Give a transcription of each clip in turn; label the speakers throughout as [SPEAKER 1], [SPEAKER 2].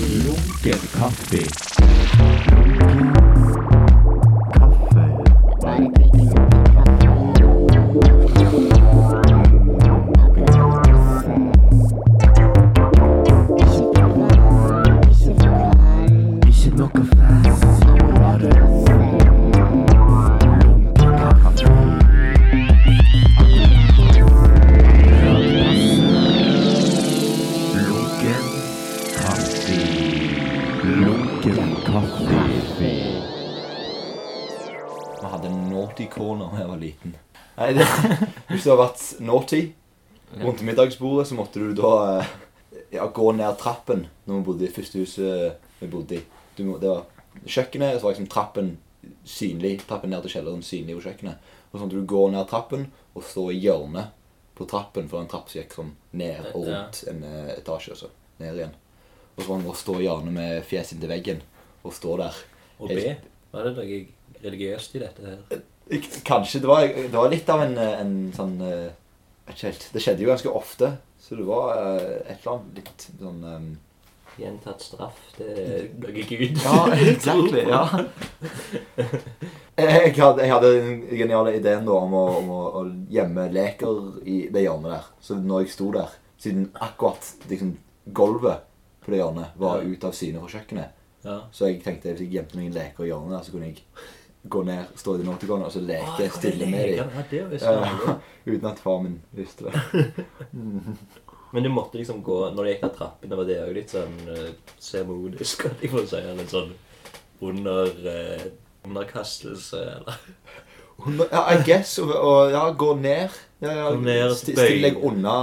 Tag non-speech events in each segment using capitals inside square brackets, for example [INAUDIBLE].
[SPEAKER 1] Lunken kaffe. Ikke noe fast. Lunken kaffe. Lunken kaffe.
[SPEAKER 2] Vi hadde en naughty corner da jeg var liten. Nei, det, Hvis du har vært naughty rundt middagsbordet, så måtte du da eh, ja, gå ned trappen når vi bodde i første huset vi bodde i. Du, må- det var kjøkkenet, og så var liksom trappen synlig. Trappen ned til kjelleren synlig på kjøkkenet. Og så måtte du gå ned trappen og stå i hjørnet på trappen, for det var en trapp som gikk sånn ned og rundt en eh, etasje, og så ned igjen. Og så var det bare å stå i hjørnet med fjeset inntil veggen og stå der.
[SPEAKER 3] Og B. Var det noe religiøst i dette her?
[SPEAKER 2] Ik- Kanskje. Det var, det var litt av en, eh, en sånn eh, jeg vet ikke helt. Det skjedde jo ganske ofte, så det var eh, et eller annet litt sånn eh,
[SPEAKER 3] Gjentatt straff. Det er noe gud. [LAUGHS]
[SPEAKER 2] Ja, exactly. Ja. [LAUGHS] Jeg hadde, jeg hadde den geniale ideen da om å, om å, å gjemme leker i det hjørnet der. Så når jeg sto der, siden akkurat liksom, gulvet på det hjørnet var
[SPEAKER 3] Ja.
[SPEAKER 2] ut av syne fra kjøkkenet,
[SPEAKER 3] Ja.
[SPEAKER 2] så jeg tenkte hvis jeg gjemte noen leker i hjørnet der, så kunne jeg gå ned, stå i den optikeren og så leke stille med dem.
[SPEAKER 3] Ja, det visste jeg
[SPEAKER 2] Ja,
[SPEAKER 3] aldri.
[SPEAKER 2] uten at far min visste det.
[SPEAKER 3] Men du måtte liksom gå Når du gikk av trappen, det var det òg litt sånn uh, semodisk, kan jeg få si. Eller sånn under eh, underkastelse, eller
[SPEAKER 2] Hun- Ja, I guess. Og, og ja, gå ned. Ja, ja,
[SPEAKER 3] Gå ned og
[SPEAKER 2] sti-
[SPEAKER 3] bøy.
[SPEAKER 2] Still deg unna,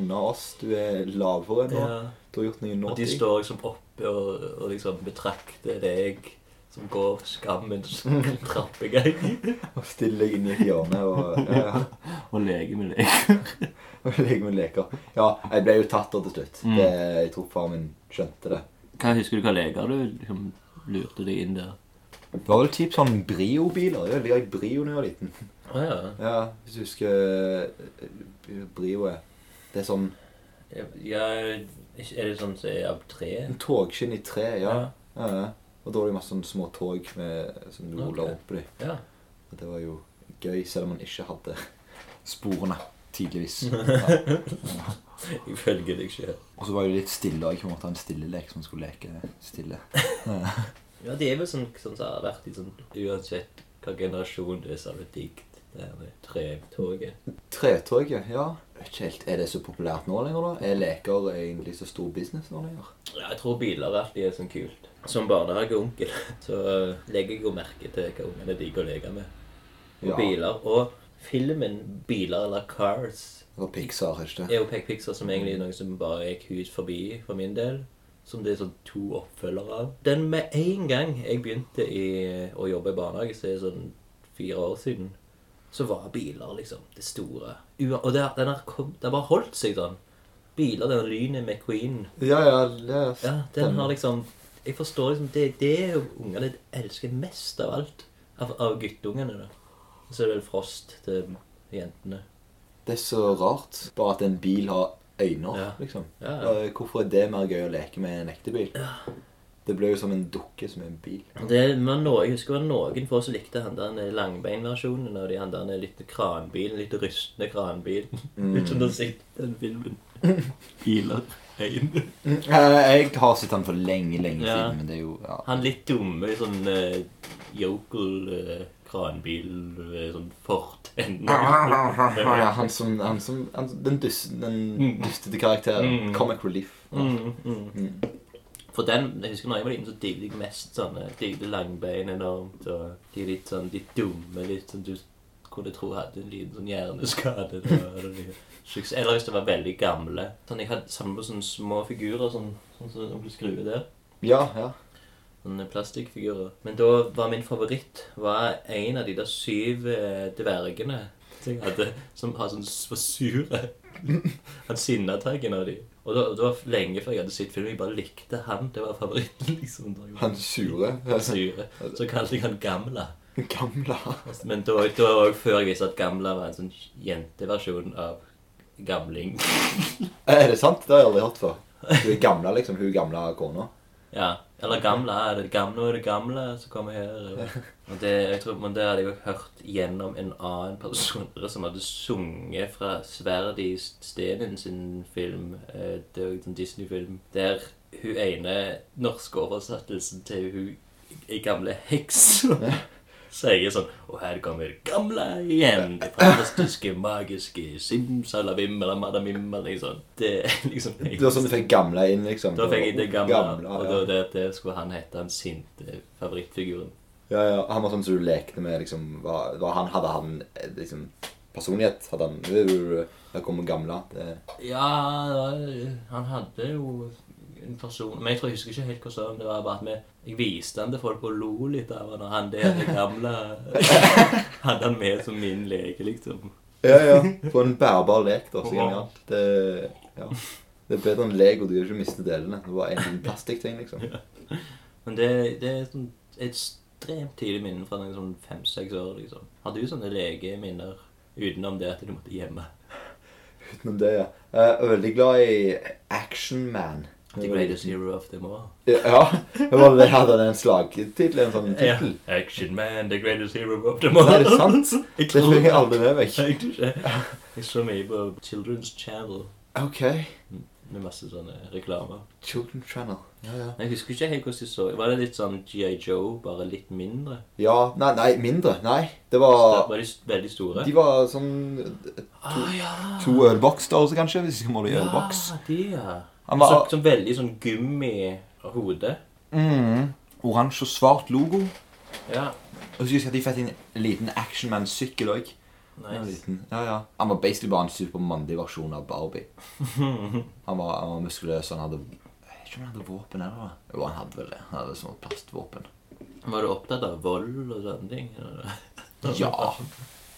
[SPEAKER 2] unna oss. Du er lavere nå.
[SPEAKER 3] ja.
[SPEAKER 2] Du har gjort noe
[SPEAKER 3] Og de
[SPEAKER 2] naughty.
[SPEAKER 3] står liksom oppe og, og liksom betrakter deg som går [LAUGHS] skammens trappegang.
[SPEAKER 2] Og Still deg inn i et hjørne og, ja,
[SPEAKER 3] [LAUGHS] Og leker med deg.
[SPEAKER 2] [LAUGHS] og leker med leker. Ja, jeg ble jo tatt da til slutt.
[SPEAKER 3] Mm.
[SPEAKER 2] Det, jeg tror far min skjønte det.
[SPEAKER 3] Hva Husker du hva leker du liksom lurte deg inn der?
[SPEAKER 2] Det var vel typ sånn Brio-biler. Jeg likte Brio da jeg var liten.
[SPEAKER 3] Å ja.
[SPEAKER 2] Ja, Hvis du husker eh, Brioet. Det er sånn
[SPEAKER 3] ja. Er det sånn som er av tre?
[SPEAKER 2] en togskinn i tre. Ja. ja. ja. Og da var det masse sånne små tog med, som du ruller
[SPEAKER 3] Ok.
[SPEAKER 2] opp i.
[SPEAKER 3] ja.
[SPEAKER 2] Og det var jo gøy, selv om man ikke hadde sporene, [LAUGHS] tidligvis. Ja.
[SPEAKER 3] Ifølge deg sjøl.
[SPEAKER 2] Og så var det jo litt stille, og jeg kunne måtte ha en stille lek som skulle leke stille.
[SPEAKER 3] Ja, det er vel sånn, sånn som har vært i sånn Uansett hva generasjon det er, så har det digget det her med tretoget.
[SPEAKER 2] Tretoget, ja. Jeg vet ikke helt, Er det så populært nå lenger, da? Er leker egentlig så stor business nå lenger?
[SPEAKER 3] Ja, jeg tror biler alltid er sånn kult. Som barnehageonkel [LAUGHS] så eh, legger jeg jo merke til hva ungene liker å leke med. Og
[SPEAKER 2] Ja.
[SPEAKER 3] biler. Og filmen 'Biler eller Cars'
[SPEAKER 2] Eller Pixar, er ikke det?
[SPEAKER 3] er jo Peck Pixar som egentlig er noe som bare gikk hus forbi for min del. Som det er sånn to oppfølgere av. Den med en gang jeg begynte i, å jobbe i barnehage, så er det sånn fire år siden, så var biler liksom det store. Ua- Og det, har- den har kom- det har bare holdt seg sånn. Biler, den lynet med Queen
[SPEAKER 2] Ja, ja, ja.
[SPEAKER 3] ja, den har liksom Jeg forstår liksom Det, det er jo ungene elsker mest av alt. Av, av guttungene, da. Og så er det vel Frost til jentene.
[SPEAKER 2] Det er så rart. Bare at en bil har øyne,
[SPEAKER 3] Ja.
[SPEAKER 2] liksom.
[SPEAKER 3] Ja, ja.
[SPEAKER 2] Eh, Hvorfor er det mer gøy å leke med en ekte bil? Det ble jo som en dukke som er en bil.
[SPEAKER 3] Og Det, men nå, jeg husker det var noen få som likte han der langbeinversjonen og de han der litt kranbilen, litt rustne kranbilen. [LAUGHS] Uten å se den filmen. Biler. Øyne.
[SPEAKER 2] Mm, eh, Jeg har sett den for lenge, lenge
[SPEAKER 3] Ja.
[SPEAKER 2] siden, men det er jo ja.
[SPEAKER 3] Han litt dumme i sånn eh, yokel eh, kranbil med sånn
[SPEAKER 2] [LAUGHS]
[SPEAKER 3] fortenner.
[SPEAKER 2] Ja, han som, han som han, Den, dus, den
[SPEAKER 3] Mm.
[SPEAKER 2] dustete karakteren.
[SPEAKER 3] Mm.
[SPEAKER 2] Comic relief.
[SPEAKER 3] Mm, mm.
[SPEAKER 2] Mm.
[SPEAKER 3] For den, jeg husker når jeg var liten, så digget jeg mest sånne digget langbein enormt. Og de litt sånn litt dumme, litt sånn du kunne tro hadde en liten sånn hjerneskade. da var det mye suksess. Eller hvis de var veldig gamle. Sånn, Jeg hadde samlet på sånne små figurer, sånn sånn som du skrur der.
[SPEAKER 2] Ja, ja.
[SPEAKER 3] Sånne Sånn, eh, plastikkfigurer. Men da var min favoritt var en av de der syv eh, dvergene som jeg hadde, som har sånn s- var sure. [LAUGHS] Han sinnataggen av de. Og da, det var lenge før jeg hadde sett filmen. Jeg bare likte han. Det var favoritten, [LAUGHS] liksom. da jeg var
[SPEAKER 2] Han sure.
[SPEAKER 3] han sure. Så kalte jeg han Gamla.
[SPEAKER 2] [LAUGHS] Gamla.
[SPEAKER 3] Men da, da var det også før jeg visste at Gamla var en sånn jenteversjon av Gamling.
[SPEAKER 2] Er det sant? Det har jeg aldri hørt før. Hun er gamla, liksom. Hun gamla kona.
[SPEAKER 3] Ja. Eller gamle. Er det gamle, nå er det gamle som kommer her. eller- Og det, jeg tror, [LAUGHS] men det hadde jeg også hørt gjennom en annen person [LAUGHS] som hadde sunget fra Sverd i Stenen sin film. eh, Det er jo en Disney-film. Der hun ene norske oversettelsen til hun ei gamle heks [LAUGHS] sier sånn Og her kommer gamle igjen. Det fantastiske, magiske simsalabim eller madamim eller noe sånt. Det er liksom
[SPEAKER 2] Det var sånn du fikk gamle inn, liksom.
[SPEAKER 3] da fikk jeg det gamle, og
[SPEAKER 2] ja.
[SPEAKER 3] da det, det skulle han hete den sinte favorittfiguren.
[SPEAKER 2] Ja, ja. Han var sånn som du lekte med, liksom hva, hva han Hadde han eh, liksom personlighet? Hadde han øh, Der kommer gamle. Det,
[SPEAKER 3] Ja, det var- han hadde jo en person Men jeg tror jeg husker ikke helt hva sånn det var. bare at vi, Jeg viste han til folk og lo litt av han, og han der det gamle [LAUGHS] hadde han med som min leke, liksom.
[SPEAKER 2] ja, ja. På en bærbar lek, da. Så
[SPEAKER 3] Ja.
[SPEAKER 2] genialt. Det, ja. det er bedre enn Lego. Du gjør ikke miste delene. Det var en liten plastikkting, liksom.
[SPEAKER 3] Men det, det er sånn et ekstremt tidlig minne fra når jeg er sånn fem-seks år, liksom. Har du sånne lekeminner utenom det at du måtte hjemme?
[SPEAKER 2] Utenom det, ja. Eh, Jeg er veldig glad i Action Man.
[SPEAKER 3] The greatest hero of them all.
[SPEAKER 2] Ja. Jeg var jeg hadde den slagtittel, en sånn
[SPEAKER 3] Ja.
[SPEAKER 2] tittel.
[SPEAKER 3] Action man, the greatest hero of them all.
[SPEAKER 2] Nei, Er det sant?
[SPEAKER 3] Jeg
[SPEAKER 2] Det
[SPEAKER 3] tror
[SPEAKER 2] fikk jeg aldri med meg.
[SPEAKER 3] Jeg tror ikke. Jeg så mye på Children's Channel
[SPEAKER 2] Ok.
[SPEAKER 3] med masse sånne reklamer.
[SPEAKER 2] Children Channel. Ja, ja.
[SPEAKER 3] Men Jeg husker ikke helt hvordan de så Var det litt sånn GI Joe, bare litt mindre?
[SPEAKER 2] Ja, nei, nei, mindre. Nei, det
[SPEAKER 3] Så
[SPEAKER 2] var
[SPEAKER 3] Var de s- veldig store?
[SPEAKER 2] De var sånn
[SPEAKER 3] ah, ja.
[SPEAKER 2] to ølboksstørrelse, kanskje, hvis ikke måler i ølboks.
[SPEAKER 3] Ja, de, ja.
[SPEAKER 2] Han
[SPEAKER 3] Han var
[SPEAKER 2] var-
[SPEAKER 3] sånn, sånn veldig sånn gummi hode.
[SPEAKER 2] Mm. Oransje og svart logo.
[SPEAKER 3] Ja.
[SPEAKER 2] Og så husker jeg at de fikk en liten Actionman-sykkel òg.
[SPEAKER 3] Nice.
[SPEAKER 2] Ja, ja. Han var basically bare en supermandig versjon av Barbie. Han var, han var muskuløs, han hadde Jeg vet ikke om han hadde våpen eller noe. Jo, han hadde vel det. Han hadde sånn plastvåpen.
[SPEAKER 3] Var du opptatt av vold og sånne ting? eller?
[SPEAKER 2] Ja.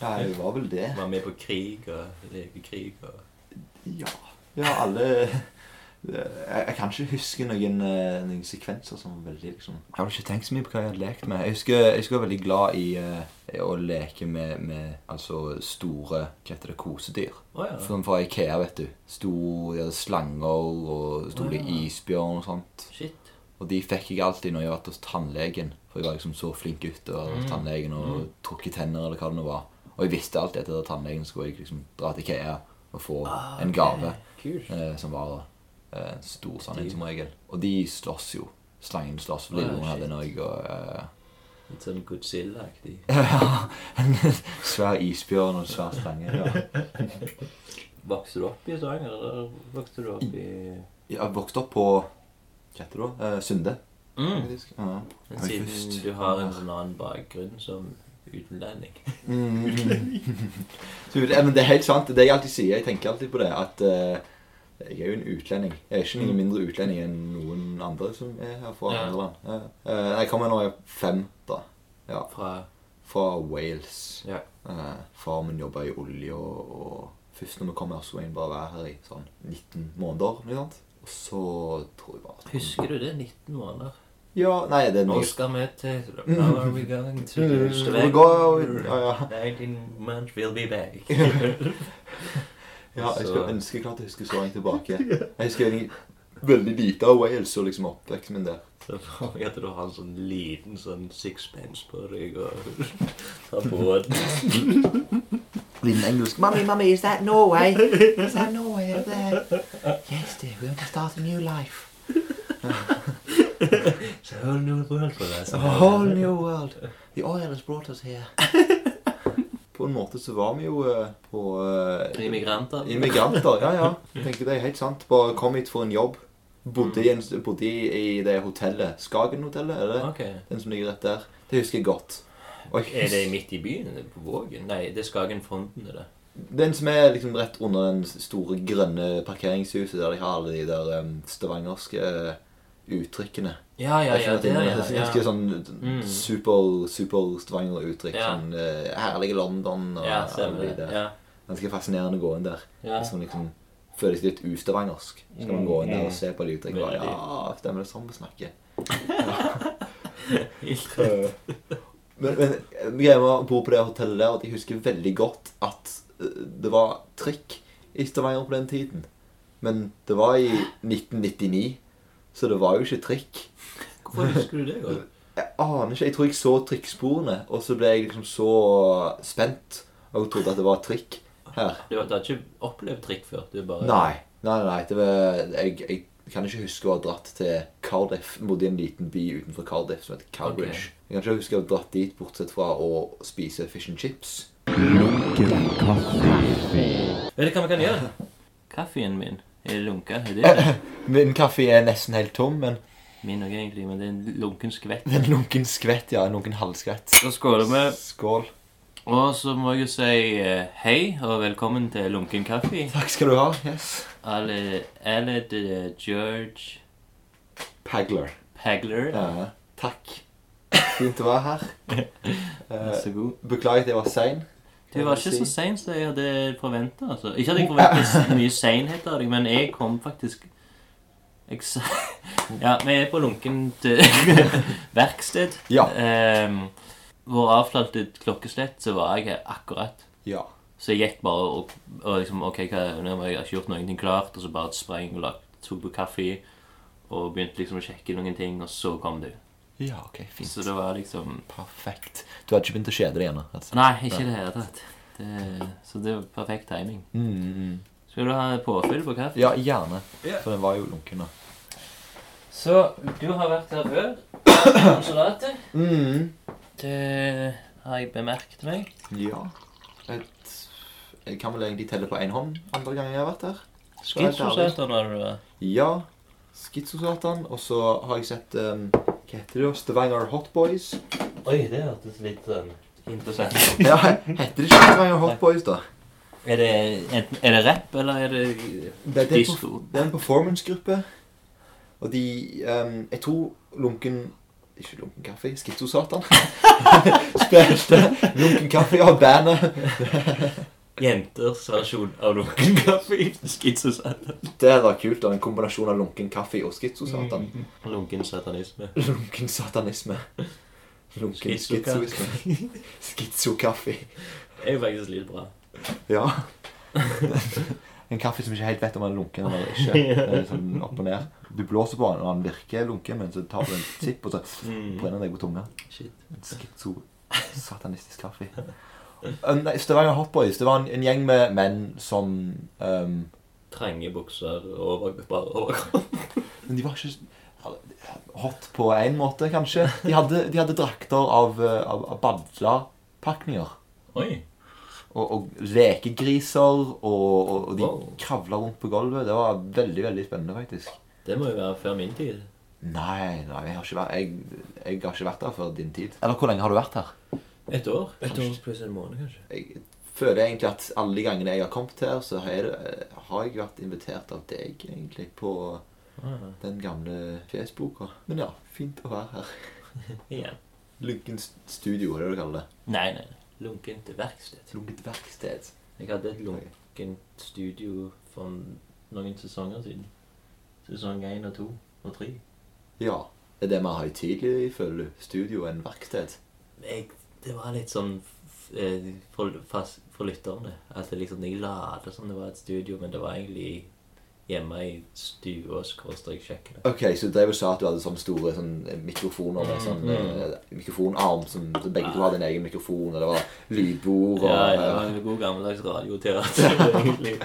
[SPEAKER 2] Ja, det var vel det.
[SPEAKER 3] Var med på krig og lekekrig og
[SPEAKER 2] Ja. Ja, alle eh, jeg, jeg kan ikke huske noen, eh, noen sekvenser som var veldig liksom Jeg har ikke tenkt så mye på hva jeg hadde lekt med. Jeg husker jeg husker jeg var veldig glad i eh, å leke med, med altså store hva heter det, kosedyr.
[SPEAKER 3] Å ja.
[SPEAKER 2] Sånn fra Ikea, vet du. Sto, de hadde slanger og store
[SPEAKER 3] Ja.
[SPEAKER 2] isbjørn og sånt.
[SPEAKER 3] Shit.
[SPEAKER 2] Og de fikk jeg alltid når jeg var hos tannlegen. For jeg var liksom så flink gutt og hadde vært hos
[SPEAKER 3] Mm.
[SPEAKER 2] tannlegen og
[SPEAKER 3] Mm.
[SPEAKER 2] trukket tenner eller hva det nå var. Og jeg visste alltid at etter tannlegen skulle jeg liksom dra til Ikea og få
[SPEAKER 3] Ah,
[SPEAKER 2] en
[SPEAKER 3] ok.
[SPEAKER 2] gave.
[SPEAKER 3] Kult.
[SPEAKER 2] Eh, som var eh, en stor
[SPEAKER 3] Dyr.
[SPEAKER 2] sannhet som regel. Og de slåss jo. Slangen slåss, for
[SPEAKER 3] Ah,
[SPEAKER 2] lillebror
[SPEAKER 3] shit.
[SPEAKER 2] hadde en òg. Og eh, [LAUGHS]
[SPEAKER 3] Litt sånn Godzilla-aktig.
[SPEAKER 2] ja, en svær isbjørn og en svær slange.
[SPEAKER 3] [LAUGHS]
[SPEAKER 2] Ja.
[SPEAKER 3] Vokste du opp i Stavanger, eller vokste du opp i
[SPEAKER 2] Jeg vokste opp på Hva heter det da? Eh, Sunde.
[SPEAKER 3] mm.
[SPEAKER 2] faktisk. Ja.
[SPEAKER 3] Men
[SPEAKER 2] Oi,
[SPEAKER 3] siden
[SPEAKER 2] først.
[SPEAKER 3] du har en sånn annen bakgrunn som utenlending
[SPEAKER 2] Mm. [LAUGHS] Så, ja, men det er helt sant. Det er det jeg alltid sier. Jeg tenker alltid på det. At eh, jeg er jo en utlending. Jeg er ikke noen mindre utlending enn noen andre som er her fra
[SPEAKER 3] Mm. Ja.
[SPEAKER 2] andre land. Ja. Eh, jeg kommer når jeg er fem, da. Ja.
[SPEAKER 3] fra
[SPEAKER 2] Fra Wales.
[SPEAKER 3] Ja.
[SPEAKER 2] Eh, far min jobba i olje, og, og først når vi kom her, så var jeg bare være her i sånn 19 måneder. Ikke sant? Og så tror jeg bare
[SPEAKER 3] Husker du det? 19 måneder.
[SPEAKER 2] Ja, nei, det er
[SPEAKER 3] Nå
[SPEAKER 2] noe
[SPEAKER 3] skal vi til Now are we
[SPEAKER 2] [LAUGHS]
[SPEAKER 3] going to
[SPEAKER 2] Mm.
[SPEAKER 3] Stavanger?
[SPEAKER 2] Går- ja, ja.
[SPEAKER 3] 19 months we'll be
[SPEAKER 2] [LAUGHS]
[SPEAKER 3] back.
[SPEAKER 2] Ja, jeg
[SPEAKER 3] Så-
[SPEAKER 2] skulle ønske jeg klarte å huske så langt
[SPEAKER 3] [LAUGHS]
[SPEAKER 2] tilbake. Jeg husker egentlig veldig lite av Wales og liksom oppveksten min der.
[SPEAKER 3] Så får vi at du har en sånn liten sånn sixpence på deg og [LAUGHS] tar båten.
[SPEAKER 2] Liten engelsk
[SPEAKER 4] Mummy, mummy, is that Norway? Is that
[SPEAKER 3] [LAUGHS]
[SPEAKER 4] Norway over there? Yes, dear, we're going to start a new life.
[SPEAKER 3] It's a whole new world for us.
[SPEAKER 4] A whole new world. The oil has brought us here.
[SPEAKER 2] [LAUGHS] På en måte så var vi jo eh, på eh,
[SPEAKER 3] Immigranter.
[SPEAKER 2] Immigranter. Ja, ja. Jeg tenker det er helt sant. Bare kom hit for en jobb. Bodde i, en, bodde i i det hotellet. Skagenhotellet, er det?
[SPEAKER 3] Ok.
[SPEAKER 2] Den som ligger rett der. Det husker jeg godt. Og jeg
[SPEAKER 3] Er det
[SPEAKER 2] hus-
[SPEAKER 3] midt i byen? Er det På Vågen? Nei, det er Skagenfronten, det er det.
[SPEAKER 2] Den som er liksom rett under den store grønne parkeringshuset der de har alle de der em, stavangerske eh, uttrykkene.
[SPEAKER 3] Ja, ja,
[SPEAKER 2] Jeg
[SPEAKER 3] ja,
[SPEAKER 2] skjønner at
[SPEAKER 3] det er
[SPEAKER 2] det er Ganske
[SPEAKER 3] ja.
[SPEAKER 2] sånn
[SPEAKER 3] Mm.
[SPEAKER 2] super, super stavanger uttrykk.
[SPEAKER 3] Ja.
[SPEAKER 2] Sånn eh, herlige London sånn, og
[SPEAKER 3] Ja,
[SPEAKER 2] alle
[SPEAKER 3] stemmer
[SPEAKER 2] de
[SPEAKER 3] det.
[SPEAKER 2] der.
[SPEAKER 3] Ja.
[SPEAKER 2] Ganske fascinerende å gå inn der.
[SPEAKER 3] Ja.
[SPEAKER 2] Som liksom føles litt ustavangersk. Så kan man gå inn der og se på de uttrykkene og bare
[SPEAKER 3] Mm. Veldig.
[SPEAKER 2] Ja, stemmer det sånn vi snakker?
[SPEAKER 3] Helt rett.
[SPEAKER 2] Eh, Men, men greia med å bo på det hotellet der, at jeg husker veldig godt at eh, det var trikk i Stavanger på den tiden. Men det var i 1999, så det var jo ikke trikk.
[SPEAKER 3] Hvorfor husker du det godt?
[SPEAKER 2] Jeg aner ikke. Jeg tror jeg så trikksporene, og så ble jeg liksom så spent og trodde at det var et trikk her.
[SPEAKER 3] Du, har- du har ikke opplevd trikk før? Du bare
[SPEAKER 2] Nei. Nei, nei, nei. Det var, jeg, jeg kan ikke huske å ha dratt til Cardiff. Jeg bodde i en liten by utenfor Cardiff som heter Cowbridge. Jeg kan ikke huske å ha dratt dit bortsett fra å spise fish and chips.
[SPEAKER 1] Lunken kaffe.
[SPEAKER 3] Vet du hva vi kan gjøre? [LAUGHS] Kaffen min er lunken. Er
[SPEAKER 2] [LAUGHS]
[SPEAKER 3] det det?
[SPEAKER 2] [COUGHS] Min kaffe er nesten helt tom, men
[SPEAKER 3] Min òg, egentlig, men det er en lunken skvett.
[SPEAKER 2] en lunken skvett, ja. En lunken halvskvett.
[SPEAKER 3] Da skåler vi.
[SPEAKER 2] Skål.
[SPEAKER 3] Og så må jeg jo si eh, hei og velkommen til Lunken kaffe.
[SPEAKER 2] Takk skal du ha. Yes.
[SPEAKER 3] Alle, alle de George
[SPEAKER 2] Pagler.
[SPEAKER 3] Pagler.
[SPEAKER 2] Ja, takk. Fint å være [LAUGHS] her.
[SPEAKER 3] Vær
[SPEAKER 2] Eh,
[SPEAKER 3] så god.
[SPEAKER 2] Beklager at jeg var sein.
[SPEAKER 3] Du var ikke så sein som jeg hadde forventa. Altså. Ikke at jeg forventa så mye seinhet av deg, men jeg kom faktisk jeg sa, [LAUGHS] Ja, vi er på lunkent eh, [LAUGHS] verksted.
[SPEAKER 2] Ja.
[SPEAKER 3] Ehm, hvor avslørt et klokkeslett, så var jeg her akkurat.
[SPEAKER 2] Ja.
[SPEAKER 3] Så jeg gikk bare og, og liksom Ok, hva, nå har jeg ikke gjort noe klart, og så bare sprang og lag- tok på kaffe og begynte liksom å sjekke noen ting, og så kom du.
[SPEAKER 2] Ja, ok. Fint.
[SPEAKER 3] Så det var liksom
[SPEAKER 2] Perfekt. Du hadde ikke begynt å kjede deg ennå? Altså.
[SPEAKER 3] Nei, ikke i det hele tatt. Det- Så det var perfekt timing. Skal du ha påfyll på kaffe?
[SPEAKER 2] Mm, Ja, gjerne. For den var jo lunken, da.
[SPEAKER 3] Så du har vært her før. Konsulatet.
[SPEAKER 2] Mm.
[SPEAKER 3] Det har jeg bemerket meg.
[SPEAKER 2] Ja. Et, jeg kan vel egentlig telle på én hånd andre gangen jeg har vært her. Så helt ærlig.
[SPEAKER 3] Skittsosert var det du var.
[SPEAKER 2] Ja. Skizosatan. Og så har jeg sett um, Hva heter det? da? Stavanger Hot [LAUGHS] Boys.
[SPEAKER 3] Oi, det hørtes litt sånn interessant ut.
[SPEAKER 2] Ja, Heter det ikke Stavanger Hot Boys, da?
[SPEAKER 3] Er det, enten- er det rap, eller er det
[SPEAKER 2] Det, det, er,
[SPEAKER 3] Disko.
[SPEAKER 2] en, det er en performance-gruppe. Og de ehm, Jeg tror Lunken Ikke Lunken Kaffe, Skizosatan. [LAUGHS] Spilte Lunken Kaffe av bandet.
[SPEAKER 3] Jenters versjon av lunken kaffe. Skitsosatan.
[SPEAKER 2] Det hadde vært kult. da, En kombinasjon av Lunken Kaffe og Skizosatan.
[SPEAKER 3] Lunken satanisme.
[SPEAKER 2] [LAUGHS] Lunken satanisme. Lunken
[SPEAKER 3] Skizokaffe.
[SPEAKER 2] skizoisme. Skizokaffe.
[SPEAKER 3] Det er jo faktisk litt bra.
[SPEAKER 2] Ja. [LAUGHS] En kaffe som ikke helt vet om han er lunken eller [LAUGHS] ikke. Det er liksom opp og ned. Du blåser på han, og han virker lunken, men så tar du en sipp, og så brenner han deg på tunga.
[SPEAKER 3] Shit.
[SPEAKER 2] Schizo satanistisk kaffe. Um, nei, Stavanger Hot Boys det var en, en gjeng med menn som um,
[SPEAKER 3] Trange bukser over bare overkropp.
[SPEAKER 2] Men de var ikke s- hot på én måte, kanskje. De hadde, de hadde drakter av, eh, av, av badlapakninger.
[SPEAKER 3] Oi.
[SPEAKER 2] Og, og lekegriser, og, og, og de
[SPEAKER 3] Wow.
[SPEAKER 2] kravla rundt på gulvet. Det var veldig veldig spennende, faktisk.
[SPEAKER 3] Det må jo være før min tid.
[SPEAKER 2] Nei, nei, jeg har ikke vært, jeg, jeg har ikke vært her før din tid. Eller hvor lenge har du vært her?
[SPEAKER 3] Et år. Et år pluss en måned, kanskje.
[SPEAKER 2] Jeg føler egentlig at alle de gangene jeg har kommet her, så har jeg, eh, har jeg vært invitert av deg, egentlig, på
[SPEAKER 3] Ah,
[SPEAKER 2] den gamle fjesboka. Men ja, fint å være her.
[SPEAKER 3] igjen.
[SPEAKER 2] Lunken st- studio, er det du kaller det.
[SPEAKER 3] Nei, nei. Lunkent verksted.
[SPEAKER 2] Lunket verksted.
[SPEAKER 3] Jeg hadde et lunkent studio for noen sesonger siden. Sesong én og to og tre.
[SPEAKER 2] Ja. Det er det mer høytidelig, føler du. Studio enn verksted.
[SPEAKER 3] jeg, det var litt sånn f- eh, for, fast, for lytterne. At det liksom, jeg later som det var et studio, men det var egentlig hjemme i stua skråstrek kjøkkenet.
[SPEAKER 2] Ok, så du drev og sa at du hadde sånne store sånne mikrofoner med sånn
[SPEAKER 3] Mm,
[SPEAKER 2] eh, mikrofonarm som så begge to hadde en egen mikrofon, og det var lydbord og eh,
[SPEAKER 3] Ja, det var en god gammeldags radioteater. [LAUGHS] egentlig.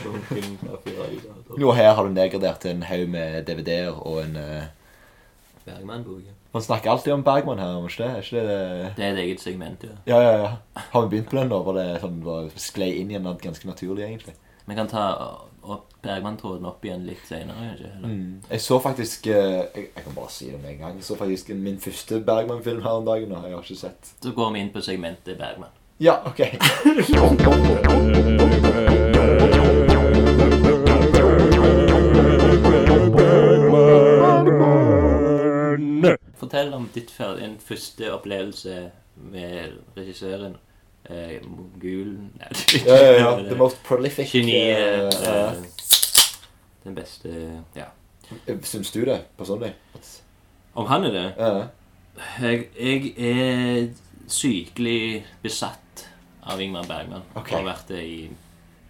[SPEAKER 3] Bunken papirradioteater.
[SPEAKER 2] Nå her har du nedgradert til en haug med DVD-er og en eh,
[SPEAKER 3] Bergman-boken.
[SPEAKER 2] Man snakker alltid om Bergman her, om ikke det? Er ikke det det?
[SPEAKER 3] Det er et eget segment, ja.
[SPEAKER 2] Ja, ja, ja. Har vi begynt på den nå? Var det sånn bare sklei inn igjen at ganske naturlig, egentlig?
[SPEAKER 3] Vi kan ta opp Bergman-tråden opp igjen litt senere, kanskje. Eller?
[SPEAKER 2] Mm. Jeg så faktisk eh, Jeg, jeg kan bare si det med en gang. Jeg så faktisk min første Bergman-film her om dagen, og jeg har ikke sett
[SPEAKER 3] Så går vi inn på segmentet Bergman.
[SPEAKER 2] [LAUGHS] Ja, OK.
[SPEAKER 3] Fortell om ditt fer- din første opplevelse med regissøren. Eh, Mogulen Nei, det-
[SPEAKER 2] Ja, ja, ja. The most prolific
[SPEAKER 3] Geniet.
[SPEAKER 2] eh,
[SPEAKER 3] eh, den beste Ja.
[SPEAKER 2] eh, Syns du det, personlig? Eh,
[SPEAKER 3] Om han er det?
[SPEAKER 2] Ja.
[SPEAKER 3] Jeg, jeg er sykelig besatt av Ingmar Bergman.
[SPEAKER 2] Ok.
[SPEAKER 3] Har vært det i,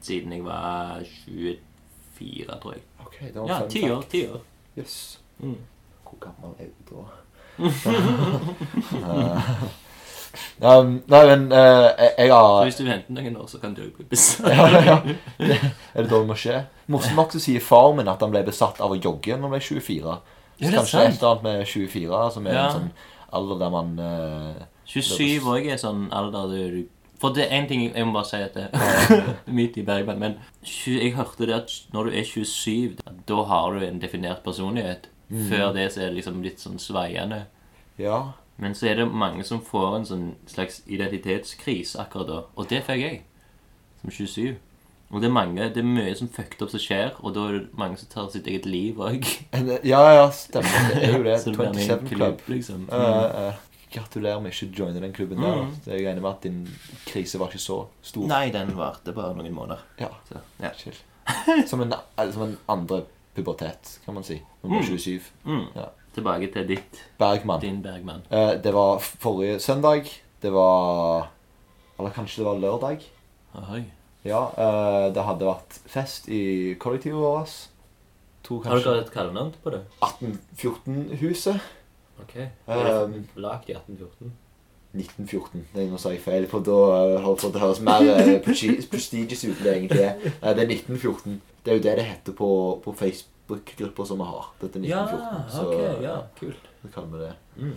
[SPEAKER 3] siden jeg var 24, tror jeg.
[SPEAKER 2] OK, det var
[SPEAKER 3] Ja,
[SPEAKER 2] fem
[SPEAKER 3] ti år. ti år.
[SPEAKER 2] Yes.
[SPEAKER 3] Mm.
[SPEAKER 2] hvor gammel er du [LAUGHS] da? [LAUGHS] Eh, um, nei, men eh, jeg, jeg
[SPEAKER 3] Så
[SPEAKER 2] har
[SPEAKER 3] hvis du venter noen år, så kan du òg bli besatt.
[SPEAKER 2] ja, ja. Det, [LAUGHS] er det da det må skje? Morsomt nok så sier far min at han ble besatt av å jogge når han ble 24.
[SPEAKER 3] Ja, det er
[SPEAKER 2] Kanskje
[SPEAKER 3] sant.
[SPEAKER 2] et eller annet med 24, som er
[SPEAKER 3] Ja.
[SPEAKER 2] en sånn alder der man eh,
[SPEAKER 3] 27 òg er sånn alder du For det er én ting jeg må bare si at [LAUGHS] det er midt i Bergman, men tju- jeg hørte det at når du er 27, da har du en definert personlighet.
[SPEAKER 2] Mm.
[SPEAKER 3] Før det så er det liksom litt sånn sveiende.
[SPEAKER 2] Ja.
[SPEAKER 3] Men så er det mange som får en sånn slags identitetskrise akkurat da. Og det fikk jeg som 27. Og det er mange, det er mye som fucked up som skjer, og da er det mange som tar sitt eget liv òg.
[SPEAKER 2] En- eh, Ja, ja, stemmer. [LAUGHS] Det er jo
[SPEAKER 3] [LAUGHS]
[SPEAKER 2] det. 27 Club.
[SPEAKER 3] liksom.
[SPEAKER 2] Eh, eh, gratulerer med ikke å joine den klubben der. da.
[SPEAKER 3] Mm.
[SPEAKER 2] Så Jeg regner med at din krise var ikke så stor.
[SPEAKER 3] Nei, den varte bare noen måneder.
[SPEAKER 2] Ja,
[SPEAKER 3] Så, ja.
[SPEAKER 2] chill. Som en, eh, som en andre pubertet, kan man si. Når man er 27.
[SPEAKER 3] Mm.
[SPEAKER 2] Ja.
[SPEAKER 3] Tilbake til ditt,
[SPEAKER 2] Bergman.
[SPEAKER 3] din Bergman.
[SPEAKER 2] Eh, det var forrige søndag. Det var Eller kanskje det var lørdag.
[SPEAKER 3] Oi.
[SPEAKER 2] Ja, eh, det hadde vært fest i kollektivet vårt. To,
[SPEAKER 3] Har dere
[SPEAKER 2] kanskje
[SPEAKER 3] et kallenavn på det?
[SPEAKER 2] 1814-huset.
[SPEAKER 3] Ok.
[SPEAKER 2] Um,
[SPEAKER 3] Lagt i 1814.
[SPEAKER 2] 1914. Nei, nå sa jeg feil, for da eh, holdt for at det høres mer eh, presti- prestigious ut enn det egentlig er. Nei, det er 1914. Det er jo det det heter på, på Facebook-grupper som vi har. Dette er 1914. så, Um, eh,
[SPEAKER 3] kult.
[SPEAKER 2] Så kaller vi det.
[SPEAKER 3] Mm.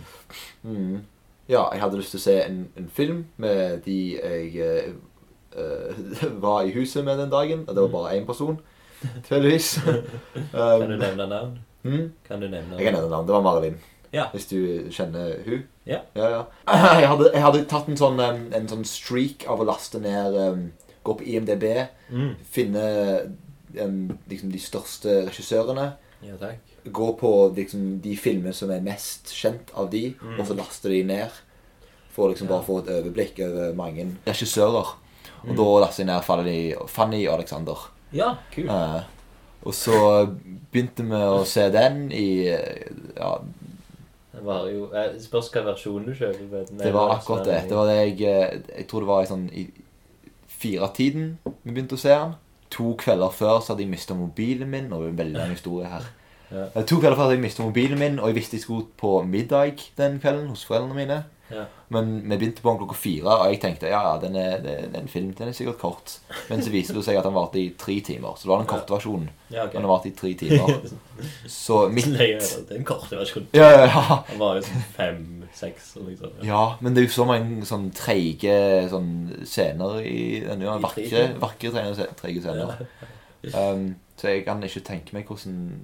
[SPEAKER 2] Mm. Ja, jeg hadde lyst til å se en, en film med de jeg eh, eh, [LAUGHS] var i huset med den dagen. Og det var bare én person, tydeligvis.
[SPEAKER 3] [LAUGHS] Kan Mm. du
[SPEAKER 2] um,
[SPEAKER 3] nevne navn?
[SPEAKER 2] mm.
[SPEAKER 3] Kan du nevne
[SPEAKER 2] Jeg kan nevne navn. Det var Marilyn.
[SPEAKER 3] Ja.
[SPEAKER 2] Hvis du kjenner hun.
[SPEAKER 3] Ja.
[SPEAKER 2] ja, [CLEARS THROAT] ja. Jeg, hadde, jeg hadde tatt en sånn, em, en sånn streak av å laste ned em, Gå på IMDb,
[SPEAKER 3] Mm.
[SPEAKER 2] finne em, liksom, de største regissørene.
[SPEAKER 3] Ja, takk.
[SPEAKER 2] Gå på liksom, de filmene som er mest kjent av de,
[SPEAKER 3] Mm.
[SPEAKER 2] og så laste de ned. For liksom
[SPEAKER 3] Ja.
[SPEAKER 2] bare å få et overblikk over mange regissører. Og da
[SPEAKER 3] Mm.
[SPEAKER 2] laster jeg ned Fanny, Fanny og Alexander.
[SPEAKER 3] Ja, kult.
[SPEAKER 2] Eh, og så begynte vi å se den i ja,
[SPEAKER 3] Det var jo eh, Spørs hva versjon du kjøper. men-
[SPEAKER 2] Det var akkurat
[SPEAKER 3] liksom
[SPEAKER 2] det. Det var det jeg eh, Jeg tror det var i sånn i firetiden vi begynte å se den. To kvelder før så hadde jeg mista mobilen min. Og det er en veldig lang historie her.
[SPEAKER 3] Ja.
[SPEAKER 2] Eh, To kvelder før hadde jeg mistet mobilen min, og jeg visste jeg skulle på middag den kvelden hos foreldrene mine.
[SPEAKER 3] Ja.
[SPEAKER 2] Men vi begynte på den klokka fire, og jeg tenkte ja, ja, den er, det er en film. Den er sikkert kort. Men så viste det seg at den varte i tre timer. Så det var den korte versjonen.
[SPEAKER 3] Ja, ok.
[SPEAKER 2] Men den varte i tre timer. Så mitt
[SPEAKER 3] Nei, ja, [LAUGHS] det er en kort versjon.
[SPEAKER 2] Ja, ja, ja.
[SPEAKER 3] Han var jo sånn fem-seks og liksom. Ja.
[SPEAKER 2] Ja, men det er jo så mange sånn treige sånn, scener i den ja,
[SPEAKER 3] I
[SPEAKER 2] vakre,
[SPEAKER 3] treige.
[SPEAKER 2] vakre treige, se- treige scener. Um, så jeg kan ikke tenke meg hvordan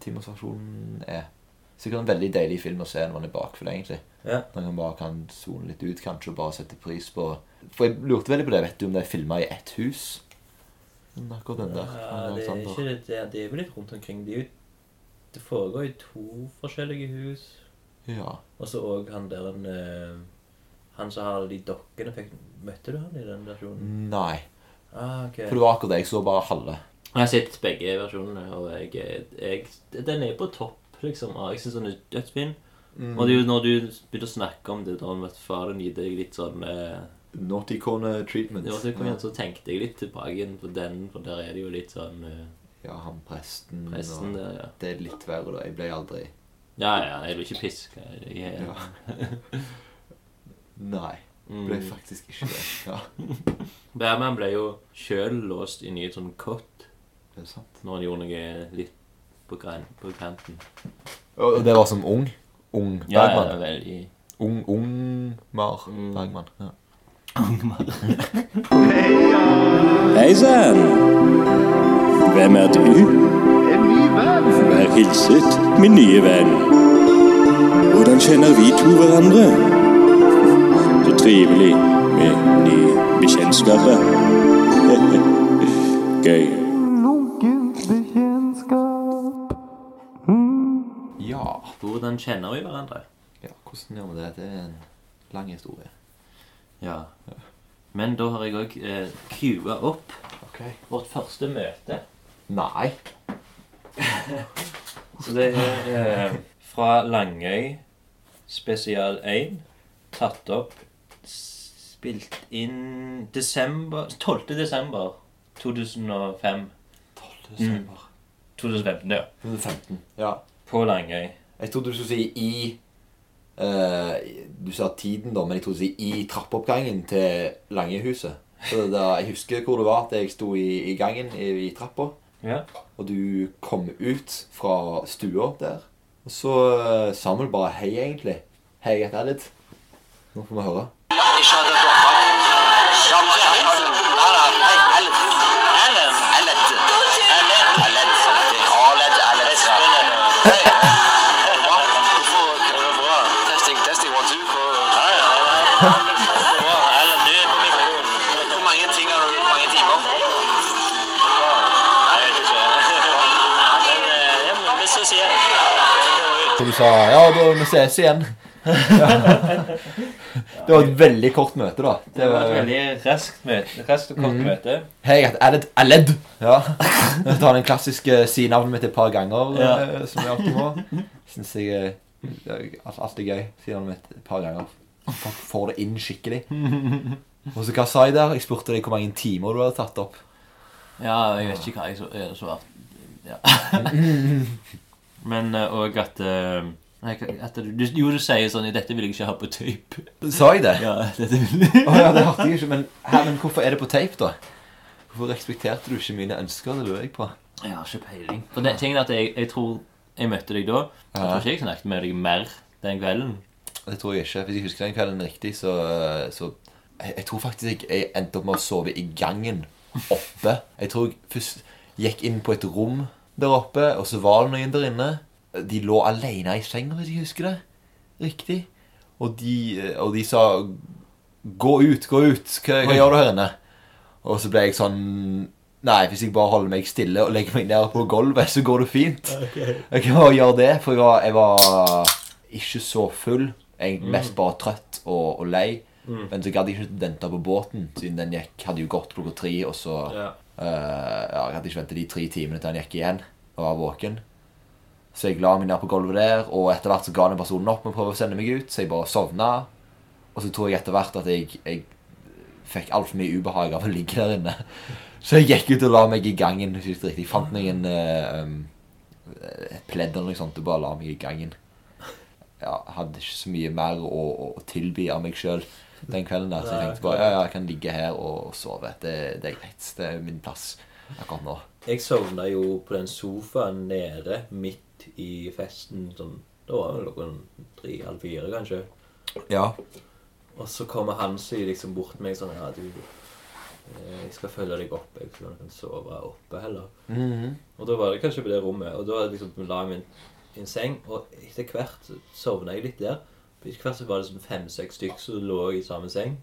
[SPEAKER 2] femtimersversjonen er. Sikkert en veldig deilig film å se når man er bakfull, egentlig.
[SPEAKER 3] Ja.
[SPEAKER 2] Når man bare kan zone litt ut, kanskje, og bare sette pris på For jeg lurte veldig på det. Vet du om det er filma i ett hus? Men Akkurat den der.
[SPEAKER 3] Ja, Eh, det er
[SPEAKER 2] Alexander.
[SPEAKER 3] ikke det. Det er vel litt rundt omkring. Det, er jo, det foregår i to forskjellige hus.
[SPEAKER 2] Ja.
[SPEAKER 3] Og så òg han der han, eh, han som har alle de dokkene fikk, Møtte du han i den versjonen?
[SPEAKER 2] Nei.
[SPEAKER 3] Ah, ok.
[SPEAKER 2] For det var akkurat det. Jeg så bare halve.
[SPEAKER 3] Jeg har sett begge versjonene, og jeg, jeg, den er på topp, liksom. Og jeg syns den er dødsfin. Og det er jo når du begynte å snakke om det, da han vet faren gir deg litt sånn eh,
[SPEAKER 2] Naughty Corner Treatment.
[SPEAKER 3] det var så, igjen, så tenkte jeg litt tilbake igjen på den, for der er det jo litt sånn eh,
[SPEAKER 2] Ja, han presten
[SPEAKER 3] pressen der, ja.
[SPEAKER 2] Det er litt verre, da. Jeg ble aldri
[SPEAKER 3] Ja, ja, jeg vil ikke piske. Jeg, jeg,
[SPEAKER 2] Ja. Nei. Ble
[SPEAKER 3] mm.
[SPEAKER 2] faktisk ikke det. Ja,
[SPEAKER 3] Bærman ble jo sjøl låst inne i et sånt kott
[SPEAKER 2] det er sant.
[SPEAKER 3] når han gjorde noe litt på, gran, på kanten.
[SPEAKER 2] Og det var som ung. Ung
[SPEAKER 3] Ja, ja,
[SPEAKER 2] Bergman.
[SPEAKER 3] veldig.
[SPEAKER 2] Ung, ung Mar
[SPEAKER 3] Mm.
[SPEAKER 2] Bergman. Ja.
[SPEAKER 5] Hei sann! Hvem er du? Vær hilset, min nye venn. Hvordan kjenner vi to hverandre? Så trivelig med nye bekjentskaper. [LAUGHS] Gøy.
[SPEAKER 2] ja.
[SPEAKER 3] Hvordan kjenner vi hverandre?
[SPEAKER 2] ja. Hvordan gjør vi det? Det er en lang historie.
[SPEAKER 3] Ja. Men da har jeg òg eh, cua opp
[SPEAKER 2] Ok.
[SPEAKER 3] vårt første møte.
[SPEAKER 2] Nei.
[SPEAKER 3] Så det er eh, fra Langøy spesial 1. Tatt opp s- Spilt inn desember 12. desember 2005. Mm.
[SPEAKER 2] 12. desember
[SPEAKER 3] 2015, ja.
[SPEAKER 2] 2015. Ja.
[SPEAKER 3] På Langøy.
[SPEAKER 2] Jeg trodde du skulle si i eh, Du sa tiden, da, men jeg trodde du skulle si i trappeoppgangen til Langehuset. Så det der, jeg husker hvor det var at jeg sto i, i gangen i, i trappa,
[SPEAKER 3] Ja.
[SPEAKER 2] og du kom ut fra stua der. Og så eh, sa vi bare hei, egentlig. Hei, jeg heter Edith. Nå får vi høre. Så du sa ja, da vi ses igjen. [LAUGHS] det var et veldig kort møte, da.
[SPEAKER 3] Det var et veldig raskt møte. Raskt og kort møte.
[SPEAKER 2] Hei, jeg heter Aled. Aled. Ja. Jeg tar den klassiske si-navnet mitt et par ganger,
[SPEAKER 3] Ja.
[SPEAKER 2] eh, som jeg alltid må. Syns jeg eh, det er alt- alltid gøy. Si-navnet mitt et par ganger. Folk får det inn skikkelig.
[SPEAKER 3] [LAUGHS]
[SPEAKER 2] Og så hva sa jeg der? Jeg spurte deg hvor mange timer du hadde tatt opp.
[SPEAKER 3] Ja, jeg vet ikke hva jeg så- jeg svarte. Ja. [LAUGHS] Men òg at eh, nei, hva- at du, du- Jo, du sier sånn 'Dette vil jeg ikke ha på tape'.
[SPEAKER 2] Sa jeg det?
[SPEAKER 3] Ja, [LAUGHS] dette vil
[SPEAKER 2] Å ja, det hørte jeg ikke. Men, hæ, men hvorfor er det på tape, da? Hvorfor respekterte du ikke mine ønsker? Det lurer jeg på.
[SPEAKER 3] Jeg har ikke peiling. For det, tingen er at jeg, jeg tror jeg møtte deg da. Jeg tror ikke jeg snakket med deg mer den kvelden.
[SPEAKER 2] Det tror jeg ikke. Hvis jeg husker den kvelden riktig, så, så jeg, jeg tror faktisk jeg, jeg endte opp med å sove i gangen oppe. Jeg tror jeg først gikk inn på et rom der oppe, og så var det noen der inne. De lå alene i senga, hvis jeg husker det riktig. Og de, eh, og de sa 'Gå ut, gå ut. Hva, hva gjør du her inne?' Og så ble jeg sånn Nei, hvis jeg bare holder meg stille og legger meg ned på gulvet, så går det fint. Jeg kan bare gjøre det, for jeg var, jeg var ikke så full. Jeg var mest bare trøtt og, og lei. Men så gadd jeg ikke vente på båten, siden den gikk, hadde jo gått klokka tre. Og så
[SPEAKER 3] Ja.
[SPEAKER 2] eh, ja, Jeg hadde ikke ventet de tre timene til den gikk igjen og var våken. Så jeg la meg ned på gulvet der, og etter hvert så ga den personen opp med å prøve å sende meg ut, så jeg bare sovna. Og så tror jeg etter hvert at jeg, jeg fikk altfor mye ubehag av å ligge der inne. [LAUGHS] Så jeg gikk ut og la meg i gangen. hvis Jeg husker riktig. Jeg fant meg en eh, um, et pledd eller noe sånt og bare la meg i gangen. Ja, hadde ikke så mye mer å, å- å tilby av meg sjøl den kvelden. der, Så jeg tenkte bare ja, ja, jeg kan ligge her og sove. Det, det er greit. Det er min plass akkurat nå.
[SPEAKER 3] Jeg sovna jo på den sofaen nede midt i festen. Sånn, da var det klokken tre-halv fire, kanskje.
[SPEAKER 2] Ja.
[SPEAKER 3] Og så kommer Hansi liksom bort til meg sånn Ja, du, eh, jeg skal følge deg opp. Jeg tror du kan sove oppe heller.
[SPEAKER 2] Mhm.
[SPEAKER 3] Og da var det kanskje på det rommet. Og da liksom la jeg meg i en seng, og etter hvert så sovna jeg litt der. Men Etter hvert så var det sånn fem-seks stykk som lå i samme seng.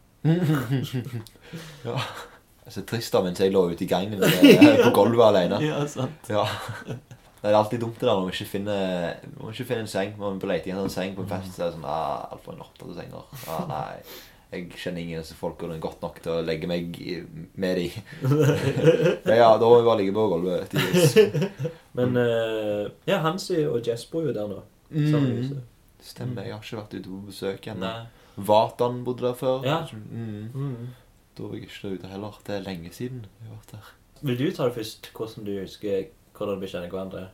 [SPEAKER 2] Så trist da, Altså, mens jeg lå ute i gangen eh, på gulvet alene.
[SPEAKER 3] Ja, sant.
[SPEAKER 2] Ja. Det er alltid dumt det der når vi ikke finner, når vi ikke finner en seng. Når vi er på leting etter en seng på en fest, så er det sånn ah, Altfor knottete senger. Ah, nei. Jeg kjenner ingen av disse folkene godt nok til å legge meg i- med de. Men ja, da må vi bare ligge på gulvet. tidligst.
[SPEAKER 3] Men eh, ja, Hansi og Jess bor jo der nå.
[SPEAKER 2] Mhm.
[SPEAKER 3] Samme huset.
[SPEAKER 2] Stemmer, jeg har ikke vært ute på besøk ennå.
[SPEAKER 3] Nei.
[SPEAKER 2] Vatan bodde der før.
[SPEAKER 3] Ja.
[SPEAKER 2] Mm.
[SPEAKER 3] Mm.
[SPEAKER 2] Da var jeg ikke der ute heller. Det er lenge siden jeg har vært der.
[SPEAKER 3] Vil du ta det først, hvordan du husker hvordan vi kjenner hverandre?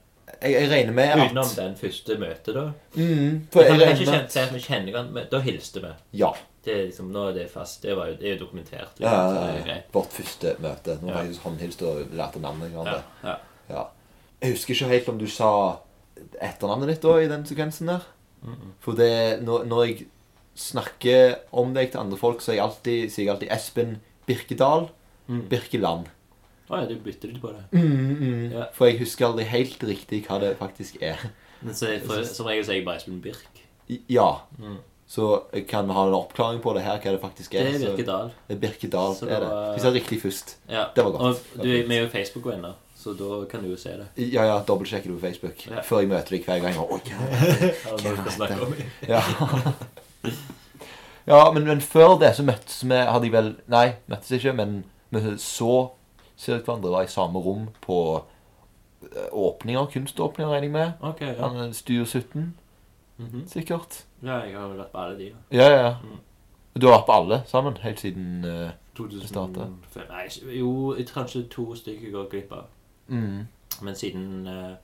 [SPEAKER 2] Jeg, jeg regner med at
[SPEAKER 3] Utenom den første møtet, da.
[SPEAKER 2] Mm, for
[SPEAKER 3] Vi
[SPEAKER 2] jeg
[SPEAKER 3] kan ikke
[SPEAKER 2] regner
[SPEAKER 3] kjenne,
[SPEAKER 2] med
[SPEAKER 3] si at vi kjenner hverandre, men da hilste vi.
[SPEAKER 2] Ja.
[SPEAKER 3] Det er liksom, nå er det fast. Det, var jo, det er jo dokumentert.
[SPEAKER 2] Ja,
[SPEAKER 3] Liksom,
[SPEAKER 2] ja,
[SPEAKER 3] så det er
[SPEAKER 2] ja.
[SPEAKER 3] greit.
[SPEAKER 2] Vårt første møte. Nå
[SPEAKER 3] Ja.
[SPEAKER 2] har jeg håndhilst og lært navnet.
[SPEAKER 3] Ja,
[SPEAKER 2] hverandre.
[SPEAKER 3] ja.
[SPEAKER 2] Ja. Jeg husker ikke helt om du sa etternavnet ditt da, i den sekvensen der. For det, når, når jeg snakker om deg til andre folk, så er jeg alltid, sier jeg alltid Espen Birkedal
[SPEAKER 3] Mm.
[SPEAKER 2] Birkeland.
[SPEAKER 3] Å ja, du bytter litt på det. Ja.
[SPEAKER 2] For jeg husker aldri helt riktig hva det faktisk er.
[SPEAKER 3] Men så, for, som regel sier jeg bare Espen Birk.
[SPEAKER 2] I- Ja.
[SPEAKER 3] Mm.
[SPEAKER 2] Så kan vi ha en oppklaring på det her, hva det faktisk er.
[SPEAKER 3] Det er
[SPEAKER 2] så-
[SPEAKER 3] Birkedal.
[SPEAKER 2] det er Birkedal.
[SPEAKER 3] Så
[SPEAKER 2] det er
[SPEAKER 3] det var-
[SPEAKER 2] det. Vi sa riktig først.
[SPEAKER 3] Ja.
[SPEAKER 2] Det var godt.
[SPEAKER 3] Og du, vi er jo Facebook-venner, så da kan du jo se det.
[SPEAKER 2] Ja, ja, dobbeltsjekker du på Facebook
[SPEAKER 3] Ja.
[SPEAKER 2] før jeg møter deg hver gang. Og, Oi, hva
[SPEAKER 3] Ja, når vi skal snakke om det.
[SPEAKER 2] Ja, ja men, men før det så møttes vi Hadde jeg vel Nei, møttes ikke, men vi så ser ut hverandre var i samme rom på eh, åpninger, kunståpninger, regner jeg med.
[SPEAKER 3] Ok, ja.
[SPEAKER 2] Han er Studio 17,
[SPEAKER 3] Mhm. Mm.
[SPEAKER 2] sikkert.
[SPEAKER 3] ja. Jeg har jo vært på alle de. da.
[SPEAKER 2] Ja, ja. Du har vært på alle sammen helt siden eh, Det startet.
[SPEAKER 3] 2005 Nei, ikke- jo, jeg tror kanskje to stykker går glipp av.
[SPEAKER 2] mm.
[SPEAKER 3] Men siden eh,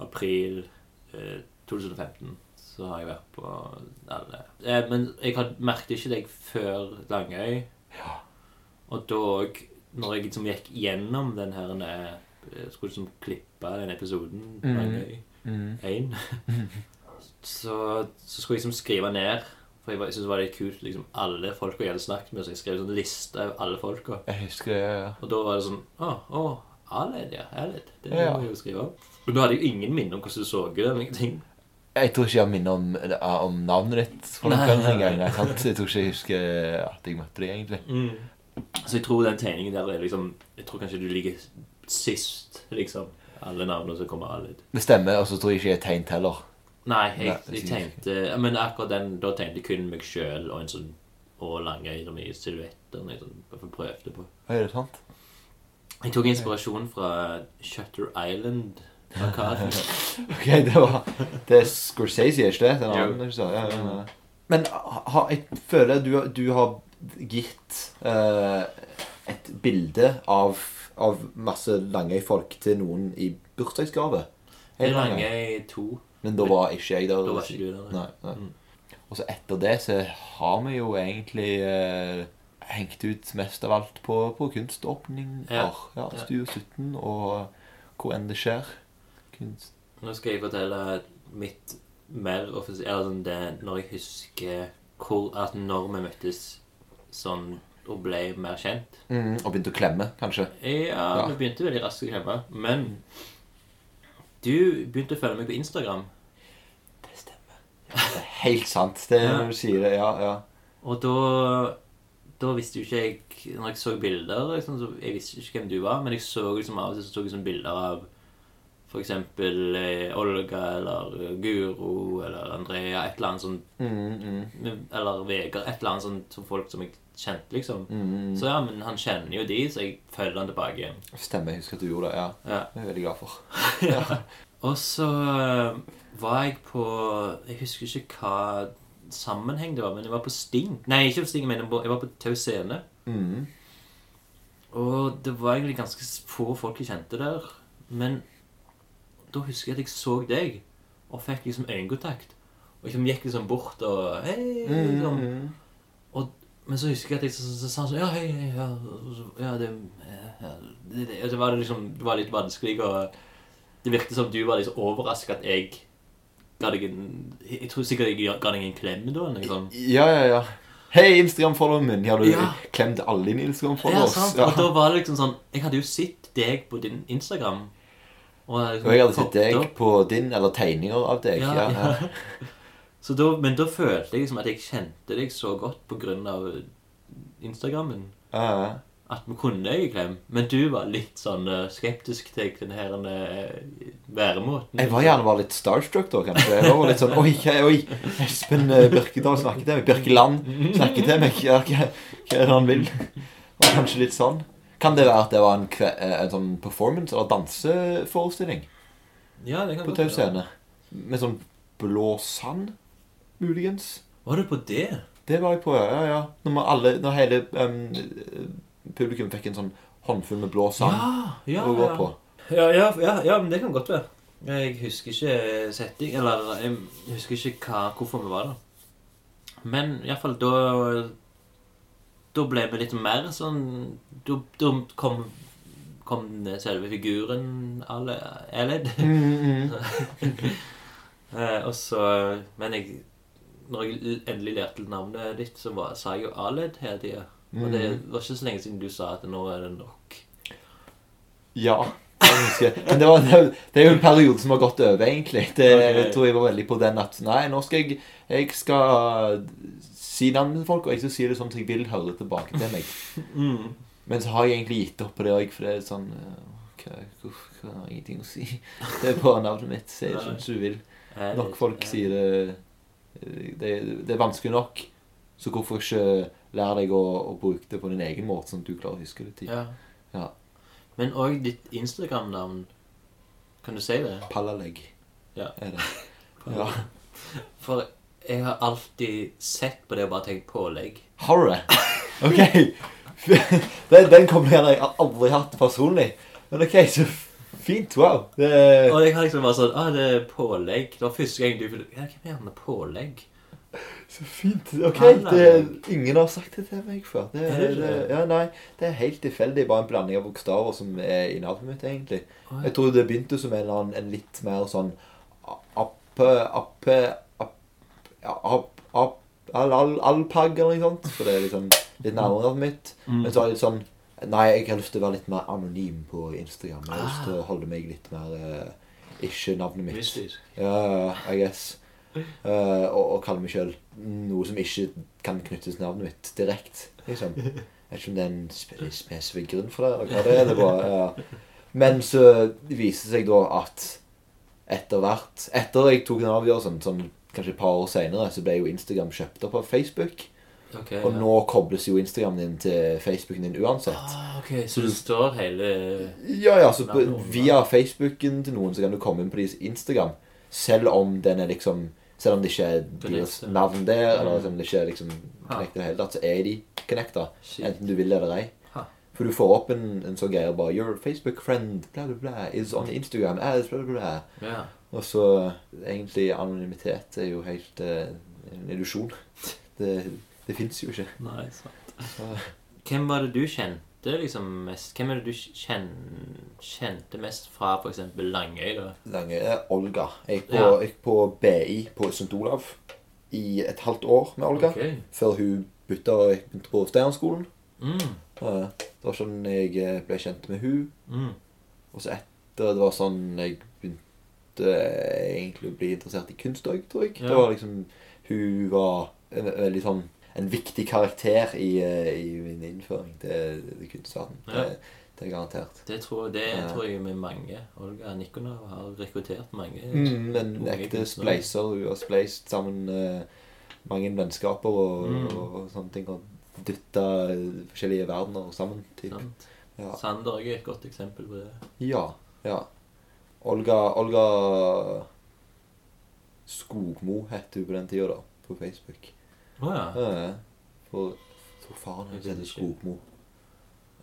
[SPEAKER 3] april eh, 2015 så har jeg vært på alle. Eh, men jeg had, merket ikke deg før Langøy. Og da òg, når jeg liksom gikk gjennom den her eh, Skulle liksom klippe den episoden
[SPEAKER 6] Mhm.
[SPEAKER 3] Langøy 1, så, så skulle jeg liksom skrive ned. For jeg, var- jeg syntes det var litt kult. liksom Alle folka jeg hadde snakket med, så jeg skrev en sånn liste av alle folka.
[SPEAKER 6] Jeg husker det, ja.
[SPEAKER 3] Og da var det sånn Å, å Aled, ja. Aled. Det
[SPEAKER 6] Ja.
[SPEAKER 3] må jeg jo skrive om. Men da hadde jeg jo ingen minne om hvordan du så ut eller ingenting.
[SPEAKER 6] Jeg tror ikke jeg minner om,
[SPEAKER 2] eh,
[SPEAKER 6] om navnet ditt for
[SPEAKER 3] Nei,
[SPEAKER 6] noen gang
[SPEAKER 3] nei, Mm. nei.
[SPEAKER 6] engang. nei, sant? Jeg tror ikke jeg husker
[SPEAKER 2] eh,
[SPEAKER 6] at jeg møtte deg, egentlig.
[SPEAKER 3] Så jeg tror den tegningen der er liksom Jeg tror kanskje du ligger sist, liksom. Alle navnene som kommer Aled.
[SPEAKER 6] Det stemmer, og så tror jeg ikke jeg er tegnet heller.
[SPEAKER 3] Nei, jeg,
[SPEAKER 6] Nei, det
[SPEAKER 3] jeg
[SPEAKER 6] sier
[SPEAKER 3] tenkte ja, Men akkurat den, da tenkte jeg kun meg sjøl og en sånn og lange og mye silhuetter. når Jeg sånn, i hvert fall prøvde på.
[SPEAKER 6] Hva er det sant?
[SPEAKER 3] Jeg tok inspirasjon fra Shutter Island.
[SPEAKER 6] [LAUGHS]
[SPEAKER 3] plakaten.
[SPEAKER 2] Ok, det var Det er Scorsese, ikke det? Den
[SPEAKER 3] Jo.
[SPEAKER 2] andre, ikke sant? Ja, ja, ja. Men ha, jeg føler du, du har gitt eh, et bilde av, av masse Langøy-folk til noen i bursdagsgave.
[SPEAKER 3] Det er
[SPEAKER 2] Helt Langøy.
[SPEAKER 3] Langøy 2.
[SPEAKER 2] Men da var ikke jeg der.
[SPEAKER 3] Da var ikke du der. Mm.
[SPEAKER 2] Nei, nei.
[SPEAKER 6] Og så etter det så har vi jo egentlig eh, hengt ut mest av alt på, på kunståpninger. Ja.
[SPEAKER 3] Ja. Ja.
[SPEAKER 6] Studio 17 og hvor enn det skjer. Kunst.
[SPEAKER 3] Nå skal jeg fortelle mitt mer offisielle Eller sånn det når jeg husker hvor At når vi møttes sånn og ble mer kjent.
[SPEAKER 6] Mm, og begynte å klemme, kanskje.
[SPEAKER 3] Ja,
[SPEAKER 6] Ja.
[SPEAKER 3] vi begynte veldig raskt å klemme. Men du begynte å følge meg på Instagram.
[SPEAKER 2] Det er Helt sant, det
[SPEAKER 3] Ja.
[SPEAKER 2] når du sier det. Ja, ja.
[SPEAKER 3] Og da Da visste jo ikke jeg Når jeg så bilder liksom, så Jeg visste ikke hvem du var, men jeg så liksom av og til så tok jeg sånne bilder av for eksempel eh, Olga eller eh, Guro eller Andrea, et eller annet sånn
[SPEAKER 2] Mm, mm,
[SPEAKER 3] Eller Vegard, et eller annet sånn som folk som jeg kjente, liksom.
[SPEAKER 2] mm.
[SPEAKER 3] Så ja, men han kjenner jo de, så jeg følger han tilbake igjen.
[SPEAKER 2] [LAUGHS] Stemmer, jeg husker at du gjorde det. ja.
[SPEAKER 3] Ja.
[SPEAKER 2] Det er jeg veldig glad for.
[SPEAKER 3] Og så eh, var jeg på Jeg husker ikke hva sammenheng det var, men jeg var på Sting. Nei, ikke på Sting, men jeg var på- jeg var på Tau Scene.
[SPEAKER 2] Mm.
[SPEAKER 3] Og det var egentlig ganske få folk jeg kjente der. Men da husker jeg at jeg så deg, og fikk liksom øyekontakt. Og liksom gikk liksom bort og Hei! Liksom. Og, men så husker jeg at jeg så- så- så sa sånn Ja, hei, hei, ja, så- ja det, ja det, det, og så var det liksom Det var litt vanskelig, og det virket som du var liksom overrasket at jeg ga deg en Jeg tror sikkert jeg ga deg en klem da, eller noe sånt.
[SPEAKER 2] Ja, ja, ja. Hei, Instagram-followeren min. Har du
[SPEAKER 3] Ja.
[SPEAKER 2] klemt alle dine
[SPEAKER 3] Ja,
[SPEAKER 2] Instagram-followers?
[SPEAKER 3] sant. Og da var det liksom sånn Jeg hadde jo sett deg på din Instagram. Og, liksom
[SPEAKER 2] Og jeg hadde sett deg på din, eller tegninger av deg.
[SPEAKER 3] Ja, [LAUGHS]
[SPEAKER 2] Ja, ja.
[SPEAKER 3] Så da, men da følte jeg liksom at jeg kjente deg så godt på grunn av Instagrammen.
[SPEAKER 2] ja, ja.
[SPEAKER 3] At vi kunne deg i klem. Men du var litt sånn eh, skeptisk til den her eh, væremåten.
[SPEAKER 2] Jeg var gjerne var litt starstruck da, kanskje. Jeg var litt sånn Oi, hei, oi, Espen eh, Birkedal snakker til meg. Birkeland snakker til meg. Ja, hva, hva er det han vil? Og kanskje litt sånn. Kan det være at det var en, kve, eh, en sånn performance eller danseforestilling
[SPEAKER 3] ja, det kan
[SPEAKER 2] på
[SPEAKER 3] godt
[SPEAKER 2] Tau
[SPEAKER 3] være.
[SPEAKER 2] Scene? Med sånn blå sand, muligens?
[SPEAKER 3] Var du på det?
[SPEAKER 2] Det var jeg på, ja. ja, ja. Når, man alle, når hele em, publikum fikk en sånn håndfull med blå sand
[SPEAKER 3] Ja,
[SPEAKER 2] å gå på.
[SPEAKER 3] Ja, ja, ja, ja, men det kan godt være. Jeg husker ikke setting, eller jeg husker ikke hva, hvorfor vi var der. Men iallfall da Da ble vi litt mer sånn Da, da kom, kom selve figuren alle, Eled.
[SPEAKER 2] Mm,
[SPEAKER 3] [LAUGHS] Eh, og så Men jeg Når jeg endelig lærte navnet ditt, så var, sa jeg jo Aled hele tida. Og det
[SPEAKER 2] Mm.
[SPEAKER 3] var ikke så lenge siden du sa at nå er det nok.
[SPEAKER 2] Ja. Jeg husker. Men det, var, det er jo en periode som har gått over, egentlig. Det, Jeg
[SPEAKER 3] Ok.
[SPEAKER 2] tror jeg var veldig på den at Nei, nå skal jeg Jeg skal eh, si navnet til folk, og jeg skal si det sånn at jeg vil høre tilbake til meg. Men så har jeg egentlig gitt opp på det òg, for det er sånn eh, hva, hvorf- hva har jeg ingenting å si? [LAUGHS] Det er bare navnet mitt. Si det
[SPEAKER 3] Nei.
[SPEAKER 2] sånn som du vil.
[SPEAKER 3] Eh,
[SPEAKER 2] Nok folk
[SPEAKER 3] eh,
[SPEAKER 2] sier det Det, det er vanskelig nok, så hvorfor ikke lære deg å, å bruke det på din egen måte, sånn at du klarer å huske det? til
[SPEAKER 3] Ja.
[SPEAKER 2] Ja.
[SPEAKER 3] Men òg ditt Instagram-navn. Kan du si det?
[SPEAKER 2] Pallalegg
[SPEAKER 3] Ja.
[SPEAKER 2] er det. Ja.
[SPEAKER 3] For jeg har alltid sett på det og bare tenkt pålegg.
[SPEAKER 2] Har [LAUGHS] du det? [LAUGHS] Ok. Den, den kombineringen har jeg aldri hatt personlig. Men ok, så Fint. Wow. Det er,
[SPEAKER 3] Og jeg har liksom bare sånn ah, det er pålegg. Det var første gang du Ja, hvem er han med pålegg?
[SPEAKER 2] så fint. Ok,
[SPEAKER 3] Nei, nei.
[SPEAKER 2] det, ingen har sagt det til meg før. Det,
[SPEAKER 3] Er
[SPEAKER 2] er-
[SPEAKER 3] det
[SPEAKER 2] det,
[SPEAKER 3] ikke?
[SPEAKER 2] ja, nei, det er helt tilfeldig. Bare en blanding av bokstaver som er i navnet mitt, egentlig.
[SPEAKER 3] Å, ja.
[SPEAKER 2] Jeg tror det begynte som en, eller annen, en litt mer sånn appe, appe, app, ja, app, app, al, al, alpag eller noe sånt. For det er liksom litt nærmere navnet mitt.
[SPEAKER 3] Mm.
[SPEAKER 2] Men så er det litt sånn Nei, jeg har lyst til å være litt mer anonym på Instagram. Jeg har lyst til å holde meg litt mer eh, ikke navnet mitt.
[SPEAKER 3] Ah. Mystisk.
[SPEAKER 2] Ja, I guess. Eh, og, og kalle meg sjøl noe som ikke kan knyttes til navnet mitt direkte. Liksom. Jeg vet ikke om det er en spe spesifikk grunn for det, eller hva det er. Det er bare, ja. Men så viser det seg da at etter hvert Etter jeg tok den avgjørelsen, sånn, kanskje et par år seinere, så ble jo Instagram kjøpt opp av Facebook.
[SPEAKER 3] Ok,
[SPEAKER 2] Og
[SPEAKER 3] ja.
[SPEAKER 2] nå kobles jo Instagram din til Facebooken din uansett.
[SPEAKER 3] ah, ok, Så det står hele
[SPEAKER 2] Ja, ja, så på, via Facebooken til noen så kan du komme inn på deres Instagram, selv om den er liksom Selv om det ikke er deres
[SPEAKER 3] Connected. Mm.
[SPEAKER 2] navn der, eller selv om det ikke er liksom connected i det hele tatt, så er de connecta,
[SPEAKER 3] Shit.
[SPEAKER 2] enten du vil eller ei.
[SPEAKER 3] Ha.
[SPEAKER 2] For du får opp en, en sånn greie bare 'Your Facebook friend bla, bla, bla, is on Instagram as bla, bla, bla'.
[SPEAKER 3] Ja.
[SPEAKER 2] Og så egentlig anonymitet er jo helt eh, en illusjon. [LAUGHS] Det, det fins jo ikke.
[SPEAKER 3] Nei, sant. Hvem var det du kjente liksom mest Hvem er det du kjen, kjente mest fra f.eks. Langøy? da?
[SPEAKER 2] lange er Olga. Jeg gikk på,
[SPEAKER 3] Ja.
[SPEAKER 2] jeg gikk på BI på St. Olav i et halvt år med Olga.
[SPEAKER 3] Ok.
[SPEAKER 2] Før hun bytta og gikk begynte på Steinerskolen.
[SPEAKER 3] Mm,
[SPEAKER 2] Eh, Det var sånn jeg eh, ble kjent med hun.
[SPEAKER 3] mm.
[SPEAKER 2] Og så etter det var sånn jeg begynte eh, egentlig å bli interessert i kunst òg, tror jeg.
[SPEAKER 3] Ja.
[SPEAKER 2] Det var liksom Hun var en, en veldig sånn en viktig karakter i, eh, i min innføring til, til kunstverden.
[SPEAKER 3] Ja.
[SPEAKER 2] Det, det er garantert.
[SPEAKER 3] Det tror, det
[SPEAKER 2] Ja.
[SPEAKER 3] tror jeg med mange. Olga Nikonov har rekruttert mange.
[SPEAKER 2] Mm, en
[SPEAKER 3] unge
[SPEAKER 2] ekte
[SPEAKER 3] kunstnere.
[SPEAKER 2] spleiser. Hun har spleist sammen eh, mange vennskaper og,
[SPEAKER 3] Mm.
[SPEAKER 2] og, og sånne ting. Og dytta eh, forskjellige verdener sammen. Typ.
[SPEAKER 3] Sant?
[SPEAKER 2] Ja.
[SPEAKER 3] Sander er et godt eksempel på det.
[SPEAKER 2] ja. Ja. Olga, Olga Skogmo het hun på den tida, da. På Facebook.
[SPEAKER 3] Å ja.
[SPEAKER 2] Eh, for for faren hennes
[SPEAKER 3] Jeg vet
[SPEAKER 2] heter
[SPEAKER 3] ikke.
[SPEAKER 2] Skogmo.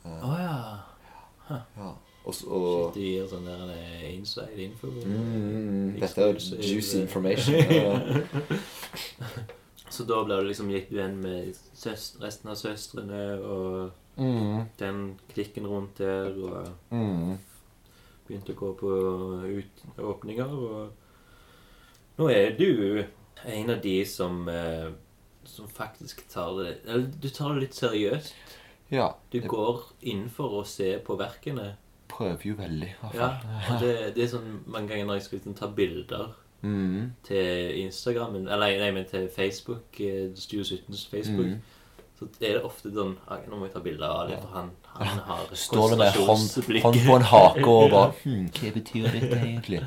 [SPEAKER 3] Å ja.
[SPEAKER 2] Ja. Og, så- og
[SPEAKER 3] Shit, de gir sånn der eh, inside info.
[SPEAKER 2] mm, Dette er jo
[SPEAKER 3] Exclusive.
[SPEAKER 2] juicy information.
[SPEAKER 3] [LAUGHS]
[SPEAKER 2] Ja.
[SPEAKER 3] Så da ble du liksom gikk du igjen med søs- resten av søstrene og
[SPEAKER 6] Mm,
[SPEAKER 3] den klikken rundt der og
[SPEAKER 6] mm.
[SPEAKER 3] begynte å gå på ut, åpninger, og nå er du en av de som, eh, som faktisk tar det Eller du tar det litt seriøst.
[SPEAKER 6] Ja.
[SPEAKER 3] Du går innenfor og ser på verkene.
[SPEAKER 6] Prøver jo veldig, i hvert
[SPEAKER 3] Ja,
[SPEAKER 6] fall.
[SPEAKER 3] og det, det er sånn mange ganger når jeg skal liksom ta bilder
[SPEAKER 6] Mm,
[SPEAKER 3] til Instagram Eller nei, men til Facebook, eh, Studio 17s Facebook,
[SPEAKER 6] Mm.
[SPEAKER 3] så er det ofte sånn «Ah, Nå må jeg ta bilder av det, for han, han har
[SPEAKER 6] Står det med hånd,
[SPEAKER 3] konsentrasjonsblikk».
[SPEAKER 6] hånd på en hake og bare hm, Hva betyr dette egentlig?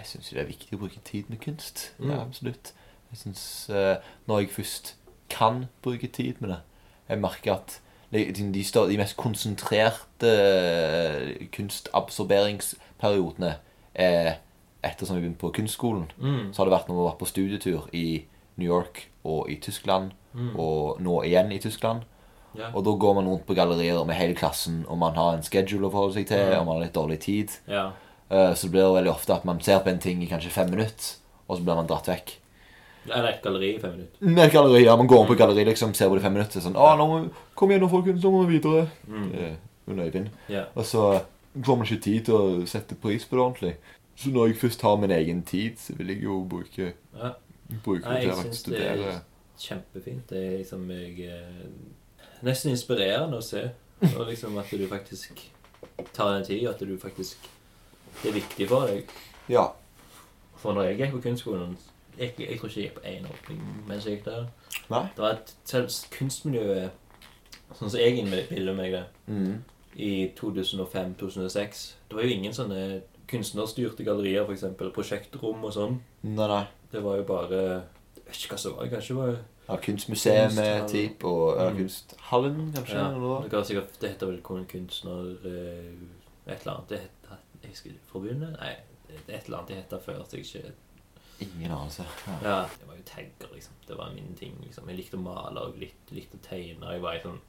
[SPEAKER 6] Jeg syns det er viktig å bruke tid med kunst. Ja,
[SPEAKER 3] Mm.
[SPEAKER 6] absolutt. Jeg synes, eh, Når jeg først kan bruke tid med det Jeg merker at de, de, de stå- de mest konsentrerte eh, kunstabsorberingsperiodene er etter som jeg begynte på kunstskolen.
[SPEAKER 3] Mm.
[SPEAKER 6] Så har det vært når vi har vært på studietur i New York og i Tyskland,
[SPEAKER 3] Mm.
[SPEAKER 6] og nå igjen i Tyskland.
[SPEAKER 3] Ja.
[SPEAKER 6] Og da går man rundt på gallerier med hele klassen, og man har en schedule å forholde seg til,
[SPEAKER 3] Ja.
[SPEAKER 6] og man har litt dårlig tid.
[SPEAKER 3] [LAUGHS] ja.
[SPEAKER 6] Eh, Så blir det veldig ofte at man ser på en ting i kanskje fem minutter, og så blir man dratt vekk.
[SPEAKER 3] Eller et galleri i fem minutter.
[SPEAKER 6] Med et galleri, ja, Man går opp på et galleri, liksom, ser på det i fem minutter. Sånn, å, nå må, 'Kom igjen nå, folkens, nå må vi videre.'
[SPEAKER 3] Mm.
[SPEAKER 6] Det er jo nøyvind.
[SPEAKER 3] Ja.
[SPEAKER 6] Og så eh, får man ikke tid til å sette pris på det ordentlig. Så når jeg først har min egen tid, så vil jeg jo bruke,
[SPEAKER 3] ja.
[SPEAKER 6] bruke
[SPEAKER 3] Nei,
[SPEAKER 6] det til
[SPEAKER 3] jeg
[SPEAKER 6] å
[SPEAKER 3] syns
[SPEAKER 6] faktisk
[SPEAKER 3] det
[SPEAKER 6] studere.
[SPEAKER 3] er kjempefint. Det er liksom jeg, eh, nesten inspirerende å se. Og liksom at du faktisk tar den tid, at du faktisk Det er viktig for deg.
[SPEAKER 2] ja.
[SPEAKER 3] For når jeg gikk på kunstskolen Jeg, jeg tror ikke jeg gikk på én åpning mens jeg gikk der.
[SPEAKER 2] Nei.
[SPEAKER 3] Det var et selv kunstmiljø sånn som jeg innbiller meg det,
[SPEAKER 2] Mm.
[SPEAKER 3] i 2005-2006 Det var jo ingen sånne kunstnerstyrte gallerier, f.eks. Prosjektrom og sånn.
[SPEAKER 2] Nei, nei.
[SPEAKER 3] Det var jo bare Jeg vet ikke hva som var. det, Kanskje det var
[SPEAKER 2] Ja, kunstmuseet
[SPEAKER 3] Kunsthallen.
[SPEAKER 2] typ, og ja,
[SPEAKER 3] Mm.
[SPEAKER 2] kunsthallen, kanskje.
[SPEAKER 3] Ja,
[SPEAKER 2] eller noe
[SPEAKER 3] det, kan sikkert, det heter vel kun kunstner eh, Et eller annet. Det heter, jeg husker, forbundet? Nei, det er et eller annet det heter før. Så jeg ikke,
[SPEAKER 2] Ingen anelse. Ja.
[SPEAKER 3] ja, det var jo tagger, liksom. Det var min ting. liksom. Jeg likte å male og litt, likte å tegne. Jeg var, sånn,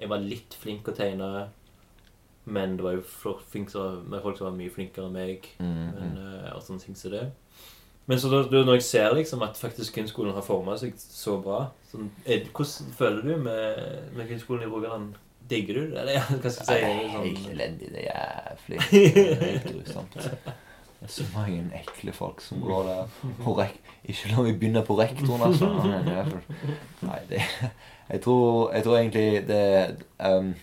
[SPEAKER 3] jeg var litt flink å tegne. Men det var jo fl- flink, så- med folk som var mye flinkere enn meg.
[SPEAKER 6] Mm,
[SPEAKER 3] Men, eh, og sånne ting som det. Men så da, da, når jeg ser liksom at faktisk kunstskolen har forma seg så bra sånn, er, Hvordan føler du med, med kunstskolen i Rogaland? Digger du det? Eller [LAUGHS] hva skal
[SPEAKER 6] Nei,
[SPEAKER 3] jeg si?
[SPEAKER 6] Helt
[SPEAKER 3] Sånn,
[SPEAKER 6] elendig. Det er
[SPEAKER 3] [LAUGHS]
[SPEAKER 6] jævlig. Det er helt grusomt. Det er så mange ekle folk som går der. Og rek ikke la meg begynne på rektoren, altså. Han er jævlig. Nei, det Jeg tror, jeg tror egentlig det ehm,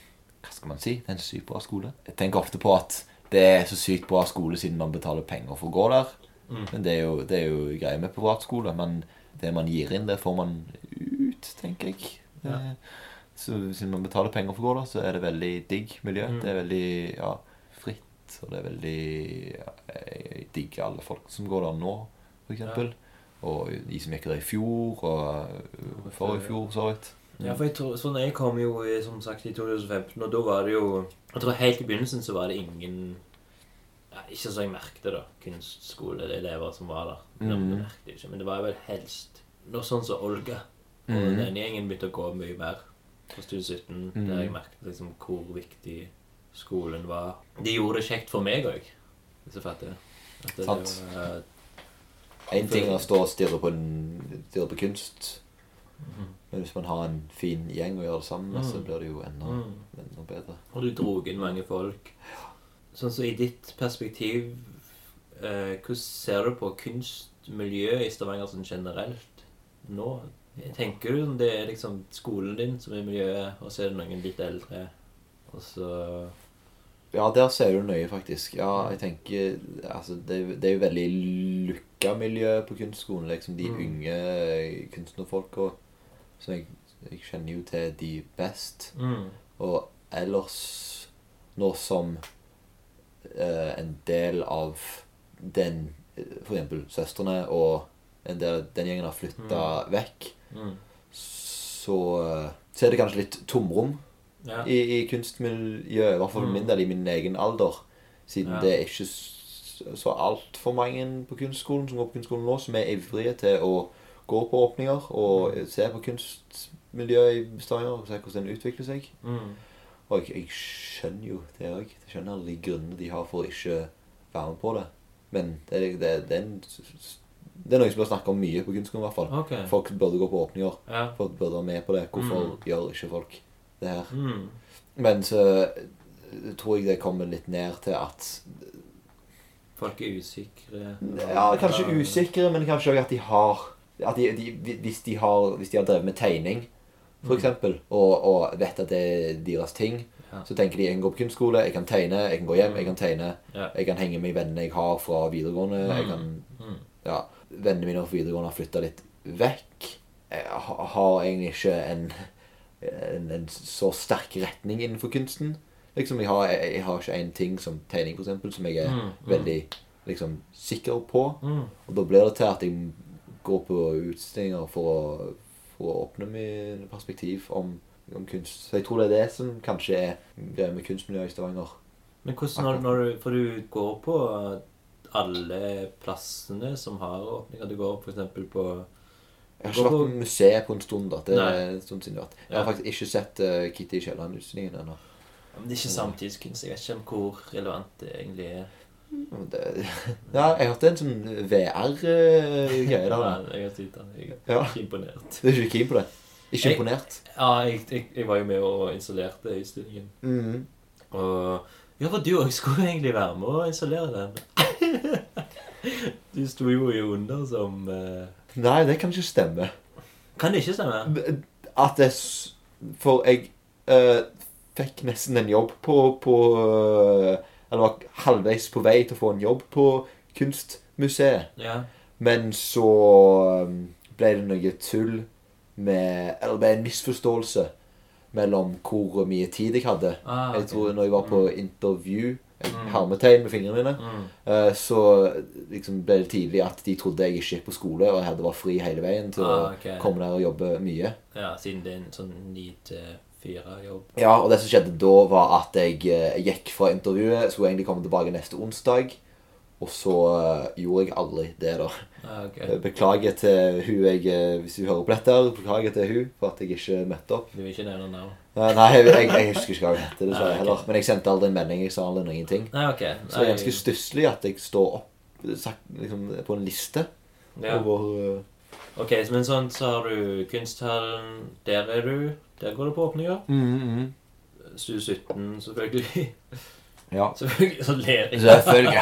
[SPEAKER 6] Hva skal man si? Det er en sykt bra skole. Jeg tenker ofte på at det er så sykt bra skole siden man betaler penger for å gå der.
[SPEAKER 3] Mm.
[SPEAKER 6] Men det er jo, det er jo greia med privatskole. Men det man gir inn, det får man ut, tenker jeg. Det,
[SPEAKER 3] Ja.
[SPEAKER 6] så siden man betaler penger for å gå der, så er det veldig digg miljø.
[SPEAKER 3] Mm.
[SPEAKER 6] Det er veldig ja, fritt, og det er veldig ja, Jeg digger alle folk som går der nå, for eksempel. Og de som gikk der i fjor, og uh, forrige fjor, så vidt.
[SPEAKER 3] ja, for jeg tror, sånn, jeg kom jo i, som sagt i 2015, og da var det jo Jeg tror helt i begynnelsen så var det ingen ja, Ikke så jeg merket det, da. Kunstskoleelever som var der. Men
[SPEAKER 6] Mm.
[SPEAKER 3] Jeg merket det ikke, men det var jo vel helst noe sånn som Olga. Og
[SPEAKER 6] Mm.
[SPEAKER 3] den gjengen begynte å gå mye mer på Studio 17,
[SPEAKER 6] Mm.
[SPEAKER 3] der jeg merket liksom hvor viktig skolen var. De gjorde det kjekt for meg òg, hvis jeg fatter. At det,
[SPEAKER 6] Sant.
[SPEAKER 3] det var,
[SPEAKER 2] Én ting er å stå og stirre på, en, stirre på kunst, men hvis man har en fin gjeng å gjøre det sammen med, så
[SPEAKER 3] Mhm. Mm.
[SPEAKER 2] blir det jo enda,
[SPEAKER 3] mm.
[SPEAKER 2] enda bedre.
[SPEAKER 3] Og du drog inn mange folk. Sånn som i ditt perspektiv, eh, hvordan ser du på kunstmiljøet i Stavanger sånn generelt nå? Tenker du om det er liksom skolen din som er miljøet, og så er det noen litt eldre, og så
[SPEAKER 2] Ja, der ser du nøye, faktisk. Ja,
[SPEAKER 3] Mm.
[SPEAKER 2] jeg tenker Altså, det, er jo- det er jo veldig lukka miljø på kunstskolen. Liksom de
[SPEAKER 3] Mm.
[SPEAKER 2] unge kunstnerfolka som jeg, jeg kjenner jo til de best.
[SPEAKER 3] mm.
[SPEAKER 2] Og ellers, nå som eh, en del av den eh, For eksempel søstrene og en del av den gjengen har flytta vekk,
[SPEAKER 3] Mm.
[SPEAKER 2] så, eh, så er det kanskje litt tomrom
[SPEAKER 3] Ja.
[SPEAKER 2] i, i kunstmiljøet, i hvert fall
[SPEAKER 3] Mm.
[SPEAKER 2] min del, i min egen alder. Siden
[SPEAKER 3] Ja.
[SPEAKER 2] det er ikke s- så altfor mange på kunstskolen som går på kunstskolen nå, som er ivrige til å gå på åpninger og
[SPEAKER 3] Mm.
[SPEAKER 2] se på kunstmiljøet i Stavanger og se hvordan den utvikler seg.
[SPEAKER 3] Mm.
[SPEAKER 2] Og jeg, jeg skjønner jo det òg. Jeg skjønner alle de grunnene de har for å ikke være med på det. Men det, er- det, er- det, er, en, s- s- det er noe som blir snakket om mye på kunstskolen, i hvert fall.
[SPEAKER 3] Ok.
[SPEAKER 2] Folk burde gå på åpninger.
[SPEAKER 3] Ja.
[SPEAKER 2] Folk burde være med på det. Hvorfor
[SPEAKER 3] Mm.
[SPEAKER 2] gjør ikke folk det her?
[SPEAKER 3] Mm.
[SPEAKER 2] Men så eh, tror jeg det kommer litt ned til at
[SPEAKER 3] Folk er usikre.
[SPEAKER 2] Ja, kanskje usikre, men kanskje òg at de har at de, de, hvis, de har, hvis de har drevet med tegning, for eksempel, og, og vet at det er deres ting,
[SPEAKER 3] Ja.
[SPEAKER 2] så tenker de jeg kan gå på kunstskole, jeg kan tegne, jeg kan gå hjem, jeg kan tegne,
[SPEAKER 3] Ja.
[SPEAKER 2] jeg kan henge med vennene jeg har fra videregående, jeg kan
[SPEAKER 3] Mm.
[SPEAKER 2] ja, vennene mine fra videregående har flytta litt vekk. Jeg ha- har egentlig ikke en, en, en så sterk retning innenfor kunsten. Liksom, jeg, har, jeg, jeg har ikke en ting som tegning, for eksempel, som jeg er
[SPEAKER 3] Mm, mm.
[SPEAKER 2] veldig liksom, sikker på.
[SPEAKER 3] Mm.
[SPEAKER 2] Og da blir det til at jeg går på utstillinger for å, for å åpne mine perspektiv om, om kunst. Så jeg tror det er det som kanskje er greia med kunstmiljøet i Stavanger.
[SPEAKER 3] Men hvordan når, når du, For du går på alle plassene som har åpninger. Du går for eksempel på
[SPEAKER 2] Jeg har ikke vært på museet på en stund. da Det er
[SPEAKER 3] Nei.
[SPEAKER 2] en stund siden jeg har vært Jeg
[SPEAKER 3] Ja.
[SPEAKER 2] har faktisk ikke sett eh, Kitty i Kielland-utstillingen ennå.
[SPEAKER 3] Ja, Men det er ikke samtidskunst. Jeg vet ikke om hvor relevant det egentlig er. Mm.
[SPEAKER 2] Men det- [LAUGHS] Ja, jeg hørte en sånn VR-greie der. da.
[SPEAKER 3] Nei, jeg har tid til det. Jeg
[SPEAKER 2] Ja.
[SPEAKER 3] er ikke imponert.
[SPEAKER 2] Du er ikke keen på det? Ikke
[SPEAKER 3] Jeg-
[SPEAKER 2] imponert?
[SPEAKER 3] Ja, jeg, jeg, jeg var jo med og installerte utstillingen.
[SPEAKER 2] Mhm.
[SPEAKER 3] Og Ja, for du òg skulle egentlig være med og installere den. [LAUGHS] du sto jo i under som eh,
[SPEAKER 2] Nei, det kan ikke stemme.
[SPEAKER 3] Kan det ikke stemme?
[SPEAKER 2] At det s- For jeg eh, fikk nesten en jobb på, på eh, Eller var halvveis på vei til å få en jobb på Kunstmuseet.
[SPEAKER 3] Ja.
[SPEAKER 2] Men så um, ble det noe tull med Eller det ble en misforståelse mellom hvor mye tid jeg hadde.
[SPEAKER 3] Ah,
[SPEAKER 2] Jeg
[SPEAKER 3] ok.
[SPEAKER 2] tror når jeg var på intervju,
[SPEAKER 3] Mm.
[SPEAKER 2] hermetegn med fingrene mine,
[SPEAKER 3] Mm.
[SPEAKER 2] eh, så liksom ble det tidlig at de trodde jeg ikke gikk på skole, og jeg hadde vært fri hele veien til
[SPEAKER 3] Ah, ok.
[SPEAKER 2] å komme der og jobbe mye.
[SPEAKER 3] Ja, siden det er en sånn ni til fire-jobb.
[SPEAKER 2] Ja, og det som skjedde da, var at jeg eh, gikk fra intervjuet, skulle egentlig komme tilbake neste onsdag, og så eh, gjorde jeg aldri det, da.
[SPEAKER 3] Ah, ok.
[SPEAKER 2] Eh, Beklager eh, til hun jeg, hvis hun hører på dette, her, beklager til hun for at jeg ikke møtte opp.
[SPEAKER 3] Du vil ikke nevne navn?
[SPEAKER 2] Ja, nei, jeg, jeg, jeg husker ikke hva hun heter, dessverre. heller. Men jeg sendte aldri en melding. Jeg sa aldri noen ting.
[SPEAKER 3] Nei, ok.
[SPEAKER 2] Så det er
[SPEAKER 3] Nei,
[SPEAKER 2] ganske stusslig at jeg står opp sagt, liksom, på en liste
[SPEAKER 3] ja.
[SPEAKER 2] over eh,
[SPEAKER 3] Ok, men sånn så har du kunsthallen. Der er du. Der går det på åpninger.
[SPEAKER 2] Mm,
[SPEAKER 3] Stue 17, selvfølgelig.
[SPEAKER 6] Ja.
[SPEAKER 3] Selvfølgelig så ler
[SPEAKER 2] [LAUGHS]
[SPEAKER 3] jeg.
[SPEAKER 6] Selvfølgelig.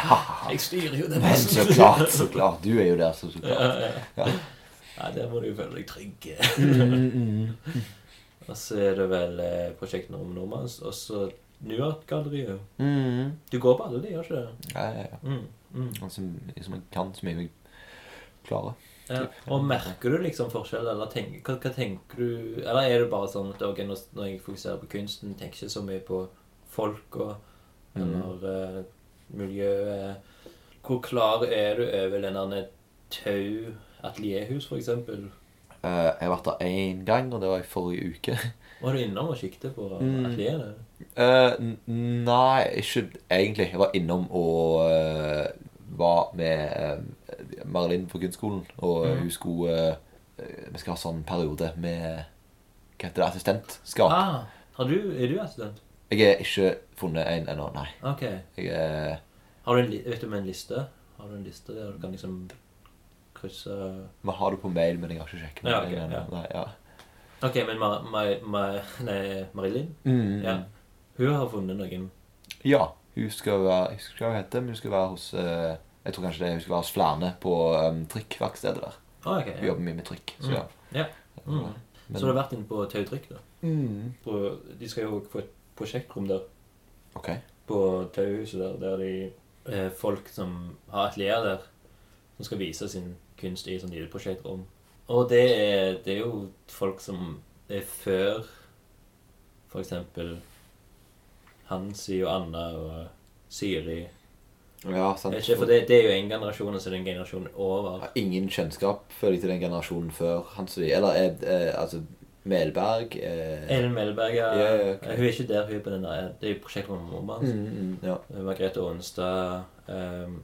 [SPEAKER 3] Jeg styrer jo det
[SPEAKER 6] Men
[SPEAKER 3] meste.
[SPEAKER 6] så klart, så klart. Du er jo der, så, så
[SPEAKER 3] Ja,
[SPEAKER 6] klart.
[SPEAKER 3] ja.
[SPEAKER 6] Ja.
[SPEAKER 3] Nei, der må du jo føle deg trygg.
[SPEAKER 6] Mm,
[SPEAKER 3] [LAUGHS] Og så er det vel eh, prosjektet om Normans, og så Nuart-galleriet.
[SPEAKER 6] mm, mm.
[SPEAKER 3] Du går på alle de, gjør ikke det?
[SPEAKER 6] Ja, ja, ja.
[SPEAKER 3] Mm, mm.
[SPEAKER 6] Altså, liksom, jeg kan så mye jeg klarer.
[SPEAKER 3] Ja. Og merker du liksom forskjell, eller tenk, hva, hva tenker du Eller er det bare sånn at ok, når, når jeg fokuserer på kunsten, tenker jeg ikke så mye på folk og
[SPEAKER 6] Mm.
[SPEAKER 3] eller eh, miljøet Hvor klar er du over den der Tau atelierhus, for eksempel?
[SPEAKER 6] Eh, jeg har vært der én gang, og det var i forrige uke.
[SPEAKER 3] Var du innom og kikket på
[SPEAKER 6] Mm.
[SPEAKER 3] atelieret?
[SPEAKER 6] Eh, n- nei, ikke egentlig. Jeg var innom og eh, var med eh, Marilyn på kunstskolen. Og
[SPEAKER 3] Mhm.
[SPEAKER 6] eh, hun skulle eh, eh, Vi skal ha sånn periode med Hva heter det? Assistentskap.
[SPEAKER 3] Ah, har du, er du assistent?
[SPEAKER 6] Jeg har ikke funnet en ennå, nei.
[SPEAKER 3] Ok.
[SPEAKER 6] Jeg eh, er
[SPEAKER 3] Har du en, li- vet du om en liste? Har du en liste der du kan liksom krysse
[SPEAKER 6] vi har det på mail, men jeg har ikke sjekket
[SPEAKER 3] Ja, ok,
[SPEAKER 6] den
[SPEAKER 3] ja.
[SPEAKER 6] ennå. Nei, ja.
[SPEAKER 3] Ok, men Mar Mar Mar nei, Marilyn?
[SPEAKER 6] Mm,
[SPEAKER 3] Ja. Hun har funnet noen.
[SPEAKER 6] ja. Hun skal være Jeg husker hva hun heter, men hun skal være hos eh, Jeg tror kanskje det er hun skal være hos Flerne på um, trykkverkstedet der.
[SPEAKER 3] Ah, ok,
[SPEAKER 6] Hun
[SPEAKER 3] ja.
[SPEAKER 6] jobber mye med trykk.
[SPEAKER 3] Mm.
[SPEAKER 6] Så ja.
[SPEAKER 3] ja. Mm.
[SPEAKER 6] Men-
[SPEAKER 3] Så du har vært inne på Tautrykk, da?
[SPEAKER 6] Mm.
[SPEAKER 3] På, de skal jo også få et prosjektrom der,
[SPEAKER 6] Ok.
[SPEAKER 3] på Tauhuset der, der de eh, folk som har atelier der, som skal vise sin kunst i sånn lite prosjektrom. Og det er, det er jo folk som er før for eksempel Hansi og Anna og Siri.
[SPEAKER 2] Ja, sant.
[SPEAKER 3] Ikke, for det, det er jo en generasjon, og så er det en generasjon over.
[SPEAKER 2] har ingen kjennskap føler jeg til den generasjonen før Hansi. Eller eh, eh, altså Melberg eh,
[SPEAKER 3] Elin Melberg ja.
[SPEAKER 2] Ja, ja, ok.
[SPEAKER 3] Hun er ikke der, hun er på den der Det er jo prosjektet med mamma hans.
[SPEAKER 2] mm, mm, Ja.
[SPEAKER 3] Eh, Margrethe Aanstad. ehm,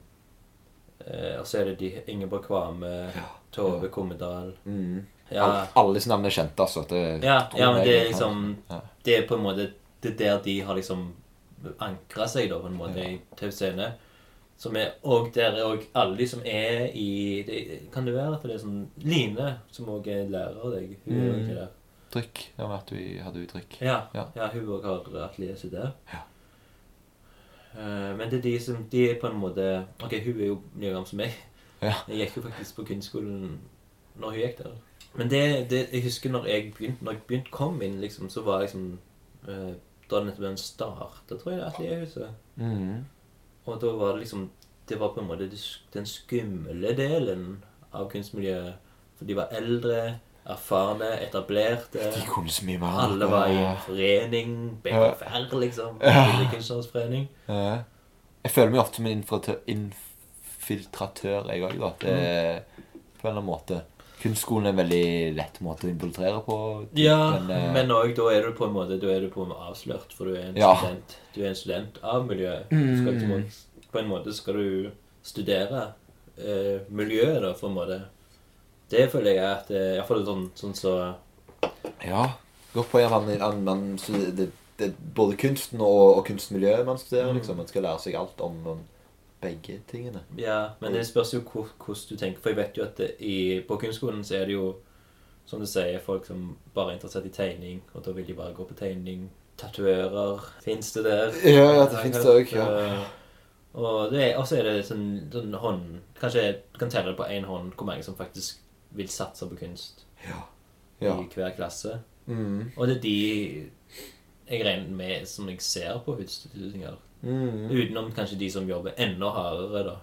[SPEAKER 3] eh, og så er det de Ingeborg Kvame, Tove Kommedal
[SPEAKER 2] Mm.
[SPEAKER 3] ja,
[SPEAKER 6] Al- alle disse navnene er kjente, altså. Det
[SPEAKER 3] ja,
[SPEAKER 6] tror
[SPEAKER 3] ja, men
[SPEAKER 6] jeg
[SPEAKER 3] det er
[SPEAKER 6] jeg kan.
[SPEAKER 3] liksom
[SPEAKER 6] Ja.
[SPEAKER 3] Det er på en måte Det er der de har liksom ankra seg, da, på en måte, i Tau Scene. Som er, og der er òg alle de som er i det, Kan det være at det er sånn Line, som òg er lærer av deg, hun er jo ikke der.
[SPEAKER 6] Trykk. Ja, men at vi hadde jo trykk.
[SPEAKER 3] Ja, ja.
[SPEAKER 6] Ja.
[SPEAKER 3] hun òg har atelier sitt der. Eh, men det er de som De er på en måte Ok, hun er jo like gammel som meg.
[SPEAKER 6] Ja.
[SPEAKER 3] Jeg gikk jo faktisk på kunstskolen når hun gikk der. Men det, det jeg husker når jeg begynte Når jeg begynte kom inn, liksom, så var jeg liksom eh, Da hadde nettopp den starta, tror jeg, det atelierhuset.
[SPEAKER 6] Mhm.
[SPEAKER 3] Og da var det liksom Det var på en måte det sk- den skumle delen av kunstmiljøet. For de var eldre, erfarne, etablerte.
[SPEAKER 6] De kunne så mye mer.
[SPEAKER 3] Alle var i en
[SPEAKER 6] Ja.
[SPEAKER 3] forening,
[SPEAKER 6] Ja.
[SPEAKER 3] BKFR, liksom.
[SPEAKER 6] Ja.
[SPEAKER 3] Lille Kunstnersforening.
[SPEAKER 6] Ja. Jeg føler meg ofte som en infratø- infiltratør, jeg òg, da. Det er på en eller annen måte. Kunstskolen er en veldig lett måte å infiltrere på.
[SPEAKER 3] Ja,
[SPEAKER 6] Men, eh,
[SPEAKER 3] men òg da er du på en måte Da er du på en måte avslørt, for du er en
[SPEAKER 6] Ja.
[SPEAKER 3] student. Du er en student av miljøet. Du skal liksom, også- på en måte skal du studere eh, miljøet, da, på en måte. Det føler jeg at eh, Iallfall sånn sånn så
[SPEAKER 6] ja.
[SPEAKER 2] Godt poeng. at Man, man, man, så det, det, er både kunsten og, og kunstmiljøet man studerer. liksom. Man skal lære seg alt om, om begge tingene.
[SPEAKER 3] Ja, men det spørs jo hvor- hvordan du tenker. For jeg vet jo at det, i, på kunstskolen så er det jo, som du sier, folk som bare er interessert i tegning, og da vil de bare gå på tegning. Tatoverer fins det der.
[SPEAKER 2] Ja, ja, det finnes det også, ja.
[SPEAKER 3] Eh, Og det er- og så er det sånn, sånn hånd Kanskje du kan telle det på én hånd hvor mange som faktisk vil satse på kunst
[SPEAKER 2] Ja.
[SPEAKER 3] i hver klasse.
[SPEAKER 2] Mm.
[SPEAKER 3] Og det er de jeg regner med som jeg ser på utstillingene.
[SPEAKER 2] Mm.
[SPEAKER 3] Utenom kanskje de som jobber enda hardere, da.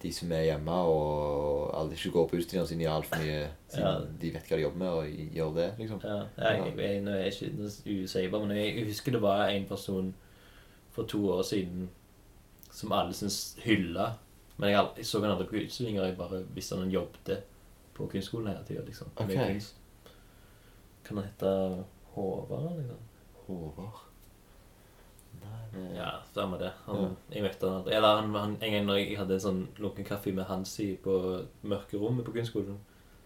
[SPEAKER 2] De som er hjemme og alle ikke går på utstillinger siden de har alt for mye siden
[SPEAKER 3] Ja.
[SPEAKER 2] de vet hva de jobber med, og gjør det, liksom.
[SPEAKER 3] Ja, jeg, jeg, nå er jeg ikke nå er jeg usikker, men jeg husker det var en person for to år siden som alle syntes hylla. Men jeg, aldri, jeg så han aldri på utstillinger, jeg bare visste han jobbet på kunstskolen hele tida. Liksom, med
[SPEAKER 2] Ok.
[SPEAKER 3] kunst. Kan han hete Håvard, liksom?
[SPEAKER 2] Håvard
[SPEAKER 3] Ja, stemmer det. Han, Jeg møtte han aldri. Eller han, han, en gang når jeg hadde en sånn lunken kaffe med Hansi på mørkerommet på kunstskolen,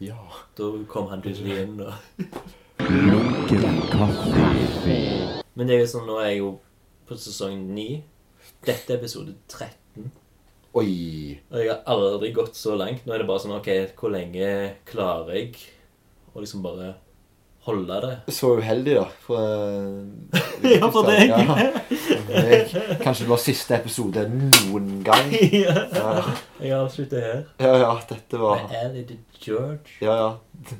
[SPEAKER 2] Ja.
[SPEAKER 3] da kom han plutselig inn og
[SPEAKER 1] Lunken Lunken
[SPEAKER 3] Men det er jo sånn, nå er jeg jo på sesong 9. Dette er episode 13.
[SPEAKER 2] Oi.
[SPEAKER 3] Og jeg har aldri gått så langt. Nå er det bare sånn OK, hvor lenge klarer jeg å liksom bare holde det?
[SPEAKER 2] Så uheldig, da. For, eh,
[SPEAKER 3] Ja, for
[SPEAKER 2] [LAUGHS]
[SPEAKER 3] deg.
[SPEAKER 2] Ja. For meg. Kanskje det var siste episode noen [LAUGHS] gang.
[SPEAKER 3] Jeg
[SPEAKER 2] Ja,
[SPEAKER 3] avslutter her.
[SPEAKER 2] ja, ja dette var
[SPEAKER 3] Med Ally the George.
[SPEAKER 2] Ja, ja.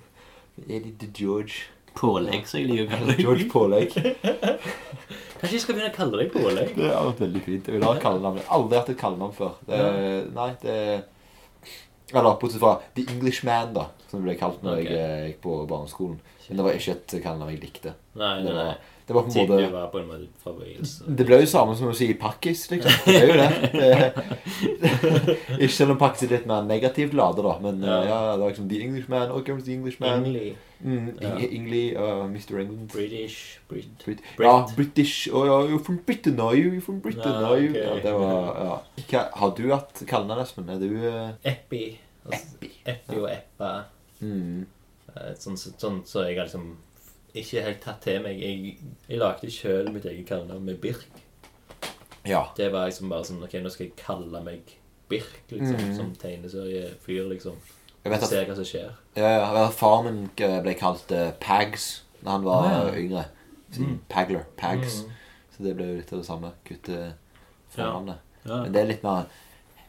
[SPEAKER 2] Eddie the George.
[SPEAKER 3] Pålegg, som jeg liker å
[SPEAKER 2] George Pålegg.
[SPEAKER 3] Kanskje jeg skal begynne å kalle deg pålegg?
[SPEAKER 2] [LAUGHS] Det har vært veldig fint. Jeg vil ha et kallenavn. Jeg har aldri hatt et kallenavn før. Det, Nei, det Eller bortsett fra The Englishman, da, som det ble kalt når
[SPEAKER 3] Ok.
[SPEAKER 2] jeg eh, gikk på barneskolen. Men det var ikke et kallenavn jeg likte.
[SPEAKER 3] Nei,
[SPEAKER 2] Det
[SPEAKER 3] nei, nei.
[SPEAKER 2] var, det var på en
[SPEAKER 3] Siden
[SPEAKER 2] måte
[SPEAKER 3] du var på en måte fra Wales. så-
[SPEAKER 2] Det blir jo samme som å si pakkis, liksom. Det er jo det. det. Ikke selv om pakkis er [LAUGHS] litt mer negativt ladet, da. Men
[SPEAKER 3] Ja.
[SPEAKER 2] ja, ja det var liksom The Englishman, oh, comes the Englishman.
[SPEAKER 3] English,
[SPEAKER 2] Mm,
[SPEAKER 3] Ja.
[SPEAKER 2] Eng- Engli, uh, Mr. England.
[SPEAKER 3] British, Brit.
[SPEAKER 2] Brit.
[SPEAKER 3] Brit.
[SPEAKER 2] Ja, British. Oh, ja, you're from Britain, are you? You're from Britain,
[SPEAKER 3] Ja,
[SPEAKER 2] are you?
[SPEAKER 3] ok.
[SPEAKER 2] Ja, det var, ja. Hva, har du hatt kallenavn, Espen? Er du eh,
[SPEAKER 3] Eppi. Altså, Eppi og Eppa.
[SPEAKER 2] mm,
[SPEAKER 3] Eh, Sånn som sånn, så jeg har liksom ikke helt tatt til meg. Jeg, jeg lagde sjøl mitt eget kallenavn med Birk.
[SPEAKER 2] Ja.
[SPEAKER 3] Det var liksom bare sånn OK, nå skal jeg kalle meg Birk, liksom.
[SPEAKER 2] Mhm.
[SPEAKER 3] Som tegneseriefyr, liksom.
[SPEAKER 2] Jeg vet
[SPEAKER 3] Så
[SPEAKER 2] at,
[SPEAKER 3] ser jeg hva som skjer.
[SPEAKER 2] ja, ja, jeg vet at faren min eh, ble kalt eh, Pags da han var
[SPEAKER 3] Ah, ja. Mm.
[SPEAKER 2] eh, yngre. Så, Pagler. Pags.
[SPEAKER 3] Mhm.
[SPEAKER 2] Så det ble jo litt av det samme. Kutte fornavnet.
[SPEAKER 3] Ja.
[SPEAKER 2] Men det er litt mer,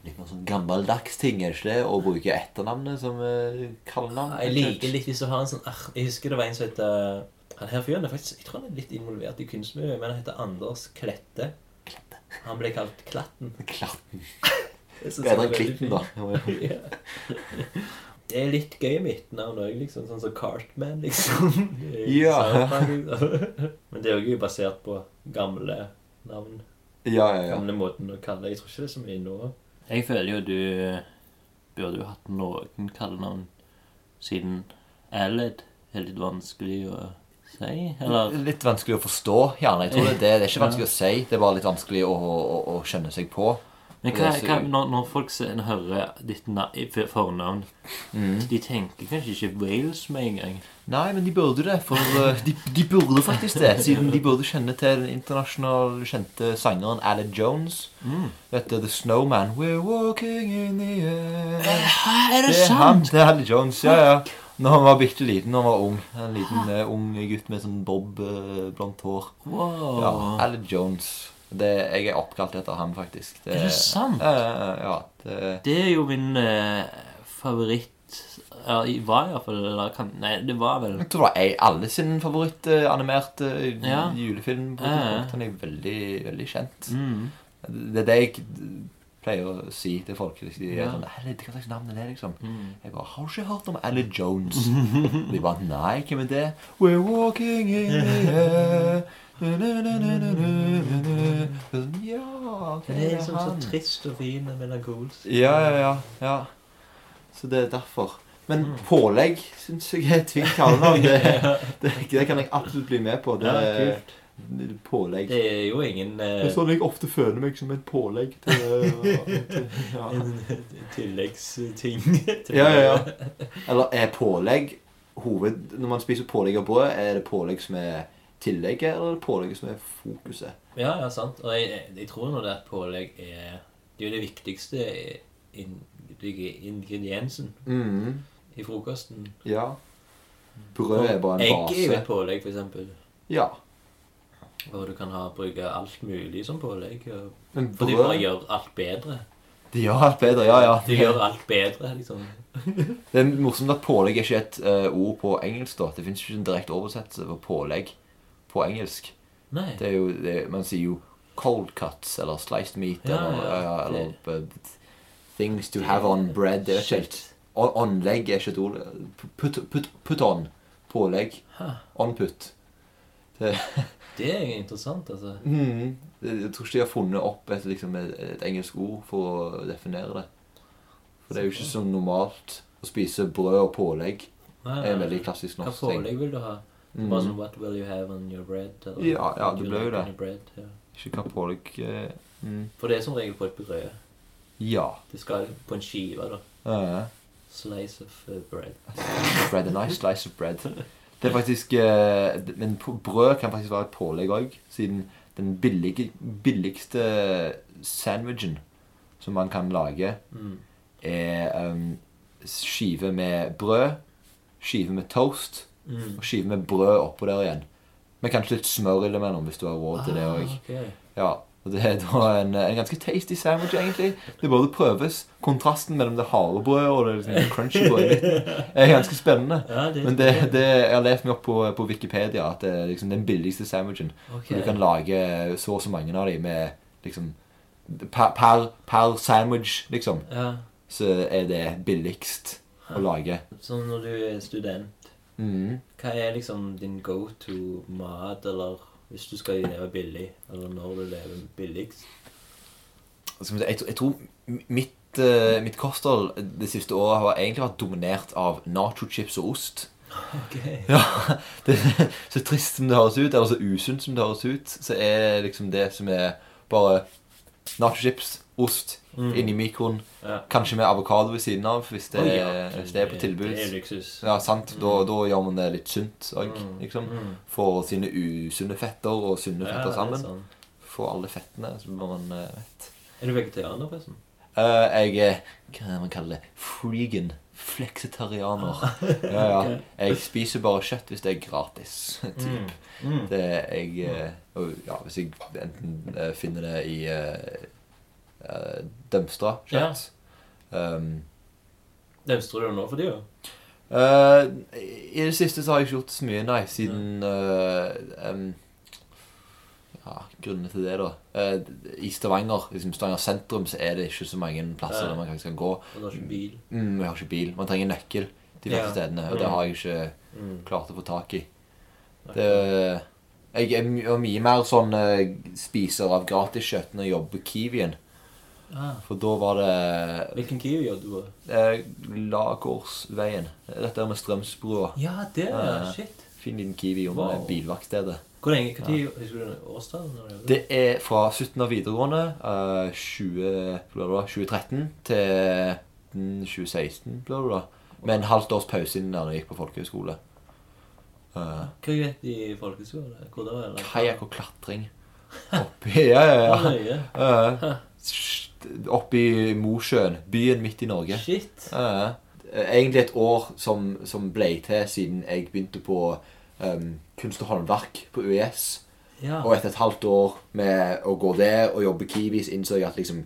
[SPEAKER 2] litt mer sånn gammeldags ting, er det ikke det? Å bruke etternavnet som eh, kallenavn.
[SPEAKER 3] Jeg liker litt hvis du har en sånn ar- Jeg husker det var en som het eh, Han her fyren er faktisk Jeg tror han er litt involvert i kunstmiljøet, men han heter Anders Klette. Han ble kalt Klatten.
[SPEAKER 2] Klatten.
[SPEAKER 3] Jeg
[SPEAKER 2] Bedre
[SPEAKER 3] synes det
[SPEAKER 2] enn
[SPEAKER 3] var veldig
[SPEAKER 2] Klitten, da.
[SPEAKER 3] fint. Ja. Det er litt gøy med etternavn òg, liksom. Sånn som Cartman, liksom. Det er jo
[SPEAKER 2] Ja.
[SPEAKER 3] Soundtrack, Men det er jo basert på gamle navn.
[SPEAKER 2] Ja, ja, ja.
[SPEAKER 3] Gamle måten å kalle Jeg tror ikke det er så mye nå. Jeg føler jo du burde jo hatt noen kallenavn siden Aled er litt vanskelig å si.
[SPEAKER 2] Litt vanskelig å forstå, gjerne. Jeg tror det, det, det er ikke vanskelig å si. Det er bare litt vanskelig å, å, å, å skjønne seg på.
[SPEAKER 7] Men
[SPEAKER 2] Det
[SPEAKER 7] hva,
[SPEAKER 2] ser
[SPEAKER 7] hva,
[SPEAKER 2] jeg.
[SPEAKER 7] når, når folk se- hører ditt na for- fornavn
[SPEAKER 2] Mm.
[SPEAKER 7] De tenker kanskje ikke Wales med en gang.
[SPEAKER 2] Nei, men de burde det. For eh, de, de burde faktisk det. Siden de burde kjenne til den internasjonal kjente sangeren Alan Jones. Dette The Snowman. We're walking in the air. Er det, er han, det er Alan Jones. Ja, ja. Når han var bitte liten, når han var ung. En liten eh, ung gutt med sånn bob eh, blondt hår.
[SPEAKER 7] Wow.
[SPEAKER 2] Ja, Alan Jones. Det, jeg er oppkalt etter han, faktisk.
[SPEAKER 7] Er det sant?
[SPEAKER 2] Ja, ja, ja, ja, det,
[SPEAKER 7] Det er jo min eh, favoritt ja, i- Var iallfall eller kan, Nei, det var vel
[SPEAKER 2] Jeg tror det var ei- alle sin favoritt-animerte
[SPEAKER 7] Ja.
[SPEAKER 2] eh, julefilm. på
[SPEAKER 7] Ja,
[SPEAKER 2] et
[SPEAKER 7] ja.
[SPEAKER 2] tidspunkt. Han er jo veldig, veldig kjent.
[SPEAKER 7] mm.
[SPEAKER 2] Det er det jeg pleier å si til folk. De er
[SPEAKER 7] Ja.
[SPEAKER 2] sånn, «Ally, Hva slags navn er det? liksom?
[SPEAKER 7] Mm.
[SPEAKER 2] Jeg bare, Har du ikke hørt om Ally
[SPEAKER 7] [LAUGHS]
[SPEAKER 2] Jones? Og de bare Nei, hvem er det? We're walking in the
[SPEAKER 7] [LAUGHS]
[SPEAKER 2] air. Na-na-na-na-na-na-na. Ja,
[SPEAKER 3] Det er liksom så
[SPEAKER 2] han.
[SPEAKER 3] trist og fin og melankolsk.
[SPEAKER 2] Ja, ja, ja, ja. Så det er derfor. Men
[SPEAKER 3] Mm.
[SPEAKER 2] pålegg syns jeg er et fint kallenavn. Det,
[SPEAKER 3] [LAUGHS]
[SPEAKER 2] det, det kan jeg absolutt bli med på. Det
[SPEAKER 3] Ja,
[SPEAKER 2] er
[SPEAKER 3] kult.
[SPEAKER 2] pålegg.
[SPEAKER 3] Det er jo ingen
[SPEAKER 2] Det
[SPEAKER 3] eh,
[SPEAKER 2] er sånn jeg ofte føler meg som et pålegg til, [LAUGHS] til ja.
[SPEAKER 3] [LAUGHS] tilleggsting.
[SPEAKER 2] ja, ja, ja. Eller er pålegg hoved... Når man spiser pålegg av brød, er det pålegg som er tillegget, eller er det pålegget som er fokuset?
[SPEAKER 3] Ja, ja, sant. Og jeg, jeg- jeg tror nå det at pålegg er Det er jo det viktigste in, ingrediensen
[SPEAKER 2] Mhm,
[SPEAKER 3] i frokosten.
[SPEAKER 2] ja. Brød er bare en
[SPEAKER 3] Egg er jo et
[SPEAKER 2] base.
[SPEAKER 3] pålegg, for eksempel.
[SPEAKER 2] Ja.
[SPEAKER 3] Og du kan ha, bruke alt mulig som pålegg. Og,
[SPEAKER 2] Men
[SPEAKER 3] for de bare
[SPEAKER 2] brød
[SPEAKER 3] gjør alt bedre.
[SPEAKER 2] De gjør alt bedre, ja, ja.
[SPEAKER 3] De gjør alt bedre, liksom.
[SPEAKER 2] Det er morsomt at pålegg er ikke et eh, ord på engelsk. da. Det fins ikke en direkte oversettelse på pålegg på engelsk.
[SPEAKER 3] Nei.
[SPEAKER 2] Det er jo, det, Man sier jo 'cold cuts' eller 'sliced meat'
[SPEAKER 3] Ja,
[SPEAKER 2] eller,
[SPEAKER 3] ja,
[SPEAKER 2] ja,
[SPEAKER 3] det-
[SPEAKER 2] eller eh, 'things to have on bread'. Det er ikke helt on- Åndlegg er ikke et ord. Put, put, put on. Pålegg.
[SPEAKER 3] Hæ.
[SPEAKER 2] On put. [LAUGHS]
[SPEAKER 3] Det er interessant, altså.
[SPEAKER 2] Mhm. Jeg jeg tror ikke de har funnet opp et, liksom, et, et engelsk ord for å definere det. For det er jo ikke så normalt å spise brød og pålegg.
[SPEAKER 3] Nei,
[SPEAKER 2] Det er en veldig klassisk
[SPEAKER 3] Hva
[SPEAKER 2] norsk ting.
[SPEAKER 3] pålegg vil du ha?
[SPEAKER 2] Mm.
[SPEAKER 3] Bare sånn, What will you have on your bread? Eller,
[SPEAKER 2] Ja, ja, det
[SPEAKER 3] "Would you
[SPEAKER 2] ble jo
[SPEAKER 3] like
[SPEAKER 2] det.
[SPEAKER 3] on your Bread, ja.
[SPEAKER 2] Ikke hva pålegg eh, mm.
[SPEAKER 3] For det er som regel på et brød.
[SPEAKER 2] Ja.
[SPEAKER 3] Det skal på en skive, da.
[SPEAKER 2] eh,
[SPEAKER 3] Slice of uh, bread.
[SPEAKER 2] bread and ice, slice of bread. Det er faktisk eh, d- Men på- brød kan faktisk være et pålegg òg, siden den billige, billigste sandwichen som man kan lage,
[SPEAKER 3] Mm.
[SPEAKER 2] er um, skive med brød, skive med toast
[SPEAKER 3] Mm.
[SPEAKER 2] og skive med brød oppå der igjen. Med kanskje litt smør innimellom hvis du har råd til det òg.
[SPEAKER 3] Ah, ok.
[SPEAKER 2] Ja, og det er da en, en ganske tasty sandwich, egentlig. Det både prøves. Kontrasten mellom det harde brødet og det liksom crunchy brødet i midten er ganske spennende.
[SPEAKER 3] Ja, det,
[SPEAKER 2] Men det, det, jeg har lest meg opp på, på Wikipedia at det er liksom den billigste sandwichen.
[SPEAKER 3] ok.
[SPEAKER 2] Du kan lage så og så mange av dem med liksom per, per, per sandwich, liksom.
[SPEAKER 3] ja.
[SPEAKER 2] Så er det billigst å lage.
[SPEAKER 3] Sånn når du er student,
[SPEAKER 2] Mm.
[SPEAKER 3] hva er liksom din go to mat, eller hvis du skal leve billig, eller når du lever billigst?
[SPEAKER 2] Skal vi si, Altså, Jeg, tr- jeg tror mitt, eh, mitt kosthold det siste året har egentlig vært dominert av nacho-chips og ost.
[SPEAKER 3] Ok.
[SPEAKER 2] [LAUGHS] Ja, det, Så trist som det høres ut, eller så usunt som det høres ut, så er liksom det som er bare nachochips, ost inni mikroen,
[SPEAKER 3] Mm. Ja.
[SPEAKER 2] kanskje med avokado ved siden av hvis det,
[SPEAKER 3] Å,
[SPEAKER 2] er,
[SPEAKER 3] ja.
[SPEAKER 2] hvis det er på tilbud.
[SPEAKER 3] Det er luksus.
[SPEAKER 2] Ja, sant. Da, da gjør man det litt sunt òg,
[SPEAKER 3] Mm.
[SPEAKER 2] liksom.
[SPEAKER 3] Mm.
[SPEAKER 2] Får sine usunne fetter og sunne
[SPEAKER 3] Ja,
[SPEAKER 2] fetter
[SPEAKER 3] det er
[SPEAKER 2] sammen.
[SPEAKER 3] sånn.
[SPEAKER 2] Får alle fettene, så blir man eh, mett.
[SPEAKER 3] Er du vegetarianer, forresten?
[SPEAKER 2] Eh, jeg er Hva er det man kaller det? Freegan. Flexitarianer.
[SPEAKER 3] [LAUGHS]
[SPEAKER 2] Ja, ja. Jeg spiser bare kjøtt hvis det er gratis. [LAUGHS] Typ.
[SPEAKER 3] Mm.
[SPEAKER 2] Det jeg eh, og, Ja, hvis jeg enten eh, finner det i eh, eh, Dømstra kjøtt um,
[SPEAKER 3] Demstrer du nå for tida?
[SPEAKER 2] eh, I det siste så har jeg ikke gjort så mye, nei, siden eh, em, Ja, grunnene til det, da. Eh, I Stavanger, liksom Stavanger sentrum, så er det ikke så mange plasser
[SPEAKER 3] Nei.
[SPEAKER 2] der man faktisk kan gå.
[SPEAKER 3] Og du har ikke bil?
[SPEAKER 2] Mm, jeg har ikke bil. Man trenger nøkkel de
[SPEAKER 3] Ja.
[SPEAKER 2] fleste stedene, og
[SPEAKER 3] Mm.
[SPEAKER 2] det har jeg ikke
[SPEAKER 3] Mm.
[SPEAKER 2] klarte å få tak i. Det, jeg er my- og mye mer sånn eh, spiser av gratiskjøtt når jeg jobber på Kiwien.
[SPEAKER 3] Ah.
[SPEAKER 2] For da var det
[SPEAKER 3] Hvilken Kiwi gjør du på?
[SPEAKER 2] eh, Lagårdsveien. Dette er med Strømsbrua.
[SPEAKER 3] Ja, det er
[SPEAKER 2] Ja, ja.
[SPEAKER 3] shit.
[SPEAKER 2] Fin liten Kiwi under
[SPEAKER 3] Wow.
[SPEAKER 2] bilvaktstedet.
[SPEAKER 3] Hvor lenge, hva tid husker du årstallet? når gjorde
[SPEAKER 2] Det er fra slutten av videregående, eh, 20, bla bla, 2013, til mm, 2016, bla bla. bla. Med en halvt års pause innen da jeg gikk på folkehøyskole. Eh,
[SPEAKER 3] Hva gikk de i folkeskole? Hvor det var eller?
[SPEAKER 2] Kajakk og klatring. Oppi Ja, ja, ja.
[SPEAKER 3] Hvor nøye?
[SPEAKER 2] Eh, st- Oppi Mosjøen, byen midt i Norge.
[SPEAKER 3] Shit.
[SPEAKER 2] Eh, egentlig et år som, som ble til siden jeg begynte på em, kunst og håndverk på UiS.
[SPEAKER 3] Ja.
[SPEAKER 2] Og etter et halvt år med å gå der og jobbe Kiwis, innså jeg at liksom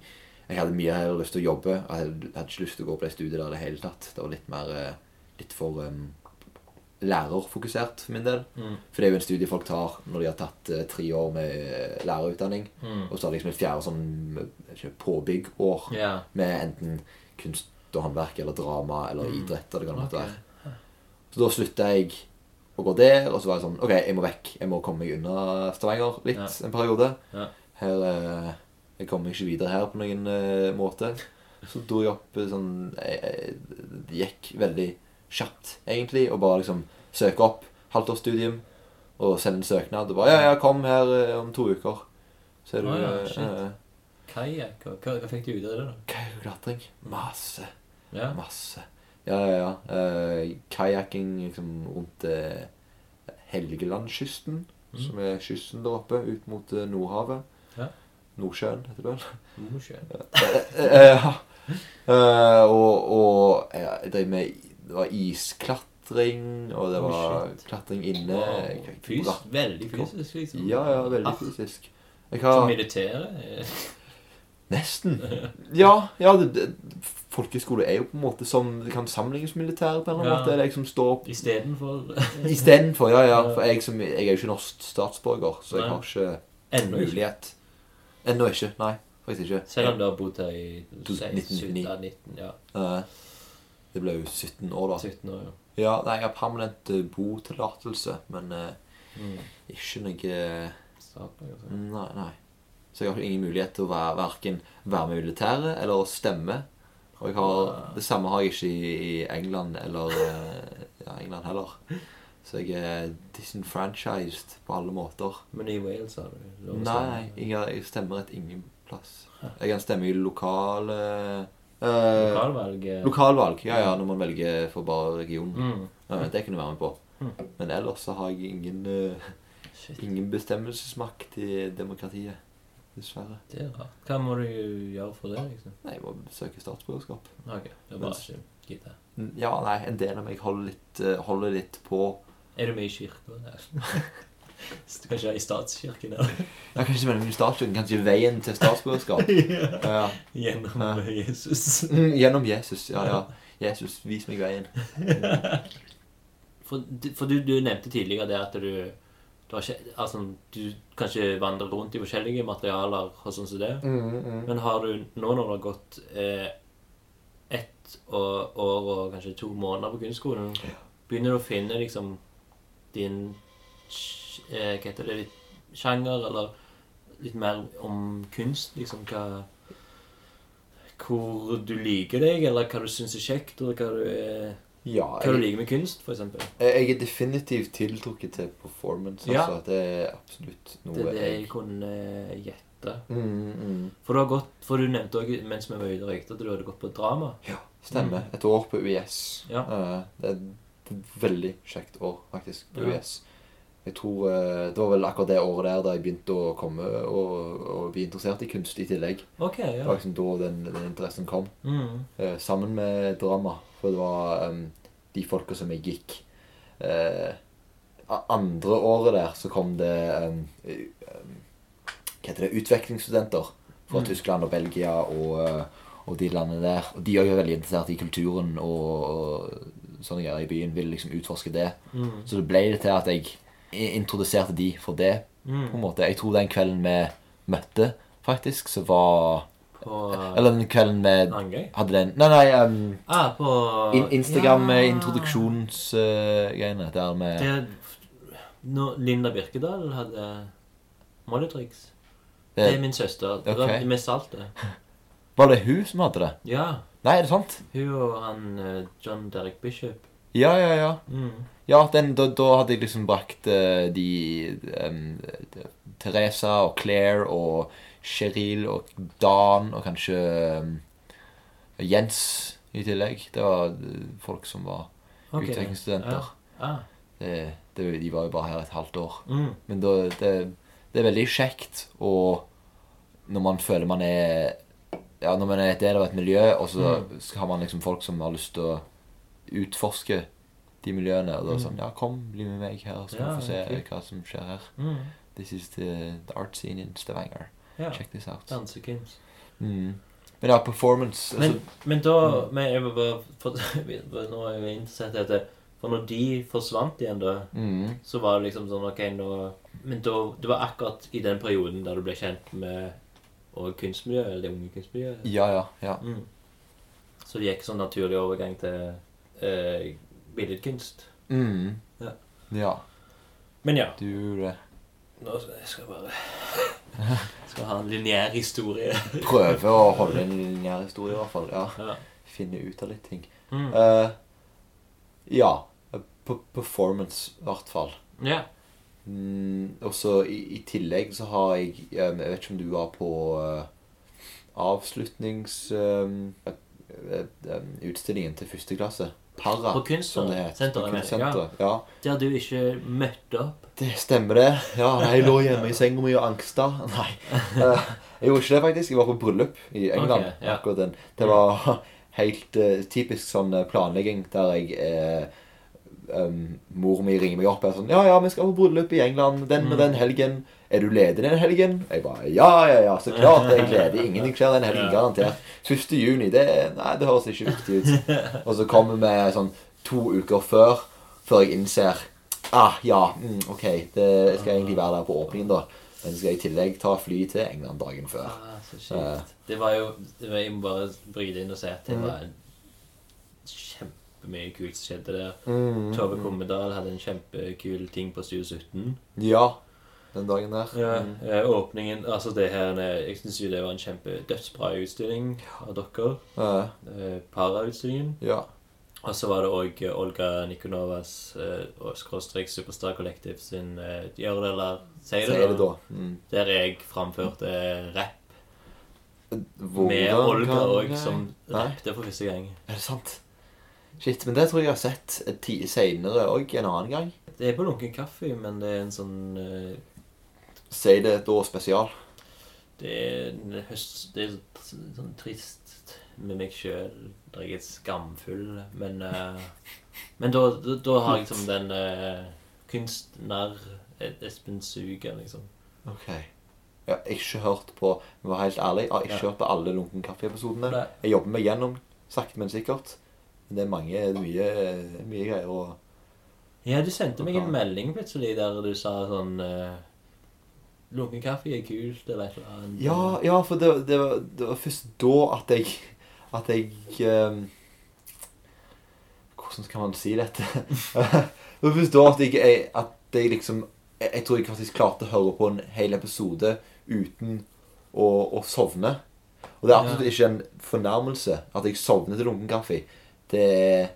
[SPEAKER 2] jeg hadde mye heller lyst til å jobbe. Jeg hadde, jeg hadde ikke lyst til å gå på det studiet der i det hele tatt. Det var litt mer eh, litt for em, lærerfokusert for min del.
[SPEAKER 3] Mm.
[SPEAKER 2] For det er jo en studie folk tar når de har tatt eh, tre år med eh, lærerutdanning.
[SPEAKER 3] Mm.
[SPEAKER 2] Og så har de liksom et fjerde sånn eh, ikke, påbyggår
[SPEAKER 3] Ja.
[SPEAKER 2] med enten kunst og håndverk eller drama eller idrett. Eller hva det måtte
[SPEAKER 3] Mm. Ok.
[SPEAKER 2] være. Så da slutta jeg å gå der, og så var jeg sånn OK, jeg må vekk. Jeg må komme meg unna Stavanger litt
[SPEAKER 3] Ja.
[SPEAKER 2] en periode.
[SPEAKER 3] Ja.
[SPEAKER 2] Her eh, Jeg kommer meg ikke videre her på noen eh, måte. Så dro jeg opp eh, sånn jeg, jeg, Det gikk veldig kjapt, egentlig, og bare liksom søke opp halvtårsstudium og sende en søknad. Og bare Ja, ja, kom her eh, om to uker. Så er du
[SPEAKER 3] Å ja,
[SPEAKER 2] eh,
[SPEAKER 3] shit.
[SPEAKER 2] eh,
[SPEAKER 3] Kajakk og hva, hva fikk du ut av det, da?
[SPEAKER 2] kajakk og klatring. Masse.
[SPEAKER 3] Ja.
[SPEAKER 2] Masse. Ja, ja, ja. Uh, Kajakking liksom rundt eh, Helgelandskysten, som er kysten der oppe, ut mot eh, Nordhavet.
[SPEAKER 3] Mm. Ja.
[SPEAKER 2] Nordsjøen, heter det vel. [LAUGHS]
[SPEAKER 3] Mosjøen.
[SPEAKER 2] Eh, ja. Eh, og og ja, jeg drev med Det var isklatring, og det
[SPEAKER 3] Oh,
[SPEAKER 2] var
[SPEAKER 3] shit.
[SPEAKER 2] klatring inne. Jeg- jeg-
[SPEAKER 3] Fys veldig fysisk, liksom.
[SPEAKER 2] Ja, ja, veldig
[SPEAKER 3] Ah,
[SPEAKER 2] fysisk. Jeg
[SPEAKER 3] Som
[SPEAKER 2] har
[SPEAKER 3] militære? eh,
[SPEAKER 2] Nesten.
[SPEAKER 3] [LAUGHS]
[SPEAKER 2] Ja, ja det, det, folkeskole er jo på en måte som Det kan sammenlignes med militæret på en eller annen
[SPEAKER 3] Ja.
[SPEAKER 2] måte. Det er liksom stå opp
[SPEAKER 3] Istedenfor [LAUGHS]
[SPEAKER 2] Istedenfor, ja, ja.
[SPEAKER 3] Ja.
[SPEAKER 2] For jeg, som, jeg er jo ikke norsk statsborger, så jeg
[SPEAKER 3] Nei.
[SPEAKER 2] har ikke
[SPEAKER 3] Ennå ikke.
[SPEAKER 2] mulighet. Ennå ikke. Nei, faktisk ikke.
[SPEAKER 3] Selv om du har bodd her i
[SPEAKER 2] 1999.
[SPEAKER 3] 19, ja,
[SPEAKER 2] Eh, Det ble jo 17 år, da.
[SPEAKER 3] 17 år. ja.
[SPEAKER 2] Ja, nei, jeg har permanent eh, botillatelse, men eh,
[SPEAKER 3] Mm.
[SPEAKER 2] ikke noe
[SPEAKER 3] Starten, altså.
[SPEAKER 2] Nei, nei. Så jeg har ingen mulighet til å være, verken være med i militæret eller å stemme. Og jeg har, det samme har jeg ikke i, i England eller eh, ja, England heller. Så jeg er disenfranchised på alle måter.
[SPEAKER 3] Men i Wales har du lov å
[SPEAKER 2] Nei,
[SPEAKER 3] stemme.
[SPEAKER 2] jeg, jeg stemmer et ingen plass. Jeg kan stemme i lokale eh,
[SPEAKER 3] Lokalvalg eh,
[SPEAKER 2] Lokalvalg. Ja, ja, når man velger for bare region.
[SPEAKER 3] mm.
[SPEAKER 2] Ja, det kan du være med på. Men ellers så har jeg ingen, eh,
[SPEAKER 8] Shit,
[SPEAKER 2] ingen bestemmelsesmakt i demokratiet. Dessverre.
[SPEAKER 8] det er rart. Hva må du gjøre for det, liksom?
[SPEAKER 2] Nei, jeg må søke statsborgerskap.
[SPEAKER 8] Ok, det var ikke gitar.
[SPEAKER 2] N- Ja, nei, en del av meg holder litt, eh, holder litt på
[SPEAKER 8] Er du med i kirka der? Så [LAUGHS] du kan ikke være i statskirken der?
[SPEAKER 2] Ja, Kanskje mellom statuen, kanskje veien til
[SPEAKER 3] [LAUGHS]
[SPEAKER 2] statsborgerskap.
[SPEAKER 8] Ja.
[SPEAKER 2] Ja, ja.
[SPEAKER 8] Gjennom
[SPEAKER 2] Ja.
[SPEAKER 8] Jesus.
[SPEAKER 2] Mm, Gjennom Jesus. Ja, ja. Jesus, vis meg veien.
[SPEAKER 3] For, du- for du, du nevnte tidligere det at du du, har ikke, altså, du kan ikke vandre rundt i forskjellige materialer og sånn som det. Men har du nå når det har gått eh, ett og, år og kanskje to måneder på grunnskolen, begynner du å finne liksom din sj- eh, Hva heter det litt sjanger, eller litt mer om kunst? Liksom hva Hvor du liker deg, eller hva du syns er kjekt, eller hva du, eh,
[SPEAKER 2] Ja,
[SPEAKER 3] hva du
[SPEAKER 2] jeg,
[SPEAKER 3] liker med kunst, for eksempel.
[SPEAKER 2] jeg er definitivt tiltrukket til performance.
[SPEAKER 3] Ja.
[SPEAKER 2] Altså, det er absolutt
[SPEAKER 3] Det
[SPEAKER 2] noe
[SPEAKER 3] er det jeg
[SPEAKER 2] jeg
[SPEAKER 3] kunne eh, gjette.
[SPEAKER 2] mm, mm.
[SPEAKER 3] For, du har gått, for du nevnte òg mens vi var ute og røykte, at du hadde gått på drama.
[SPEAKER 2] Stemmer. Et år på UiS.
[SPEAKER 3] Mm. Ja.
[SPEAKER 2] Eh, det er et veldig kjekt år, faktisk, på
[SPEAKER 3] Ja.
[SPEAKER 2] UiS. Jeg tror eh, Det var vel akkurat det året der da jeg begynte å komme og, og bli interessert i kunst i tillegg.
[SPEAKER 3] Ok,
[SPEAKER 2] Det
[SPEAKER 3] ja.
[SPEAKER 2] var liksom da den, den interessen kom.
[SPEAKER 3] Mm.
[SPEAKER 2] Eh, sammen med drama. For det var eh, de folka som jeg gikk eh, a- Andre året der så kom det eh, u- eh, Hva heter det? Utvekslingsstudenter
[SPEAKER 3] Mm.
[SPEAKER 2] fra Tyskland og Belgia og, eh, og de landene der. Og de er jo veldig interessert i kulturen og, og sånne greier i byen. Ville liksom utforske det.
[SPEAKER 3] Mm.
[SPEAKER 2] Så det ble det til at jeg i- introduserte de for det. på en
[SPEAKER 3] Mm.
[SPEAKER 2] måte. Jeg tror den kvelden vi møtte, faktisk, så var
[SPEAKER 3] På eh,
[SPEAKER 2] Eller den kvelden vi
[SPEAKER 3] Langøy?
[SPEAKER 2] hadde den Nei, nei. em,
[SPEAKER 3] Ah, på
[SPEAKER 2] In
[SPEAKER 3] Ja.
[SPEAKER 2] Instagram-introduksjonsgreiene der med
[SPEAKER 3] Det, når Linda Birkedal hadde Molitrix. Det er
[SPEAKER 2] det,
[SPEAKER 3] min søster. Det
[SPEAKER 2] ok.
[SPEAKER 3] var det mest salte.
[SPEAKER 2] Var det hun som hadde det?
[SPEAKER 3] Ja.
[SPEAKER 2] Nei, er det sant?
[SPEAKER 3] Hun og han eh, John Derek Bishop.
[SPEAKER 2] Ja, ja, ja.
[SPEAKER 3] Mm.
[SPEAKER 2] Ja, den, da, da hadde jeg liksom brakt eh, de em, de- Teresa og Claire og Cheryl og Dan og kanskje em, Jens i tillegg. Det var eh, folk som var
[SPEAKER 3] Ok.
[SPEAKER 2] utvekslingsstudenter.
[SPEAKER 3] Ah.
[SPEAKER 2] Det, Eh, det, de var jo bare her et halvt år.
[SPEAKER 3] Mm.
[SPEAKER 2] Men da, det, det er veldig kjekt og når man føler man er ja, Når man er et del av et miljø, og så
[SPEAKER 3] Mm.
[SPEAKER 2] har man liksom folk som har lyst til å utforske de miljøene. Og da er det sånn Ja, kom, bli med meg her, så
[SPEAKER 3] Mm. Ja,
[SPEAKER 2] vi får se
[SPEAKER 3] kult.
[SPEAKER 2] hva som skjer her.
[SPEAKER 3] Mm.
[SPEAKER 2] This is the, the art scene in Stavanger.
[SPEAKER 3] Ja.
[SPEAKER 2] Check this out.
[SPEAKER 3] Dansekunst.
[SPEAKER 2] Mm. Men ja, performance
[SPEAKER 3] Men,
[SPEAKER 2] altså,
[SPEAKER 3] men da men jeg vil bare, for, [LAUGHS] Nå er jeg interessert i dette. For når de forsvant igjen, da,
[SPEAKER 2] mm,
[SPEAKER 3] så var det liksom sånn OK, nå Men da, det var akkurat i den perioden der du ble kjent med og kunstmiljøet, eller det unge kunstmiljøet.
[SPEAKER 2] Ja, ja. ja.
[SPEAKER 3] Mm. Så det gikk sånn naturlig overgang til eh, billedkunst.
[SPEAKER 2] Mm.
[SPEAKER 3] Ja.
[SPEAKER 2] Ja,
[SPEAKER 3] Men ja.
[SPEAKER 2] du gjorde det.
[SPEAKER 3] Nå skal jeg skal bare [LAUGHS] Skal ha en lineær historie.
[SPEAKER 2] Prøve å holde en lineær historie, i hvert fall. Ja.
[SPEAKER 3] Ja.
[SPEAKER 2] Finne ut av litt ting.
[SPEAKER 3] Mm.
[SPEAKER 2] Eh, ja. P performance, i hvert fall.
[SPEAKER 3] ja.
[SPEAKER 2] Mm, og så i, i tillegg så har jeg eh, Jeg vet ikke om du var på eh, avslutnings... eh, eh, eh, utstillingen til første klasse. Para,
[SPEAKER 3] På Kunstsenteret,
[SPEAKER 2] som det het.
[SPEAKER 3] senteret,
[SPEAKER 2] På
[SPEAKER 3] mener jeg,
[SPEAKER 2] Kunstsenteret, ja.
[SPEAKER 3] Der du ikke møtte opp.
[SPEAKER 2] Det stemmer, det. Ja, nei, jeg lå hjemme i senga mi og angsta. [LAUGHS] Nei. eh, jeg gjorde ikke det, faktisk. Jeg var på bryllup i England.
[SPEAKER 3] Ok, ja.
[SPEAKER 2] akkurat den. Det var helt eh, typisk sånn eh, planlegging der jeg eh, um, Mor mi ringer meg opp og er sånn 'Ja, ja, vi skal på bryllup i England den
[SPEAKER 3] Mm.
[SPEAKER 2] og den helgen. Er du ledig den helgen?' Jeg bare 'Ja, ja, ja, så klart jeg er ledig. Ingenting skjer den helgen, garantert.' 1. juni, det Nei, det høres ikke viktig ut.
[SPEAKER 3] [LAUGHS]
[SPEAKER 2] Og så kommer vi sånn to uker før, før jeg innser Ah, ja, mm, ok. Det jeg skal egentlig være der på åpningen, da. Men så skal jeg i tillegg ta fly til England dagen før. Eh,
[SPEAKER 3] Ah, så kjipt. Det var jo det var, Jeg må bare bryte inn og si
[SPEAKER 2] Mm.
[SPEAKER 3] at det var kjempemye kult som skjedde der.
[SPEAKER 2] Mm.
[SPEAKER 3] Tove Kommedal hadde en kjempekul ting på Studio 17.
[SPEAKER 2] Ja, den dagen der.
[SPEAKER 3] Eh, Åpningen Altså, det her eh, Jeg syns jo det var en kjempe dødsbra utstilling av dere.
[SPEAKER 2] Eh,
[SPEAKER 3] Eh, Para-utstillingen.
[SPEAKER 2] ja.
[SPEAKER 3] Og så var det òg Olga Nikonovas eh, og skråstrek Superstar Collective sin eh, Gjør det eller si
[SPEAKER 2] Så
[SPEAKER 3] det,
[SPEAKER 2] er det da. Mm.
[SPEAKER 3] Der jeg framførte rap
[SPEAKER 2] Hvordan
[SPEAKER 3] med Olga
[SPEAKER 2] kan
[SPEAKER 3] òg,
[SPEAKER 2] jeg-
[SPEAKER 3] som
[SPEAKER 2] Nei.
[SPEAKER 3] rappet for første gang.
[SPEAKER 2] Er det sant? Shit, men det tror jeg jeg har sett et ti- senere òg, en annen gang.
[SPEAKER 3] Det er på lunken kaffe, men det er en sånn eh,
[SPEAKER 2] Si det et år spesial.
[SPEAKER 3] Det er en høst Det er sånn sånn trist med meg sjøl. Der jeg er skamfull. Men, eh, men da, da, da har jeg liksom den eh, kunstner eh, Espen Suger, liksom.
[SPEAKER 2] Ok. Jeg har ikke hørt på Jeg var helt ærlig, jeg har ikke
[SPEAKER 3] Ja.
[SPEAKER 2] hørt på alle Lunken kaffe-episodene.
[SPEAKER 3] Nei.
[SPEAKER 2] Jeg jobber meg gjennom, sakte, men sikkert. Men det er mange, mye, mye greier å
[SPEAKER 3] Ja, du sendte meg en
[SPEAKER 2] Ok.
[SPEAKER 3] melding plutselig der du sa sånn eh, Lunken kaffe er kult, eller et eller annet.
[SPEAKER 2] Ja, ja for det, det, var, det var først da at jeg At jeg ehm, Hvordan skal man si dette? [LAUGHS] det var først da at jeg, jeg, at jeg liksom jeg, jeg tror jeg faktisk klarte å høre på en hel episode uten å, å sovne. Og det er absolutt
[SPEAKER 3] Ja.
[SPEAKER 2] ikke en fornærmelse at jeg sovner til lunken kaffe. Det er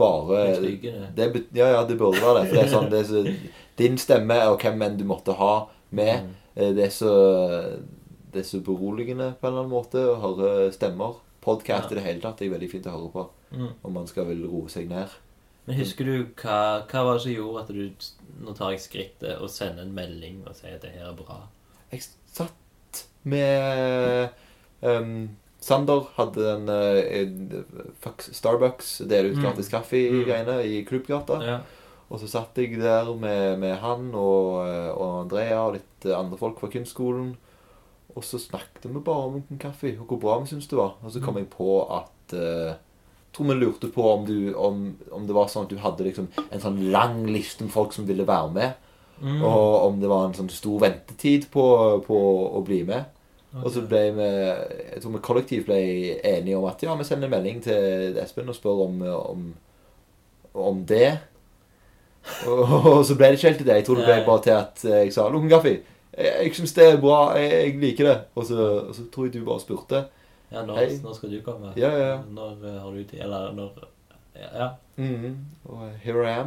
[SPEAKER 2] bare
[SPEAKER 3] Det er betryggende.
[SPEAKER 2] det er bet- Ja, ja, det burde være det. For det er sånn det er så, Din stemme og hvem enn du måtte ha med,
[SPEAKER 3] Mm.
[SPEAKER 2] eh, det er så Det er så beroligende på en eller annen måte å høre stemmer. Podkast i det hele tatt er veldig fint å høre på
[SPEAKER 3] Mm.
[SPEAKER 2] om man skal vel roe seg ned.
[SPEAKER 3] Men husker du hva, hva var det som gjorde at du Nå tar jeg skrittet og sender en melding og sier at det her er bra.
[SPEAKER 2] Jeg satt med ehm, Sander hadde en, eh, en fuck Starbucks deler ut
[SPEAKER 3] Mm.
[SPEAKER 2] gratis kaffe-greiene i Klubbgata.
[SPEAKER 3] Ja.
[SPEAKER 2] Og så satt jeg der med, med han og, eh, og Andrea og litt eh, andre folk fra kunstskolen. Og så snakket vi bare om Munken kaffe og hvor bra vi syntes det var. Og så kom jeg på at eh, tror vi lurte på om, du, om, om det var sånn at du hadde liksom en sånn lang liste med folk som ville være med. Og om det var en sånn stor ventetid på, på å bli med. Og så ble vi jeg tror vi kollektivt ble enige om at ja, vi sender en melding til Espen og spør om, om, om det. Og, og så ble det ikke helt til det. Jeg tror det ble
[SPEAKER 3] Nei.
[SPEAKER 2] bare til at jeg sa 'Lunken kaffe'. Jeg, jeg syns det er bra. Jeg, jeg liker det. Og så, og så tror jeg du bare spurte.
[SPEAKER 3] Ja, når,
[SPEAKER 2] Hei.
[SPEAKER 3] når skal du komme?
[SPEAKER 2] Ja, ja, ja.
[SPEAKER 3] Når eh, har du tid? Eller når Ja. ja.
[SPEAKER 2] Mhm. Og here I am.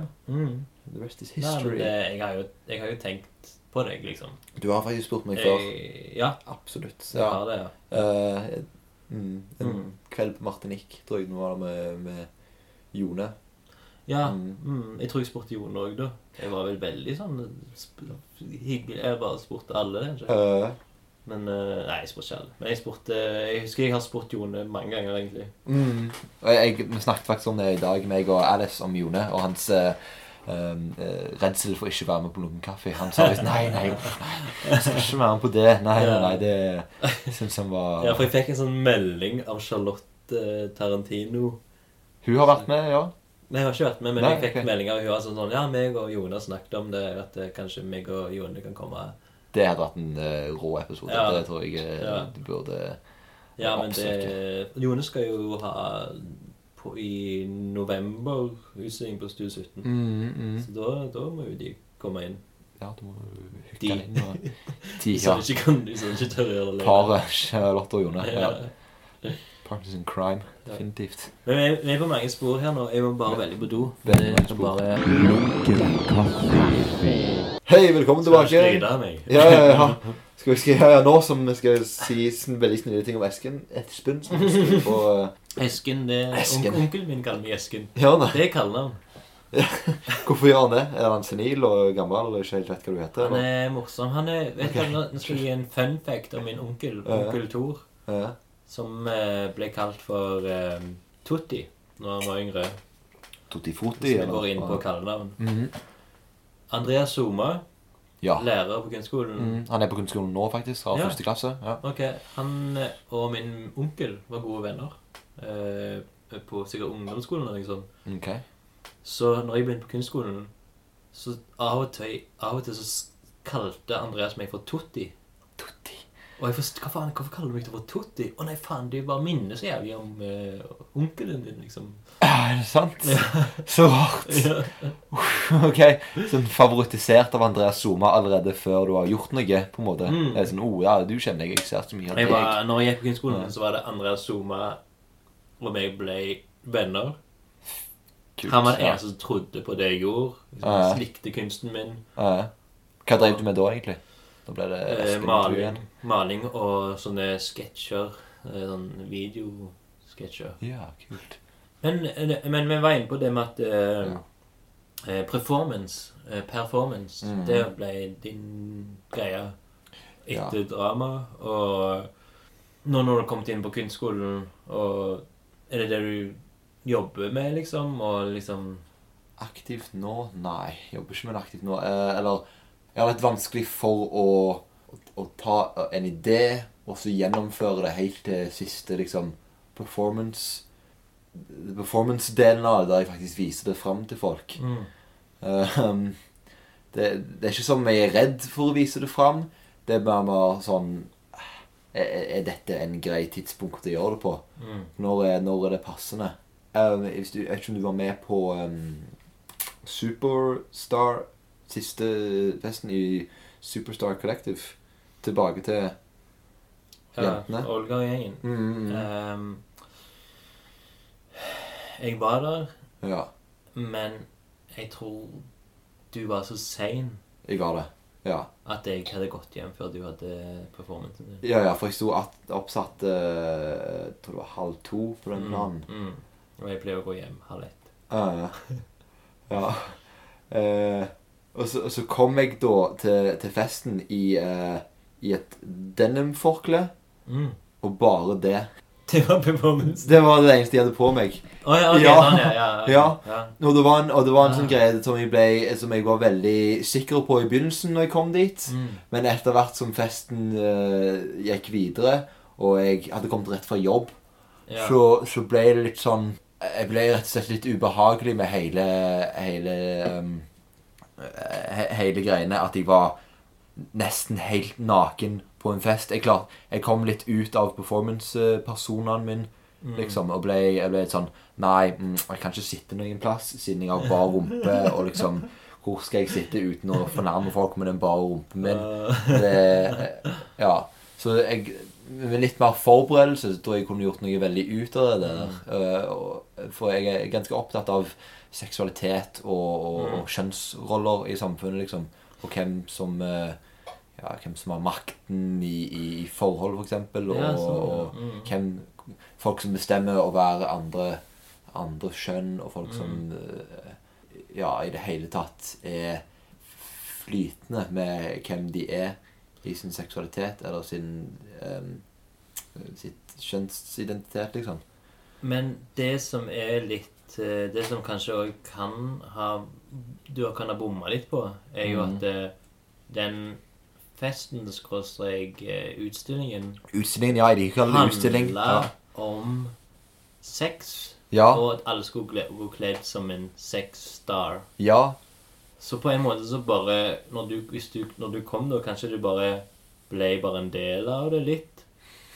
[SPEAKER 2] The rest is
[SPEAKER 3] Mm. Nei, men
[SPEAKER 2] Mm. history.
[SPEAKER 3] det, jeg, har jo, jeg har jo tenkt på deg, liksom.
[SPEAKER 2] Du har faktisk spurt meg før.
[SPEAKER 3] Jeg, ja,
[SPEAKER 2] Absolutt.
[SPEAKER 3] jeg
[SPEAKER 2] Ja.
[SPEAKER 3] har det. ja.
[SPEAKER 2] Eh, mm, en
[SPEAKER 3] Mm.
[SPEAKER 2] kveld på Martinique, tror jeg det var, med, med Jone.
[SPEAKER 3] Ja,
[SPEAKER 2] Mm.
[SPEAKER 3] mm, Jeg tror jeg spurte Jon òg, da. Jeg var vel veldig sånn sp hyggelig. Jeg bare spurte alle, kanskje.
[SPEAKER 2] Eh,
[SPEAKER 3] Men eh, Nei, jeg spurte ikke alle. Men jeg spurte Jeg husker jeg har spurt Jone mange ganger, egentlig.
[SPEAKER 2] Mm. Og jeg, vi snakket faktisk om det i dag, meg og Alice, om Jone og hans eh, um, eh, redsel for ikke å være med på noen kaffe. Han sa liksom nei, nei, nei, jeg skal ikke være med på det. Nei, nei, nei det syns han var
[SPEAKER 3] Ja, for jeg fikk en sånn melding av Charlotte eh, Tarantino.
[SPEAKER 2] Hun har vært med, ja.
[SPEAKER 3] Nei, jeg har ikke vært med, men
[SPEAKER 2] Nei,
[SPEAKER 3] jeg fikk
[SPEAKER 2] ok.
[SPEAKER 3] meldinger. og Hun var sånn sånn Ja, meg og Jone har snakket om det, at eh, kanskje meg og Jone kan komme.
[SPEAKER 2] Det hadde vært en eh, rå episode.
[SPEAKER 3] Ja.
[SPEAKER 2] Det tror jeg eh,
[SPEAKER 3] Ja.
[SPEAKER 2] du burde
[SPEAKER 3] Ja, men
[SPEAKER 2] Absolutt
[SPEAKER 3] det Jone skal jo ha på, i november utstilling på Stue 17.
[SPEAKER 2] Mm.
[SPEAKER 3] Så da, da må jo de komme inn.
[SPEAKER 2] Ja, du må hooke
[SPEAKER 3] De.
[SPEAKER 2] den inn
[SPEAKER 3] [LAUGHS]
[SPEAKER 2] og De,
[SPEAKER 3] De
[SPEAKER 2] ja.
[SPEAKER 3] som ikke kan, de som ikke tør å gjøre det.
[SPEAKER 2] Paret Charlotte og Jone. Ja.
[SPEAKER 3] Ja.
[SPEAKER 2] Partners in crime.
[SPEAKER 3] Ja.
[SPEAKER 2] Definitivt.
[SPEAKER 3] Men vi er- vi er på mange spor her nå. Jeg må bare veldig på do.
[SPEAKER 2] Veldig mange
[SPEAKER 3] Jeg skal
[SPEAKER 2] spor.
[SPEAKER 3] bare
[SPEAKER 1] Lunken kaffe.
[SPEAKER 2] Hei, velkommen tilbake.
[SPEAKER 3] slide av meg.
[SPEAKER 2] Ja, ja, ja. Skal vi skal, ja, ja, nå som vi skal si sn veldig snille ting om Esken Espen som vi skulle få eh,
[SPEAKER 3] Esken, det
[SPEAKER 2] Esken.
[SPEAKER 3] on- Onkelen min kaller meg Esken.
[SPEAKER 2] Ja, nei.
[SPEAKER 3] Det er kallenavn.
[SPEAKER 2] Hvorfor gjør han det? Er han senil og gammel og ikke helt vet hva du heter?
[SPEAKER 3] Han
[SPEAKER 2] Eller?
[SPEAKER 3] er morsom. Han er, vet du hva, nå- Nå skal jeg gi en fun fact om min onkel,
[SPEAKER 2] Ja.
[SPEAKER 3] onkel Thor.
[SPEAKER 2] Ja.
[SPEAKER 3] Som eh, ble kalt for eh, Tutti når han var yngre.
[SPEAKER 2] Tuttifrutti?
[SPEAKER 3] Hvis vi går inn på kallenavn. Andreas Soma,
[SPEAKER 2] Ja.
[SPEAKER 3] lærer på kunstskolen.
[SPEAKER 2] Mm, Han er på kunstskolen nå, faktisk. Har
[SPEAKER 3] Ja.
[SPEAKER 2] første klasse. Ja.
[SPEAKER 3] Ok, Han eh, og min onkel var gode venner. Eh, på sikkert ungdomsskolen eller noe sånt.
[SPEAKER 2] Ok.
[SPEAKER 3] Så når jeg begynte på kunstskolen, så av og til, av og til så s- kalte Andreas meg for Tutti.
[SPEAKER 2] Tutti.
[SPEAKER 3] Og jeg forst, hva faen, Hvorfor kaller du meg for Tutti? Å nei, faen, du bare minner så jævlig om eh, onkelen din, liksom.
[SPEAKER 2] Er det sant? Så rart.
[SPEAKER 3] Ja.
[SPEAKER 2] ok. Sånn favorittisert av Andreas Zuma allerede før du har gjort noe, på en måte.
[SPEAKER 3] Mm.
[SPEAKER 2] Det er sånn, oh, ja, du kjenner jeg, jeg ser så mye av
[SPEAKER 3] Jeg
[SPEAKER 2] deg.
[SPEAKER 3] var, når jeg gikk på kunstskolen, så var det Andreas Zuma og jeg ble venner.
[SPEAKER 2] Kult,
[SPEAKER 3] Han var den
[SPEAKER 2] ja.
[SPEAKER 3] eneste som trodde på det jeg gjorde. Liksom,
[SPEAKER 2] Ja, ja.
[SPEAKER 3] Slikte kunsten min.
[SPEAKER 2] Ja, ja. Hva drev du med da, egentlig? Da ble det
[SPEAKER 3] Eh,
[SPEAKER 2] Espen Tue
[SPEAKER 3] maling,
[SPEAKER 2] igjen.
[SPEAKER 3] maling og sånne sketsjer. eh, Sånn videosketsjer.
[SPEAKER 2] Ja, kult.
[SPEAKER 3] Men, eh, men vi var inne på det med at eh, eh, performance, eh, performance
[SPEAKER 2] Mhm.
[SPEAKER 3] det ble din greie etter drama. Og nå når du har kommet inn på kunstskolen, og er det det du jobber med, liksom? Og liksom
[SPEAKER 2] Aktivt nå? Nei, jeg jobber ikke med det aktivt nå. Eh, eller jeg har litt vanskelig for å, å, å ta en idé og så gjennomføre det helt til siste liksom, performance Performance-delen av det, der jeg faktisk viser det fram til folk.
[SPEAKER 3] mm.
[SPEAKER 2] Eh, um, det, det er ikke sånn vi er redd for å vise det fram. Det er bare mer sånn eh, Er er dette en grei tidspunkt å gjøre det på?
[SPEAKER 3] Mm.
[SPEAKER 2] Når er, når er det passende? Um, hvis du, jeg vet ikke om du var med på um, Superstar Siste eh, festen i Superstar Collective. Tilbake til
[SPEAKER 3] Ja,
[SPEAKER 2] Jentene?
[SPEAKER 3] Olga-gjengen.
[SPEAKER 2] mm, mm, mm.
[SPEAKER 3] Ehm, jeg var der,
[SPEAKER 2] Ja,
[SPEAKER 3] men jeg tror du var så sein
[SPEAKER 2] jeg var det. Ja.
[SPEAKER 3] at jeg hadde gått hjem før du hadde performancen din.
[SPEAKER 2] ja, ja, for jeg sto at, oppsatt eh, Jeg tror det var halv to på den planen.
[SPEAKER 3] Mm, mm. Og jeg pleier å gå hjem halv ett.
[SPEAKER 2] Ja. [LAUGHS] ja. Eh, og, så, og så kom jeg da til, til festen i, eh, i et denimforkle,
[SPEAKER 3] Mm. [LAUGHS]
[SPEAKER 2] og bare det.
[SPEAKER 3] Det var
[SPEAKER 2] [LAUGHS]
[SPEAKER 3] performance.
[SPEAKER 2] Det var det eneste jeg hadde på meg.
[SPEAKER 3] Å ja, ok,
[SPEAKER 2] Ja.
[SPEAKER 3] sånn, ja. Ja. ja.
[SPEAKER 2] Ja. Og det var en, og det var en sånn greie som jeg, ble, som jeg var veldig sikker på i begynnelsen når jeg kom dit.
[SPEAKER 3] Mm.
[SPEAKER 2] Men etter hvert som festen eh, gikk videre, og jeg hadde kommet rett fra jobb,
[SPEAKER 3] Ja.
[SPEAKER 2] så, så ble det litt sånn Jeg ble rett og slett litt ubehagelig med hele Hele um, he, Hele greiene at jeg var nesten helt naken på en fest. Jeg, klart, jeg kom litt ut av performance-personene min, liksom, og ble, jeg ble litt sånn Nei, mm, jeg kan ikke sitte noen plass siden jeg har bar rumpe, og liksom Hvor skal jeg sitte uten å fornærme folk med den bare rumpen min? det, ja. Så jeg, med litt mer forberedelse så tror jeg jeg kunne gjort noe veldig ut av det der.
[SPEAKER 3] Mm.
[SPEAKER 2] Eh, og- For jeg er ganske opptatt av seksualitet og, og,
[SPEAKER 3] Mm.
[SPEAKER 2] og kjønnsroller i samfunnet, liksom. Og hvem som eh, ja, hvem som har makten i, i, i forhold, for eksempel. Og,
[SPEAKER 3] Ja, sånn, ja.
[SPEAKER 2] og hvem Folk som bestemmer å være andre, andre kjønn, og folk som
[SPEAKER 3] Mm.
[SPEAKER 2] eh, ja, i det hele tatt er flytende med hvem de er i sin seksualitet eller sin ehm, sitt kjønnsidentitet, liksom.
[SPEAKER 3] Men det som er litt eh, Det som kanskje òg kan ha Du kan ha bomma litt på, er jo
[SPEAKER 2] Mm.
[SPEAKER 3] at eh, den festen, skråstrek eh, utstillingen,
[SPEAKER 2] Utstillingen, ja. Jeg liker å kalle det utstilling.
[SPEAKER 3] handla
[SPEAKER 2] Ja.
[SPEAKER 3] om sex.
[SPEAKER 2] Ja,
[SPEAKER 3] Og at alle skulle kle- gå kledd som en sexstar.
[SPEAKER 2] ja,
[SPEAKER 3] Så på en måte så bare Når du, hvis du, når du kom, da kanskje du bare ble bare en del av det litt.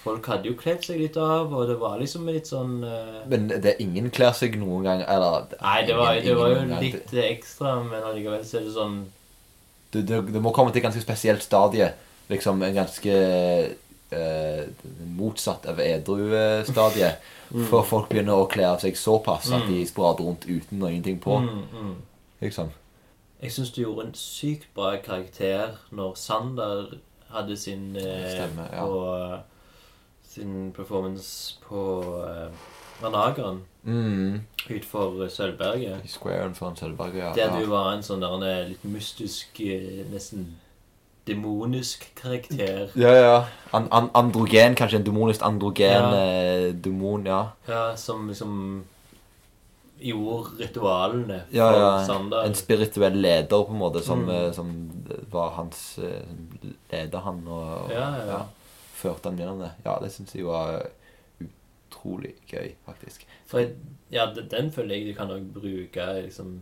[SPEAKER 3] Folk hadde jo kledd seg litt av, og det var liksom litt sånn eh,
[SPEAKER 2] men det er ingen kler seg noen gang Eller
[SPEAKER 3] Nei, det var,
[SPEAKER 2] ingen-
[SPEAKER 3] det var jo
[SPEAKER 2] ingen noen gang.
[SPEAKER 3] litt ekstra, men allikevel så er det sånn
[SPEAKER 2] du, du, du må komme til et ganske spesielt stadie. Liksom en ganske eh, motsatt av edru-stadie.
[SPEAKER 3] Mm.
[SPEAKER 2] For folk begynner å kle av seg såpass at de sprader rundt uten noe ingenting på.
[SPEAKER 3] mm, mm.
[SPEAKER 2] Liksom.
[SPEAKER 3] Jeg syns du gjorde en sykt bra karakter når Sander hadde sin eh,
[SPEAKER 2] Stemmer, ja.
[SPEAKER 3] på, sin performance på eh, Ranageren
[SPEAKER 2] Mm.
[SPEAKER 3] utenfor Sølvberget.
[SPEAKER 2] I squaren foran Sølvberget, ja.
[SPEAKER 3] Der
[SPEAKER 2] ja.
[SPEAKER 3] du var en sånn der, en litt mystisk, eh, nesten demonisk karakter.
[SPEAKER 2] Ja, ja. An an androgen, kanskje en demonisk androgen
[SPEAKER 3] Ja.
[SPEAKER 2] eh, demon, ja.
[SPEAKER 3] Ja, som liksom gjorde ritualene for
[SPEAKER 2] Ja, ja.
[SPEAKER 3] Sander.
[SPEAKER 2] En spirituell leder, på en måte, som,
[SPEAKER 3] Mm.
[SPEAKER 2] eh, som var hans eh, som Leder han og, og
[SPEAKER 3] Ja, ja, ja.
[SPEAKER 2] førte han gjennom det. Ja, det syns jeg var utrolig gøy, faktisk.
[SPEAKER 3] For jeg, ja, de- den føler jeg du kan også bruke liksom,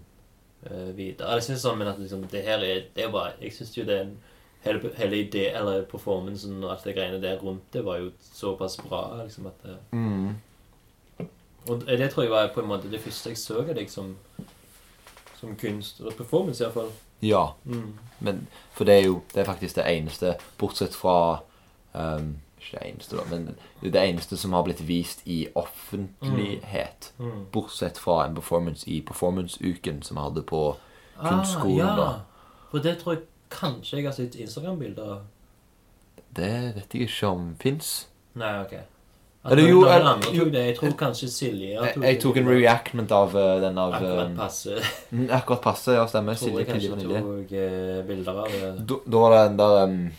[SPEAKER 3] eh, videre. Jeg synes sånn, men at liksom, det her er, det er bare, jeg synes jo det er en, hele, hele idé, eller performancen og alt det greiene der rundt det var jo såpass bra, liksom at det,
[SPEAKER 2] Mm.
[SPEAKER 3] Og det tror jeg var på en måte det første jeg så av deg som, som kunst, eller performance i hvert fall.
[SPEAKER 2] Ja.
[SPEAKER 3] Mm.
[SPEAKER 2] Men, for det er jo det er faktisk det eneste, bortsett fra ehm, Ikke det eneste, da, men det er det eneste som har blitt vist i offentlighet.
[SPEAKER 3] Mm.
[SPEAKER 2] Bortsett fra en performance i performance-uken som vi hadde på Kunstskolen,
[SPEAKER 3] ah, ja.
[SPEAKER 2] da.
[SPEAKER 3] For det tror jeg kanskje jeg har sett Instagram-bilder av.
[SPEAKER 2] Det vet jeg ikke om fins.
[SPEAKER 3] Nei, ok. At
[SPEAKER 2] Eller jo,
[SPEAKER 3] noen
[SPEAKER 2] eller-
[SPEAKER 3] andre tok det. Jeg tror kanskje Silje
[SPEAKER 2] Jeg, jeg tok en reactment av eh, den av
[SPEAKER 3] Akkurat
[SPEAKER 2] eh,
[SPEAKER 3] passe.
[SPEAKER 2] mm, Akkurat passe, ja, stemmer.
[SPEAKER 3] [LAUGHS] Tror
[SPEAKER 2] Silje
[SPEAKER 3] jeg
[SPEAKER 2] Pilje
[SPEAKER 3] kanskje
[SPEAKER 2] Vanilje.
[SPEAKER 3] tok eh, bilder av det.
[SPEAKER 2] Da da var det den der um,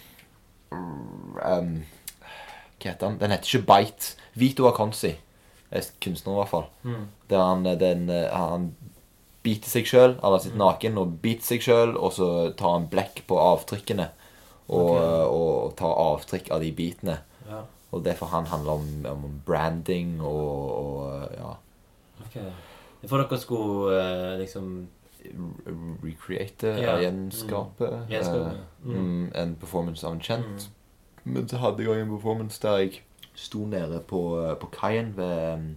[SPEAKER 2] um, Hva heter han? Den heter ikke Bite. Vito Aconsi. Kunstner, i hvert fall.
[SPEAKER 3] Mm.
[SPEAKER 2] Der han, eh, den, eh, han biter seg sjøl. Han har
[SPEAKER 3] Mm.
[SPEAKER 2] sitt naken og biter seg sjøl, og så tar han blekk på avtrykkene. Og,
[SPEAKER 3] Ok.
[SPEAKER 2] eh, og tar avtrykk av de bitene.
[SPEAKER 3] Ja,
[SPEAKER 2] Og det for han handler om, om branding og, og ja,
[SPEAKER 3] ok. For dere skulle eh, liksom
[SPEAKER 2] re- recreate,
[SPEAKER 3] Ja.
[SPEAKER 2] ja. gjenskape,
[SPEAKER 3] gjenskape.
[SPEAKER 2] eh,
[SPEAKER 3] Mm.
[SPEAKER 2] mm, en performance av en kjent. Men så hadde jeg også en performance der jeg sto nede på, eh, på kaien ved, um,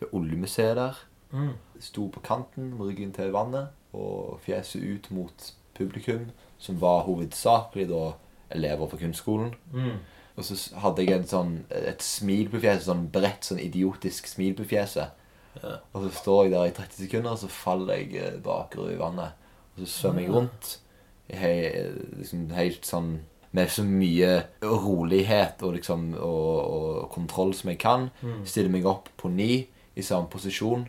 [SPEAKER 2] ved oljemuseet der.
[SPEAKER 3] Mm.
[SPEAKER 2] Sto på kanten med ryggen til vannet og fjeset ut mot publikum, som var hovedsakelig da elever fra kunstskolen.
[SPEAKER 3] Mm.
[SPEAKER 2] Og så s- hadde jeg en sånn, et smil på fjeset, sånn bredt, sånn idiotisk smil på fjeset.
[SPEAKER 3] Ja.
[SPEAKER 2] Og så står jeg der i 30 sekunder, og så faller jeg eh, bakover i vannet. Og så svømmer
[SPEAKER 3] Ah.
[SPEAKER 2] jeg rundt he, liksom helt sånn med så mye rolighet og, liksom, og, og kontroll som jeg kan.
[SPEAKER 3] Mm.
[SPEAKER 2] Stiller meg opp på ny i samme posisjon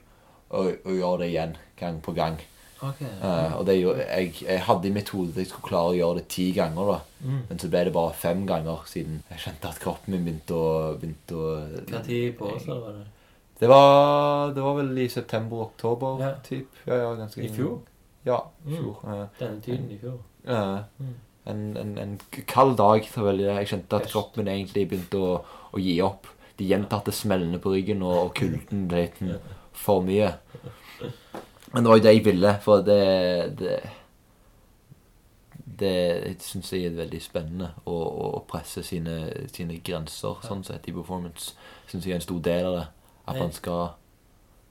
[SPEAKER 2] og, og gjør det igjen gang på gang.
[SPEAKER 3] Ok.
[SPEAKER 2] Eh, og det gjorde, jeg, jeg hadde i mitt hode at jeg skulle klare å gjøre det ti ganger, da.
[SPEAKER 3] Mm.
[SPEAKER 2] Men så ble det bare fem ganger siden jeg kjente at kroppen min begynte å, begynte å
[SPEAKER 3] Hva tid på oss var det?
[SPEAKER 2] det, var, det var vel i september-oktober,
[SPEAKER 3] Ja.
[SPEAKER 2] typ. Ja, ja, ganske
[SPEAKER 3] I fjor?
[SPEAKER 2] Ja. i
[SPEAKER 3] Mm.
[SPEAKER 2] fjor. eh,
[SPEAKER 3] Denne tiden i fjor.
[SPEAKER 2] eh,
[SPEAKER 3] Mm.
[SPEAKER 2] en, en, en k- kald dag. Så vel, jeg kjente at
[SPEAKER 3] Yes.
[SPEAKER 2] kroppen min egentlig begynte å, å gi opp. De gjentatte smellene på ryggen og, og kulden ble litt for mye. Men det var jo det jeg ville, for det Det, det syns jeg er veldig spennende. Å, å- å presse sine, sine grenser sånn sett i performance syns jeg er en stor del av det. At man skal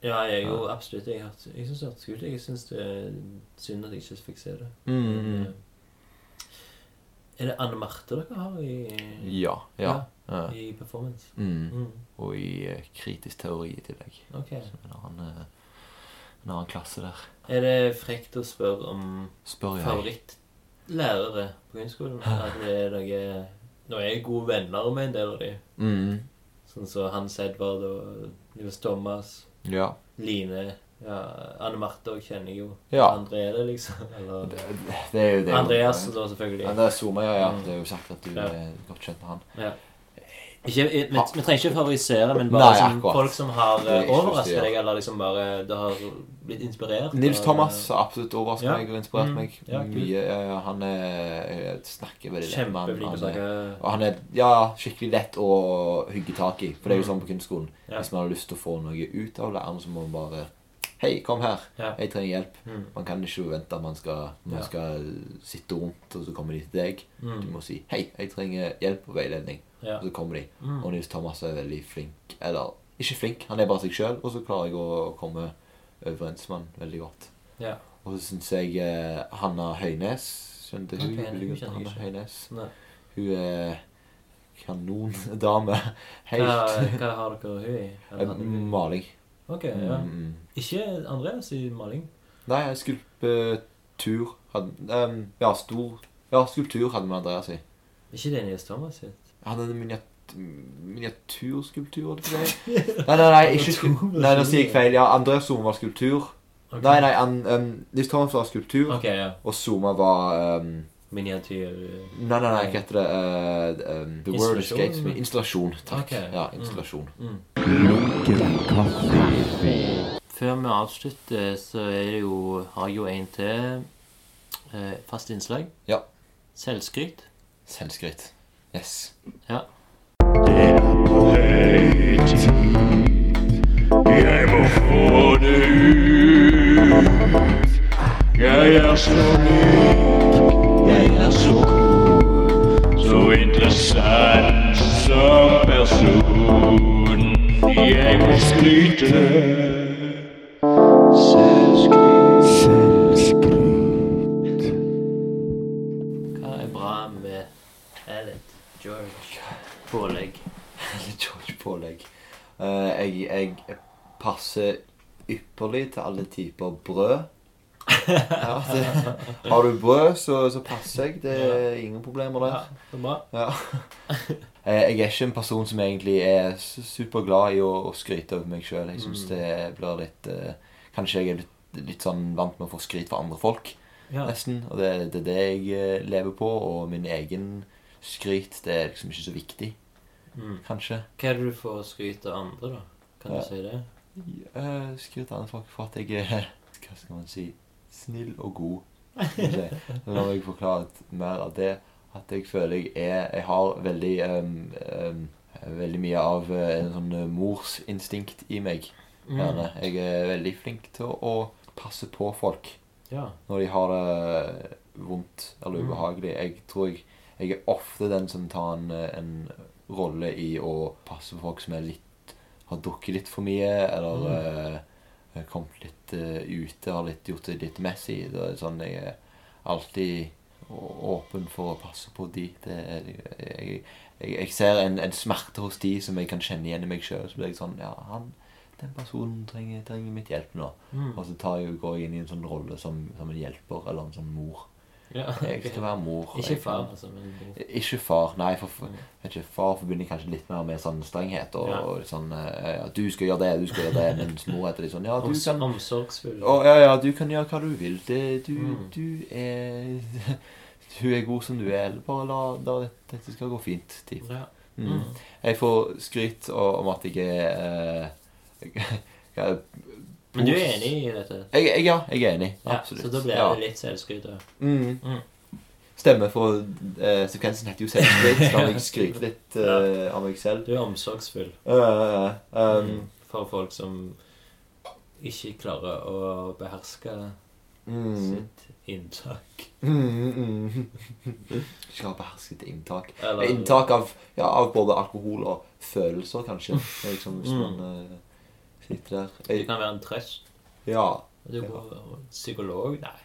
[SPEAKER 3] Ja, jeg er jo absolutt Jeg, har- jeg syns det hørtes kult ut. Jeg syns det er synd at jeg ikke fikk se det. eh,
[SPEAKER 2] Mm, mm.
[SPEAKER 3] Er det Anne Marte dere har i,
[SPEAKER 2] Ja. ja. ja.
[SPEAKER 3] i performance?
[SPEAKER 2] Mm.
[SPEAKER 3] Mm.
[SPEAKER 2] Og i eh, kritisk teori i tillegg.
[SPEAKER 3] Ok.
[SPEAKER 2] En annen, eh, en annen klasse der.
[SPEAKER 3] Er det frekt å spørre om
[SPEAKER 2] Spør jeg.
[SPEAKER 3] favorittlærere på grunnskolen? At det er noe Nå er jeg gode venner med en del av de.
[SPEAKER 2] Mm.
[SPEAKER 3] Sånn som Hans Edvard og Nils Thomas,
[SPEAKER 2] Ja.
[SPEAKER 3] Line ja, Anne Marte òg kjenner jeg jo.
[SPEAKER 2] Ja.
[SPEAKER 3] Andre er det, liksom. Eller
[SPEAKER 2] Det, det er jo det.
[SPEAKER 3] Andreas, da, selvfølgelig.
[SPEAKER 2] Andreas Solmøy, ja. ja.
[SPEAKER 3] Mm.
[SPEAKER 2] Det er jo sagt at du
[SPEAKER 3] Ja.
[SPEAKER 2] er godt kjent med han.
[SPEAKER 3] Ikke, vi, vi vi trenger ikke favorisere, men bare
[SPEAKER 2] Ah. Nei,
[SPEAKER 3] som
[SPEAKER 2] akkurat.
[SPEAKER 3] folk som har eh,
[SPEAKER 2] Det er ikke
[SPEAKER 3] overrasket
[SPEAKER 2] forstyrret.
[SPEAKER 3] deg, eller liksom bare det har blitt inspirert.
[SPEAKER 2] Nils
[SPEAKER 3] av-
[SPEAKER 2] Thomas har absolutt overrasket
[SPEAKER 3] Ja.
[SPEAKER 2] meg og inspirert
[SPEAKER 3] Mm.
[SPEAKER 2] meg
[SPEAKER 3] Ja, kult.
[SPEAKER 2] mye. Ja, ja, han er, jeg snakker veldig lett med han.
[SPEAKER 3] Kjempeflink å
[SPEAKER 2] han er,
[SPEAKER 3] snakke
[SPEAKER 2] og han er ja, skikkelig lett å hugge tak i. For det er jo sånn på kunstskolen.
[SPEAKER 3] Mm. Ja.
[SPEAKER 2] Hvis man har lyst til å få noe ut av læreren, så må man bare Hei, kom her.
[SPEAKER 3] Ja.
[SPEAKER 2] Jeg trenger hjelp.
[SPEAKER 3] Mm.
[SPEAKER 2] Man kan ikke vente at man skal, man
[SPEAKER 3] Ja.
[SPEAKER 2] skal sitte rundt, og så kommer de til deg. Du
[SPEAKER 3] Mm.
[SPEAKER 2] må si 'Hei, jeg trenger hjelp og veiledning',
[SPEAKER 3] Ja.
[SPEAKER 2] og så kommer de.
[SPEAKER 3] Mm.
[SPEAKER 2] Og Nils Thomas er veldig flink. Eller ikke flink, han er bare seg sjøl, og så klarer jeg å komme overens med han veldig godt.
[SPEAKER 3] Ja.
[SPEAKER 2] Og så syns jeg eh, Hanna Høynes Skjønte hun?
[SPEAKER 3] Ok,
[SPEAKER 2] Okay,
[SPEAKER 3] hun kjenner jeg
[SPEAKER 2] Hanna
[SPEAKER 3] ikke.
[SPEAKER 2] Høynes.
[SPEAKER 3] Nei.
[SPEAKER 2] Hun er kanondame.
[SPEAKER 3] Hva,
[SPEAKER 2] Helt
[SPEAKER 3] hva har dere hun i? Eller hadde
[SPEAKER 2] Eh,
[SPEAKER 3] hun-
[SPEAKER 2] Maling.
[SPEAKER 3] Ok, ja.
[SPEAKER 2] Mm.
[SPEAKER 3] Ikke Andreas i maling.
[SPEAKER 2] Nei, skulptur hadde ehm, Ja, stor Ja, skulptur hadde vi Andreas i.
[SPEAKER 3] Ikke det Nils Thomas sitt.
[SPEAKER 2] Han hadde miniat miniaturskulptur, eller hva det er. Nei, nei, nei, ikke skulptur. Nei, nå sier jeg feil. Ja, Andreas Zuma var skulptur.
[SPEAKER 3] Ok.
[SPEAKER 2] Nei, nei, an, ehm, Nils Thomas var skulptur,
[SPEAKER 3] Ok, ja.
[SPEAKER 2] og Zuma var ehm,
[SPEAKER 3] Miniatyr. eh.
[SPEAKER 2] Nei, nei, nei, hva heter det? Eh, ehm, the word
[SPEAKER 3] Installasjon?
[SPEAKER 2] escapes me. Installasjon. Takk.
[SPEAKER 3] Ok.
[SPEAKER 2] Ja, installasjon.
[SPEAKER 3] Mm.
[SPEAKER 1] Lunken kaffe.
[SPEAKER 3] Før vi avslutter, så er det jo, har jeg jo en til eh, fast innslag.
[SPEAKER 2] Ja.
[SPEAKER 3] Selvskryt.
[SPEAKER 2] Selvskryt. Yes.
[SPEAKER 3] Ja.
[SPEAKER 9] Jeg må få det ut. Jeg er så myk, jeg er så cool, så interessant som person. Jeg må skryte. Selvskryt.
[SPEAKER 3] Hva er bra med Elliot George pålegg?
[SPEAKER 2] George Pålegg. Eh, jeg, jeg passer ypperlig til alle typer brød. Ja, det, har du brød, så, så passer jeg. Det er ingen problemer der.
[SPEAKER 3] så bra.
[SPEAKER 2] Ja. Eh, Jeg er ikke en person som egentlig er su- superglad i å, å skryte over meg sjøl. Jeg
[SPEAKER 3] Mm.
[SPEAKER 2] syns det blir litt eh, Kanskje jeg er litt, litt sånn vant med å få skryt fra andre folk,
[SPEAKER 3] Ja.
[SPEAKER 2] nesten. Og det, det er det jeg eh, lever på. Og min egen skryt, det er liksom ikke så viktig,
[SPEAKER 3] Mm.
[SPEAKER 2] kanskje.
[SPEAKER 3] Hva er det du får skryt av andre, da? Kan
[SPEAKER 2] Ja.
[SPEAKER 3] du si det?
[SPEAKER 2] Eh, skryt av andre folk for at jeg er Hva skal man si snill og god. skal vi si. Så nå må jeg forklare litt mer av det. At jeg føler jeg er Jeg har veldig ehm, ehm, Veldig mye av eh, en sånn eh, morsinstinkt i meg.
[SPEAKER 3] Mm.
[SPEAKER 2] Gjerne. Jeg er veldig flink til å passe på folk
[SPEAKER 3] Ja.
[SPEAKER 2] når de har det vondt eller
[SPEAKER 3] Mm.
[SPEAKER 2] ubehagelig. Jeg tror jeg, jeg er ofte den som tar en, en rolle i å passe på folk som er litt har drukket litt for mye, eller eh, kommet litt eh, ute, har litt, gjort det litt messy. Det er sånn jeg er alltid å- åpen for å passe på de. Det er, jeg, jeg, jeg ser en, en smerte hos de som jeg kan kjenne igjen i meg sjøl. Så blir jeg sånn Ja, han, den personen trenger, trenger mitt hjelp nå.
[SPEAKER 3] Mm.
[SPEAKER 2] Og så tar jeg, går jeg inn i en sånn rolle som, som en hjelper, eller en sånn mor.
[SPEAKER 3] ja.
[SPEAKER 2] Jeg skal være mor.
[SPEAKER 3] Ikke
[SPEAKER 2] Jeg-
[SPEAKER 3] far, altså, men
[SPEAKER 2] Ikke far, nei. For, for,
[SPEAKER 3] Mm.
[SPEAKER 2] vet ikke, far forbinder jeg kanskje litt mer med sånn strenghet. Og,
[SPEAKER 3] Ja.
[SPEAKER 2] og sånn eh, ja, 'Du skal gjøre det, du skal gjøre det.' Mens mor heter litt sånn 'Ja, du
[SPEAKER 3] Oms
[SPEAKER 2] kan,
[SPEAKER 3] omsorgsfull.
[SPEAKER 2] å, ja, ja, du kan gjøre hva du vil. Det, du,
[SPEAKER 3] Mm.
[SPEAKER 2] du er [LAUGHS] Du er god som du er. Bare la, la dette skal gå fint. Typ.
[SPEAKER 3] Ja.
[SPEAKER 2] Mm. Jeg får skryt og- om at jeg er eh, [LAUGHS] jeg,
[SPEAKER 3] Men du er enig i dette?
[SPEAKER 2] jeg, Ja, jeg er enig.
[SPEAKER 3] Ja,
[SPEAKER 2] Absolutt.
[SPEAKER 3] så da blir
[SPEAKER 2] Ja.
[SPEAKER 3] det litt selvskryt. da.
[SPEAKER 2] Mm.
[SPEAKER 3] Mm.
[SPEAKER 2] Stemmer, for eh, sekvensen heter jo selvskryt. så La meg skryte litt eh, av meg selv.
[SPEAKER 3] Du er omsorgsfull
[SPEAKER 2] Eh, eh,
[SPEAKER 3] for folk som ikke klarer å beherske
[SPEAKER 2] um, mm,
[SPEAKER 3] sitt inntak.
[SPEAKER 2] mm, mm. [LAUGHS] Skal beherske et inntak.
[SPEAKER 3] Eller-
[SPEAKER 2] Inntak av, ja, av både alkohol og følelser, kanskje. Det er Liksom, hvis
[SPEAKER 3] Mm.
[SPEAKER 2] man eh, sitter der.
[SPEAKER 3] Det
[SPEAKER 2] Jeg,
[SPEAKER 3] kan være en trøst.
[SPEAKER 2] ja.
[SPEAKER 3] Du går psykolog? Nei.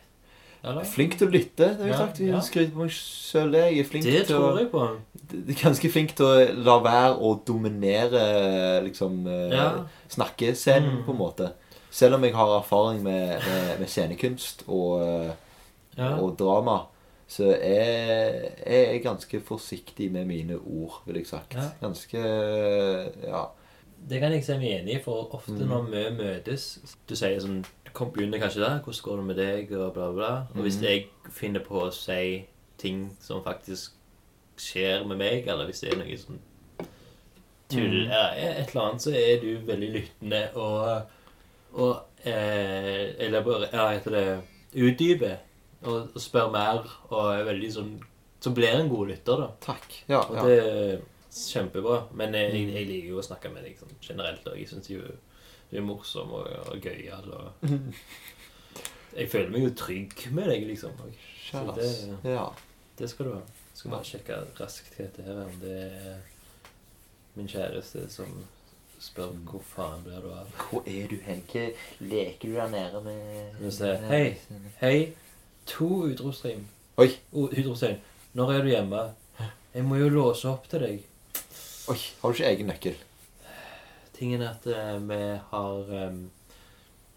[SPEAKER 3] Eller?
[SPEAKER 2] Flink til å lytte. Det har jeg
[SPEAKER 3] Ja,
[SPEAKER 2] sagt. Vi
[SPEAKER 3] ja.
[SPEAKER 2] skryter på meg sjøl. Jeg er flink
[SPEAKER 3] Det
[SPEAKER 2] til å
[SPEAKER 3] tror jeg på.
[SPEAKER 2] Ganske flink til å la være å dominere liksom eh,
[SPEAKER 3] Ja.
[SPEAKER 2] snakkescenen,
[SPEAKER 3] Mm.
[SPEAKER 2] på en måte. Selv om jeg har erfaring med, med, med scenekunst og, eh,
[SPEAKER 3] Ja.
[SPEAKER 2] og drama, så er er jeg ganske forsiktig med mine ord, vil jeg sagt.
[SPEAKER 3] Ja.
[SPEAKER 2] Ganske eh, ja.
[SPEAKER 3] Det kan jeg si meg enig i, for ofte
[SPEAKER 2] Mm.
[SPEAKER 3] når vi møtes Du sier sånn Du kom begynner kanskje der, hvordan går det med deg, og bla, bla. Og hvis
[SPEAKER 2] Mhm.
[SPEAKER 3] jeg finner på å si ting som faktisk skjer med meg, eller hvis det er noe sånn tull
[SPEAKER 2] Mhm.
[SPEAKER 3] ja, Et eller annet, så er du veldig lyttende og, og eh, Eller bare Ja, heter det Utdyper. Og, og spør mer, og er veldig sånn Så blir jeg en god lytter, da.
[SPEAKER 2] Takk. Ja,
[SPEAKER 3] Og
[SPEAKER 2] ja. Mm.
[SPEAKER 3] det er kjempebra. Men jeg, jeg, jeg liker jo å snakke med deg sånn, generelt. Og jeg syns jo du er morsom og, og gøyal.
[SPEAKER 2] [LAUGHS]
[SPEAKER 3] Og jeg føler meg jo trygg med deg, liksom. Og
[SPEAKER 2] Kjære,
[SPEAKER 3] Så
[SPEAKER 2] ass. ja.
[SPEAKER 3] det skal du ha. Skal bare sjekke raskt hva dette her er. Om det er min kjæreste som spør
[SPEAKER 2] Mm.
[SPEAKER 3] hvor faen blir du av.
[SPEAKER 2] Hvor er du hen? Hva leker du der nede med
[SPEAKER 3] Skal vi se. Hei. Hei. To utropstegn.
[SPEAKER 2] Oi.
[SPEAKER 3] O- Utropstegn. Når er du hjemme? Jeg må jo låse opp til deg.
[SPEAKER 2] Oi, har du ikke egen nøkkel?
[SPEAKER 3] tingen er at eh, vi har em,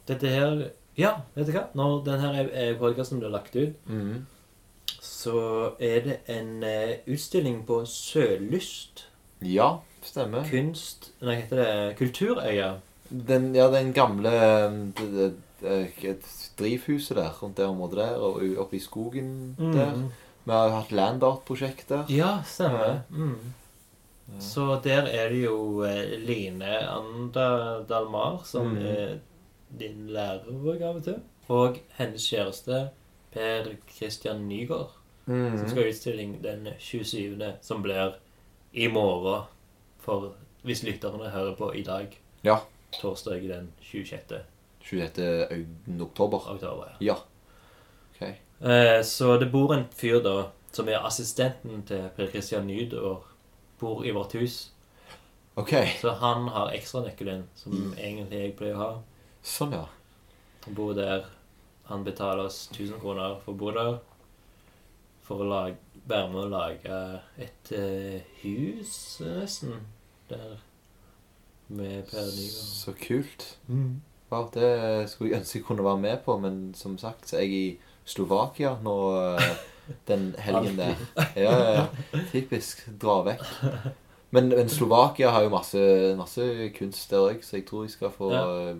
[SPEAKER 3] Dette her Ja, vet du hva? Når denne podkasten blir lagt ut,
[SPEAKER 2] Mm.
[SPEAKER 3] så er det en eh, utstilling på Sørlyst
[SPEAKER 2] Ja,
[SPEAKER 3] Ah.
[SPEAKER 2] stemmer.
[SPEAKER 3] kunst Nei, heter det Kulturøya.
[SPEAKER 2] Den, ja, den gamle eh, det- det- det- eh, et drivhuset der, rundt det området der, og u- oppe i skogen der.
[SPEAKER 3] Mm.
[SPEAKER 2] Vi har jo hatt Landart-prosjekt der.
[SPEAKER 3] Ja, stemmer. Mm. Så der er det jo eh, Line Anda Dalmar, som
[SPEAKER 2] Mm.
[SPEAKER 3] er din lærer òg av og til, og hennes kjæreste Per Christian Nygaard.
[SPEAKER 2] Mm.
[SPEAKER 3] som skal ha utstilling den 27. som blir i morgen. For hvis lytterne hører på i dag,
[SPEAKER 2] Ja.
[SPEAKER 3] torsdag den 26.
[SPEAKER 2] 27. aug- oktober.
[SPEAKER 3] oktober. ja.
[SPEAKER 2] Ja. Ok.
[SPEAKER 3] Eh, så det bor en fyr da, som er assistenten til Per Christian Nydår, bor i vårt hus.
[SPEAKER 2] Ok,
[SPEAKER 3] Så han har ekstranøkkelen, som egentlig jeg pleier å ha.
[SPEAKER 2] Sånn, ja.
[SPEAKER 3] Han bor der. Han betaler oss 1000 kroner for å bo der. For å lage, være med å lage et eh, hus, eh, nesten, der. Med Per Nygaard.
[SPEAKER 2] Så kult. Ja, det skulle jeg ønske jeg kunne være med på, men som sagt så er jeg i Slovakia nå eh, den helgen der. Ja, ja, ja. Typisk. Dra vekk. Men, men Slovakia har jo masse, masse kunst der òg, så jeg tror jeg skal få
[SPEAKER 3] Ja.
[SPEAKER 2] eh,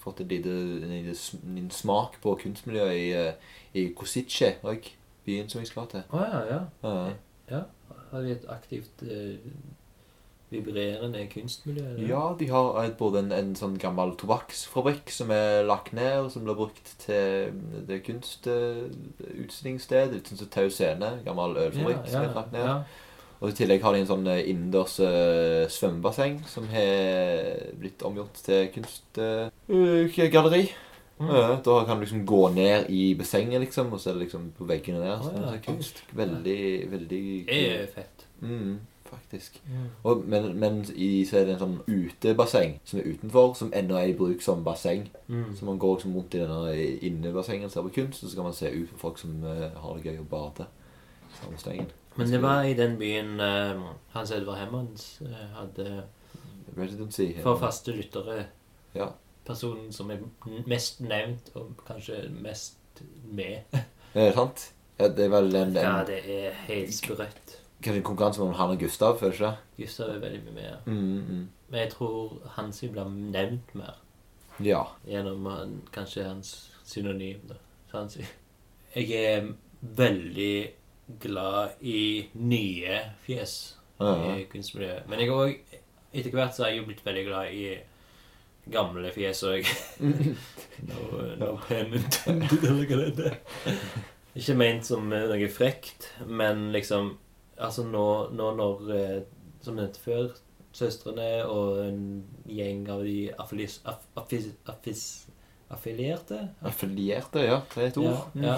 [SPEAKER 2] Fått et lite, en, liten sm- en smak på kunstmiljøet i, eh, i Kosice òg. Byen som jeg skal til.
[SPEAKER 3] Å ja, ja.
[SPEAKER 2] Ja.
[SPEAKER 3] Har de et aktivt eh, vibrerende kunstmiljø? eller?
[SPEAKER 2] ja, de har eh, både en, en sånn gammel tobakksfabrikk som er lagt ned, og som blir brukt til mm, det kunstutstillingssted. Litt sånn som Tau Scene, gammel
[SPEAKER 3] ja,
[SPEAKER 2] ølfabrikk som
[SPEAKER 3] ja,
[SPEAKER 2] er lagt ned.
[SPEAKER 3] ja.
[SPEAKER 2] Og i tillegg har de en sånn eh, innendørs eh, svømmebasseng som har blitt omgjort til eh, kunstgalleri.
[SPEAKER 3] Mm.
[SPEAKER 2] da kan du liksom gå ned i bassenget, liksom, og så er det liksom på veggene der.
[SPEAKER 3] Å,
[SPEAKER 2] sånn,
[SPEAKER 3] ja,
[SPEAKER 2] så
[SPEAKER 3] kunst.
[SPEAKER 2] Veldig, veldig
[SPEAKER 3] Det er fett.
[SPEAKER 2] Mm, faktisk.
[SPEAKER 3] Mm.
[SPEAKER 2] Og, men men i, så er det en sånn utebasseng som er utenfor, som ennå er i bruk som basseng.
[SPEAKER 3] Mm.
[SPEAKER 2] Så man går liksom rundt i denne innebassengen og ser på kunst, og så kan man se ut på folk som eh, har det gøy og bader. Samme stengen.
[SPEAKER 3] Men det var i den byen eh, Hans Edvard Hemmans eh, hadde
[SPEAKER 2] Residency. her.
[SPEAKER 3] for faste lyttere
[SPEAKER 2] Ja.
[SPEAKER 3] personen som er mest nevnt, og kanskje mest med.
[SPEAKER 2] Er det sant? Ja, det er vel en,
[SPEAKER 3] Ja,
[SPEAKER 2] en
[SPEAKER 3] det er helt sprøtt.
[SPEAKER 2] kanskje en konkurranse mellom han og Gustav, føler du ikke?
[SPEAKER 3] Gustav er veldig mye med.
[SPEAKER 2] Mm, mm.
[SPEAKER 3] Men jeg tror han sin blir nevnt mer
[SPEAKER 2] Ja.
[SPEAKER 3] gjennom han, kanskje hans synonym. Da. Så han sier Jeg er veldig glad i nye fjes
[SPEAKER 2] Ja.
[SPEAKER 3] i kunstmiljøet. Men jeg er òg etter hvert så har jeg jo blitt veldig glad i gamle fjes òg. [LAUGHS] no no pun intended, eller hva [LAUGHS] det heter. Ikke ment som eh, noe frekt, men liksom Altså nå, nå når eh, Som nevnt før, søstrene og en gjeng av de affilis, aff, affis, affis, affilierte
[SPEAKER 2] Affilierte, ja. Det er et
[SPEAKER 3] ja,
[SPEAKER 2] ord.
[SPEAKER 3] ja,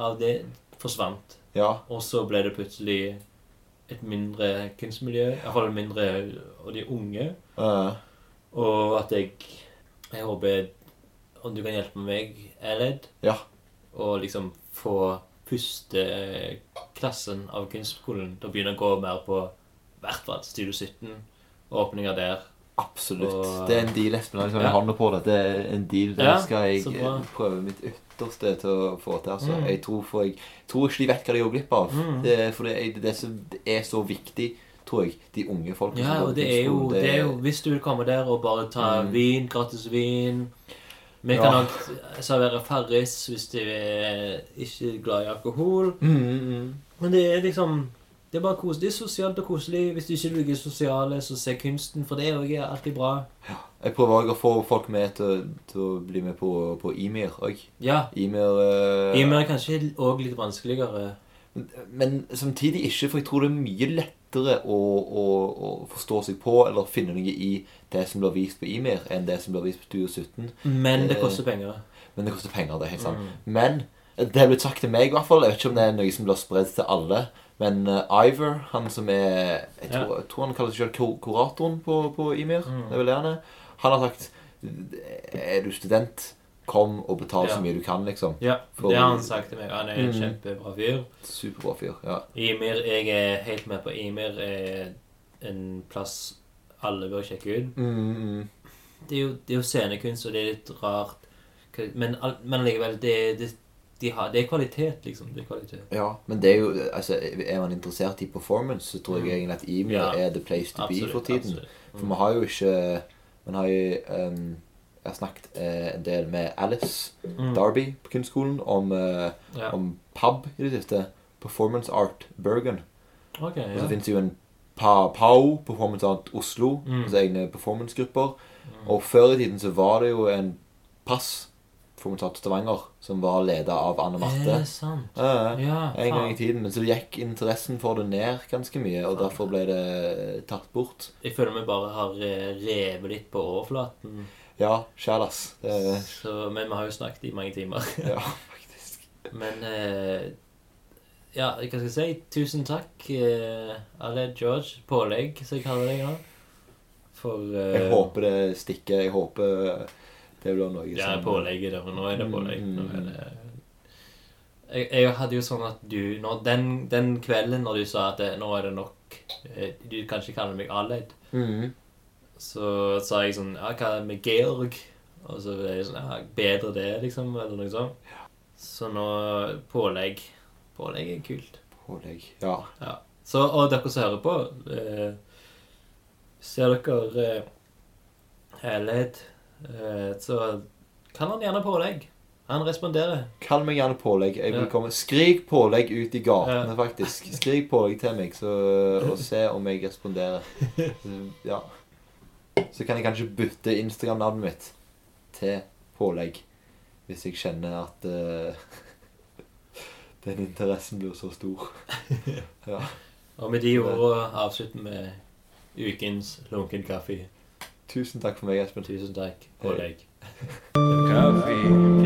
[SPEAKER 2] [LAUGHS]
[SPEAKER 3] Av det forsvant.
[SPEAKER 2] Ja.
[SPEAKER 3] Og så ble det plutselig et mindre kunstmiljø, iallfall mindre og de unge.
[SPEAKER 2] Eh,
[SPEAKER 3] Og at jeg Jeg håper om du kan hjelpe meg, Eled,
[SPEAKER 2] ja.
[SPEAKER 3] å liksom få førsteklassen av kunstskolen til å begynne å gå mer på i hvert fall Studio 17, åpninger der.
[SPEAKER 2] Absolutt.
[SPEAKER 3] Og-
[SPEAKER 2] det er en deal, Espen. Liksom,
[SPEAKER 3] Ja.
[SPEAKER 2] Jeg hånder på det. Det er en deal. Det
[SPEAKER 3] Ja,
[SPEAKER 2] skal
[SPEAKER 3] så
[SPEAKER 2] jeg
[SPEAKER 3] bra.
[SPEAKER 2] eh, prøve mitt ytterste til å få til. Altså.
[SPEAKER 3] Mm.
[SPEAKER 2] Jeg tror for jeg tror ikke de vet hva de går glipp av.
[SPEAKER 3] Mm.
[SPEAKER 2] Det, er- for det er, det, er så, det er så viktig, tror jeg, de unge folkene
[SPEAKER 3] Ja,
[SPEAKER 2] går
[SPEAKER 3] og
[SPEAKER 2] på
[SPEAKER 3] det er jo,
[SPEAKER 2] kunstskolen.
[SPEAKER 3] Liksom, det er jo Hvis du vil komme der og bare ta
[SPEAKER 2] Mm.
[SPEAKER 3] vin, gratis vin Vi
[SPEAKER 2] Ja.
[SPEAKER 3] kan nok servere Farris hvis du er ikke glad i alkohol.
[SPEAKER 2] Mm, mm, mm.
[SPEAKER 3] Men det er liksom Det er bare kos. Det er sosialt og koselig. Hvis du ikke liker sosiale, så se kunsten, for det er jo alltid bra.
[SPEAKER 2] Jeg prøver også å få folk med til, til å bli med på, på Imir òg.
[SPEAKER 3] Ja.
[SPEAKER 2] Imir eh,
[SPEAKER 3] I og med kanskje òg litt vanskeligere.
[SPEAKER 2] Men samtidig ikke, for jeg tror det er mye lettere å, å, å forstå seg på eller finne noe i det som blir vist på Imir, enn det som blir vist på Studio 17.
[SPEAKER 3] Men det
[SPEAKER 2] Eh,
[SPEAKER 3] koster penger.
[SPEAKER 2] Men det koster penger, det er helt sant.
[SPEAKER 3] Mm.
[SPEAKER 2] Men det er blitt sagt til meg, i hvert fall. Jeg vet ikke om det er noe som blir spredt til alle. Men eh, Iver, han som er Jeg tror, jeg tror han kaller seg selv kur- kuratoren på, på Imir.
[SPEAKER 3] Mm.
[SPEAKER 2] Det er vel det han er. Han har sagt Er du student, kom og betal
[SPEAKER 3] Ja.
[SPEAKER 2] så mye du kan, liksom.
[SPEAKER 3] Ja,
[SPEAKER 2] for-
[SPEAKER 3] det har han sagt til meg. Han er en
[SPEAKER 2] Mm.
[SPEAKER 3] kjempebra fyr.
[SPEAKER 2] Superbra fyr. Ja.
[SPEAKER 3] Ymir, jeg er helt med på Ymir. er En plass alle bør sjekke ut.
[SPEAKER 2] Mm, mm.
[SPEAKER 3] Det er jo, det er jo scenekunst, og det er litt rart. Hva- Men, all- men likevel, det, det, de har, det er kvalitet, liksom. Det er kvalitet.
[SPEAKER 2] Ja, men det er jo, altså, er man interessert i performance, så tror jeg
[SPEAKER 3] Mm.
[SPEAKER 2] egentlig at Emil
[SPEAKER 3] Ja.
[SPEAKER 2] er the place to be for tiden.
[SPEAKER 3] absolutt.
[SPEAKER 2] For vi har jo ikke Man har jo ehm, Jeg har snakket eh, en del med Alice
[SPEAKER 3] Mm.
[SPEAKER 2] Darby på kunstskolen om, eh,
[SPEAKER 3] Ja.
[SPEAKER 2] om pub i det siste. Performance Art Bergen.
[SPEAKER 3] Ok,
[SPEAKER 2] Og så
[SPEAKER 3] ja.
[SPEAKER 2] finnes det jo en pa, PAO, Performance Art Oslo,
[SPEAKER 3] Mm.
[SPEAKER 2] altså egne performancegrupper. Og før i tiden så var det jo en pass, Performance Art Stavanger, som var leda av Anne
[SPEAKER 3] Er
[SPEAKER 2] Marte.
[SPEAKER 3] det sant?
[SPEAKER 2] Ja, ja.
[SPEAKER 3] Ja,
[SPEAKER 2] En gang i
[SPEAKER 3] faen.
[SPEAKER 2] tiden, men så gikk interessen for det ned ganske mye, og derfor ble det tatt bort.
[SPEAKER 3] Jeg føler vi bare har eh, revet litt på overflaten.
[SPEAKER 2] Ja, Shalas.
[SPEAKER 3] [LAUGHS]
[SPEAKER 2] Det er
[SPEAKER 3] Så, men vi har jo snakket i mange timer. [LAUGHS]
[SPEAKER 2] ja, faktisk.
[SPEAKER 3] Men eh, Ja, hva skal jeg si? Tusen takk, eh, Aled George. Pålegg, som jeg kaller deg nå. For eh,
[SPEAKER 2] Jeg håper det stikker. Jeg håper det blir noe
[SPEAKER 3] Ja,
[SPEAKER 2] som-
[SPEAKER 3] pålegget. Det, nå er det pålegg. Nå er
[SPEAKER 2] Mm.
[SPEAKER 3] det jeg, jeg hadde jo sånn at du når, den, den kvelden når du sa at eh, nå er det nok eh, Du kan ikke kalle meg Aled.
[SPEAKER 2] Mhm.
[SPEAKER 3] Så sa jeg sånn Ja, hva med Georg? Og så ble jeg sånn Ja, bedre det, liksom, eller noe sånt. Så nå pålegg. Pålegg er kult.
[SPEAKER 2] Pålegg. Ja.
[SPEAKER 3] Ja. Så, og dere som hører på, eh, ser dere eh, helhet, eh, så kan han gjerne pålegg. Han responderer.
[SPEAKER 2] Kall meg gjerne pålegg. Jeg vil
[SPEAKER 3] Ja.
[SPEAKER 2] komme. Skrik pålegg ut i gatene,
[SPEAKER 3] Ja.
[SPEAKER 2] faktisk. Skrik pålegg til meg, så, og se om jeg
[SPEAKER 3] [LAUGHS]
[SPEAKER 2] responderer. Så, Ja. Så kan jeg kanskje bytte Instagram-navnet mitt til pålegg. Hvis jeg kjenner at eh, [LAUGHS] den interessen blir så stor.
[SPEAKER 3] Og med de ordene avslutter vi ukens lunken kaffe.
[SPEAKER 2] Tusen takk for meg, Espen.
[SPEAKER 3] Tusen takk. Pålegg.
[SPEAKER 10] Coffee.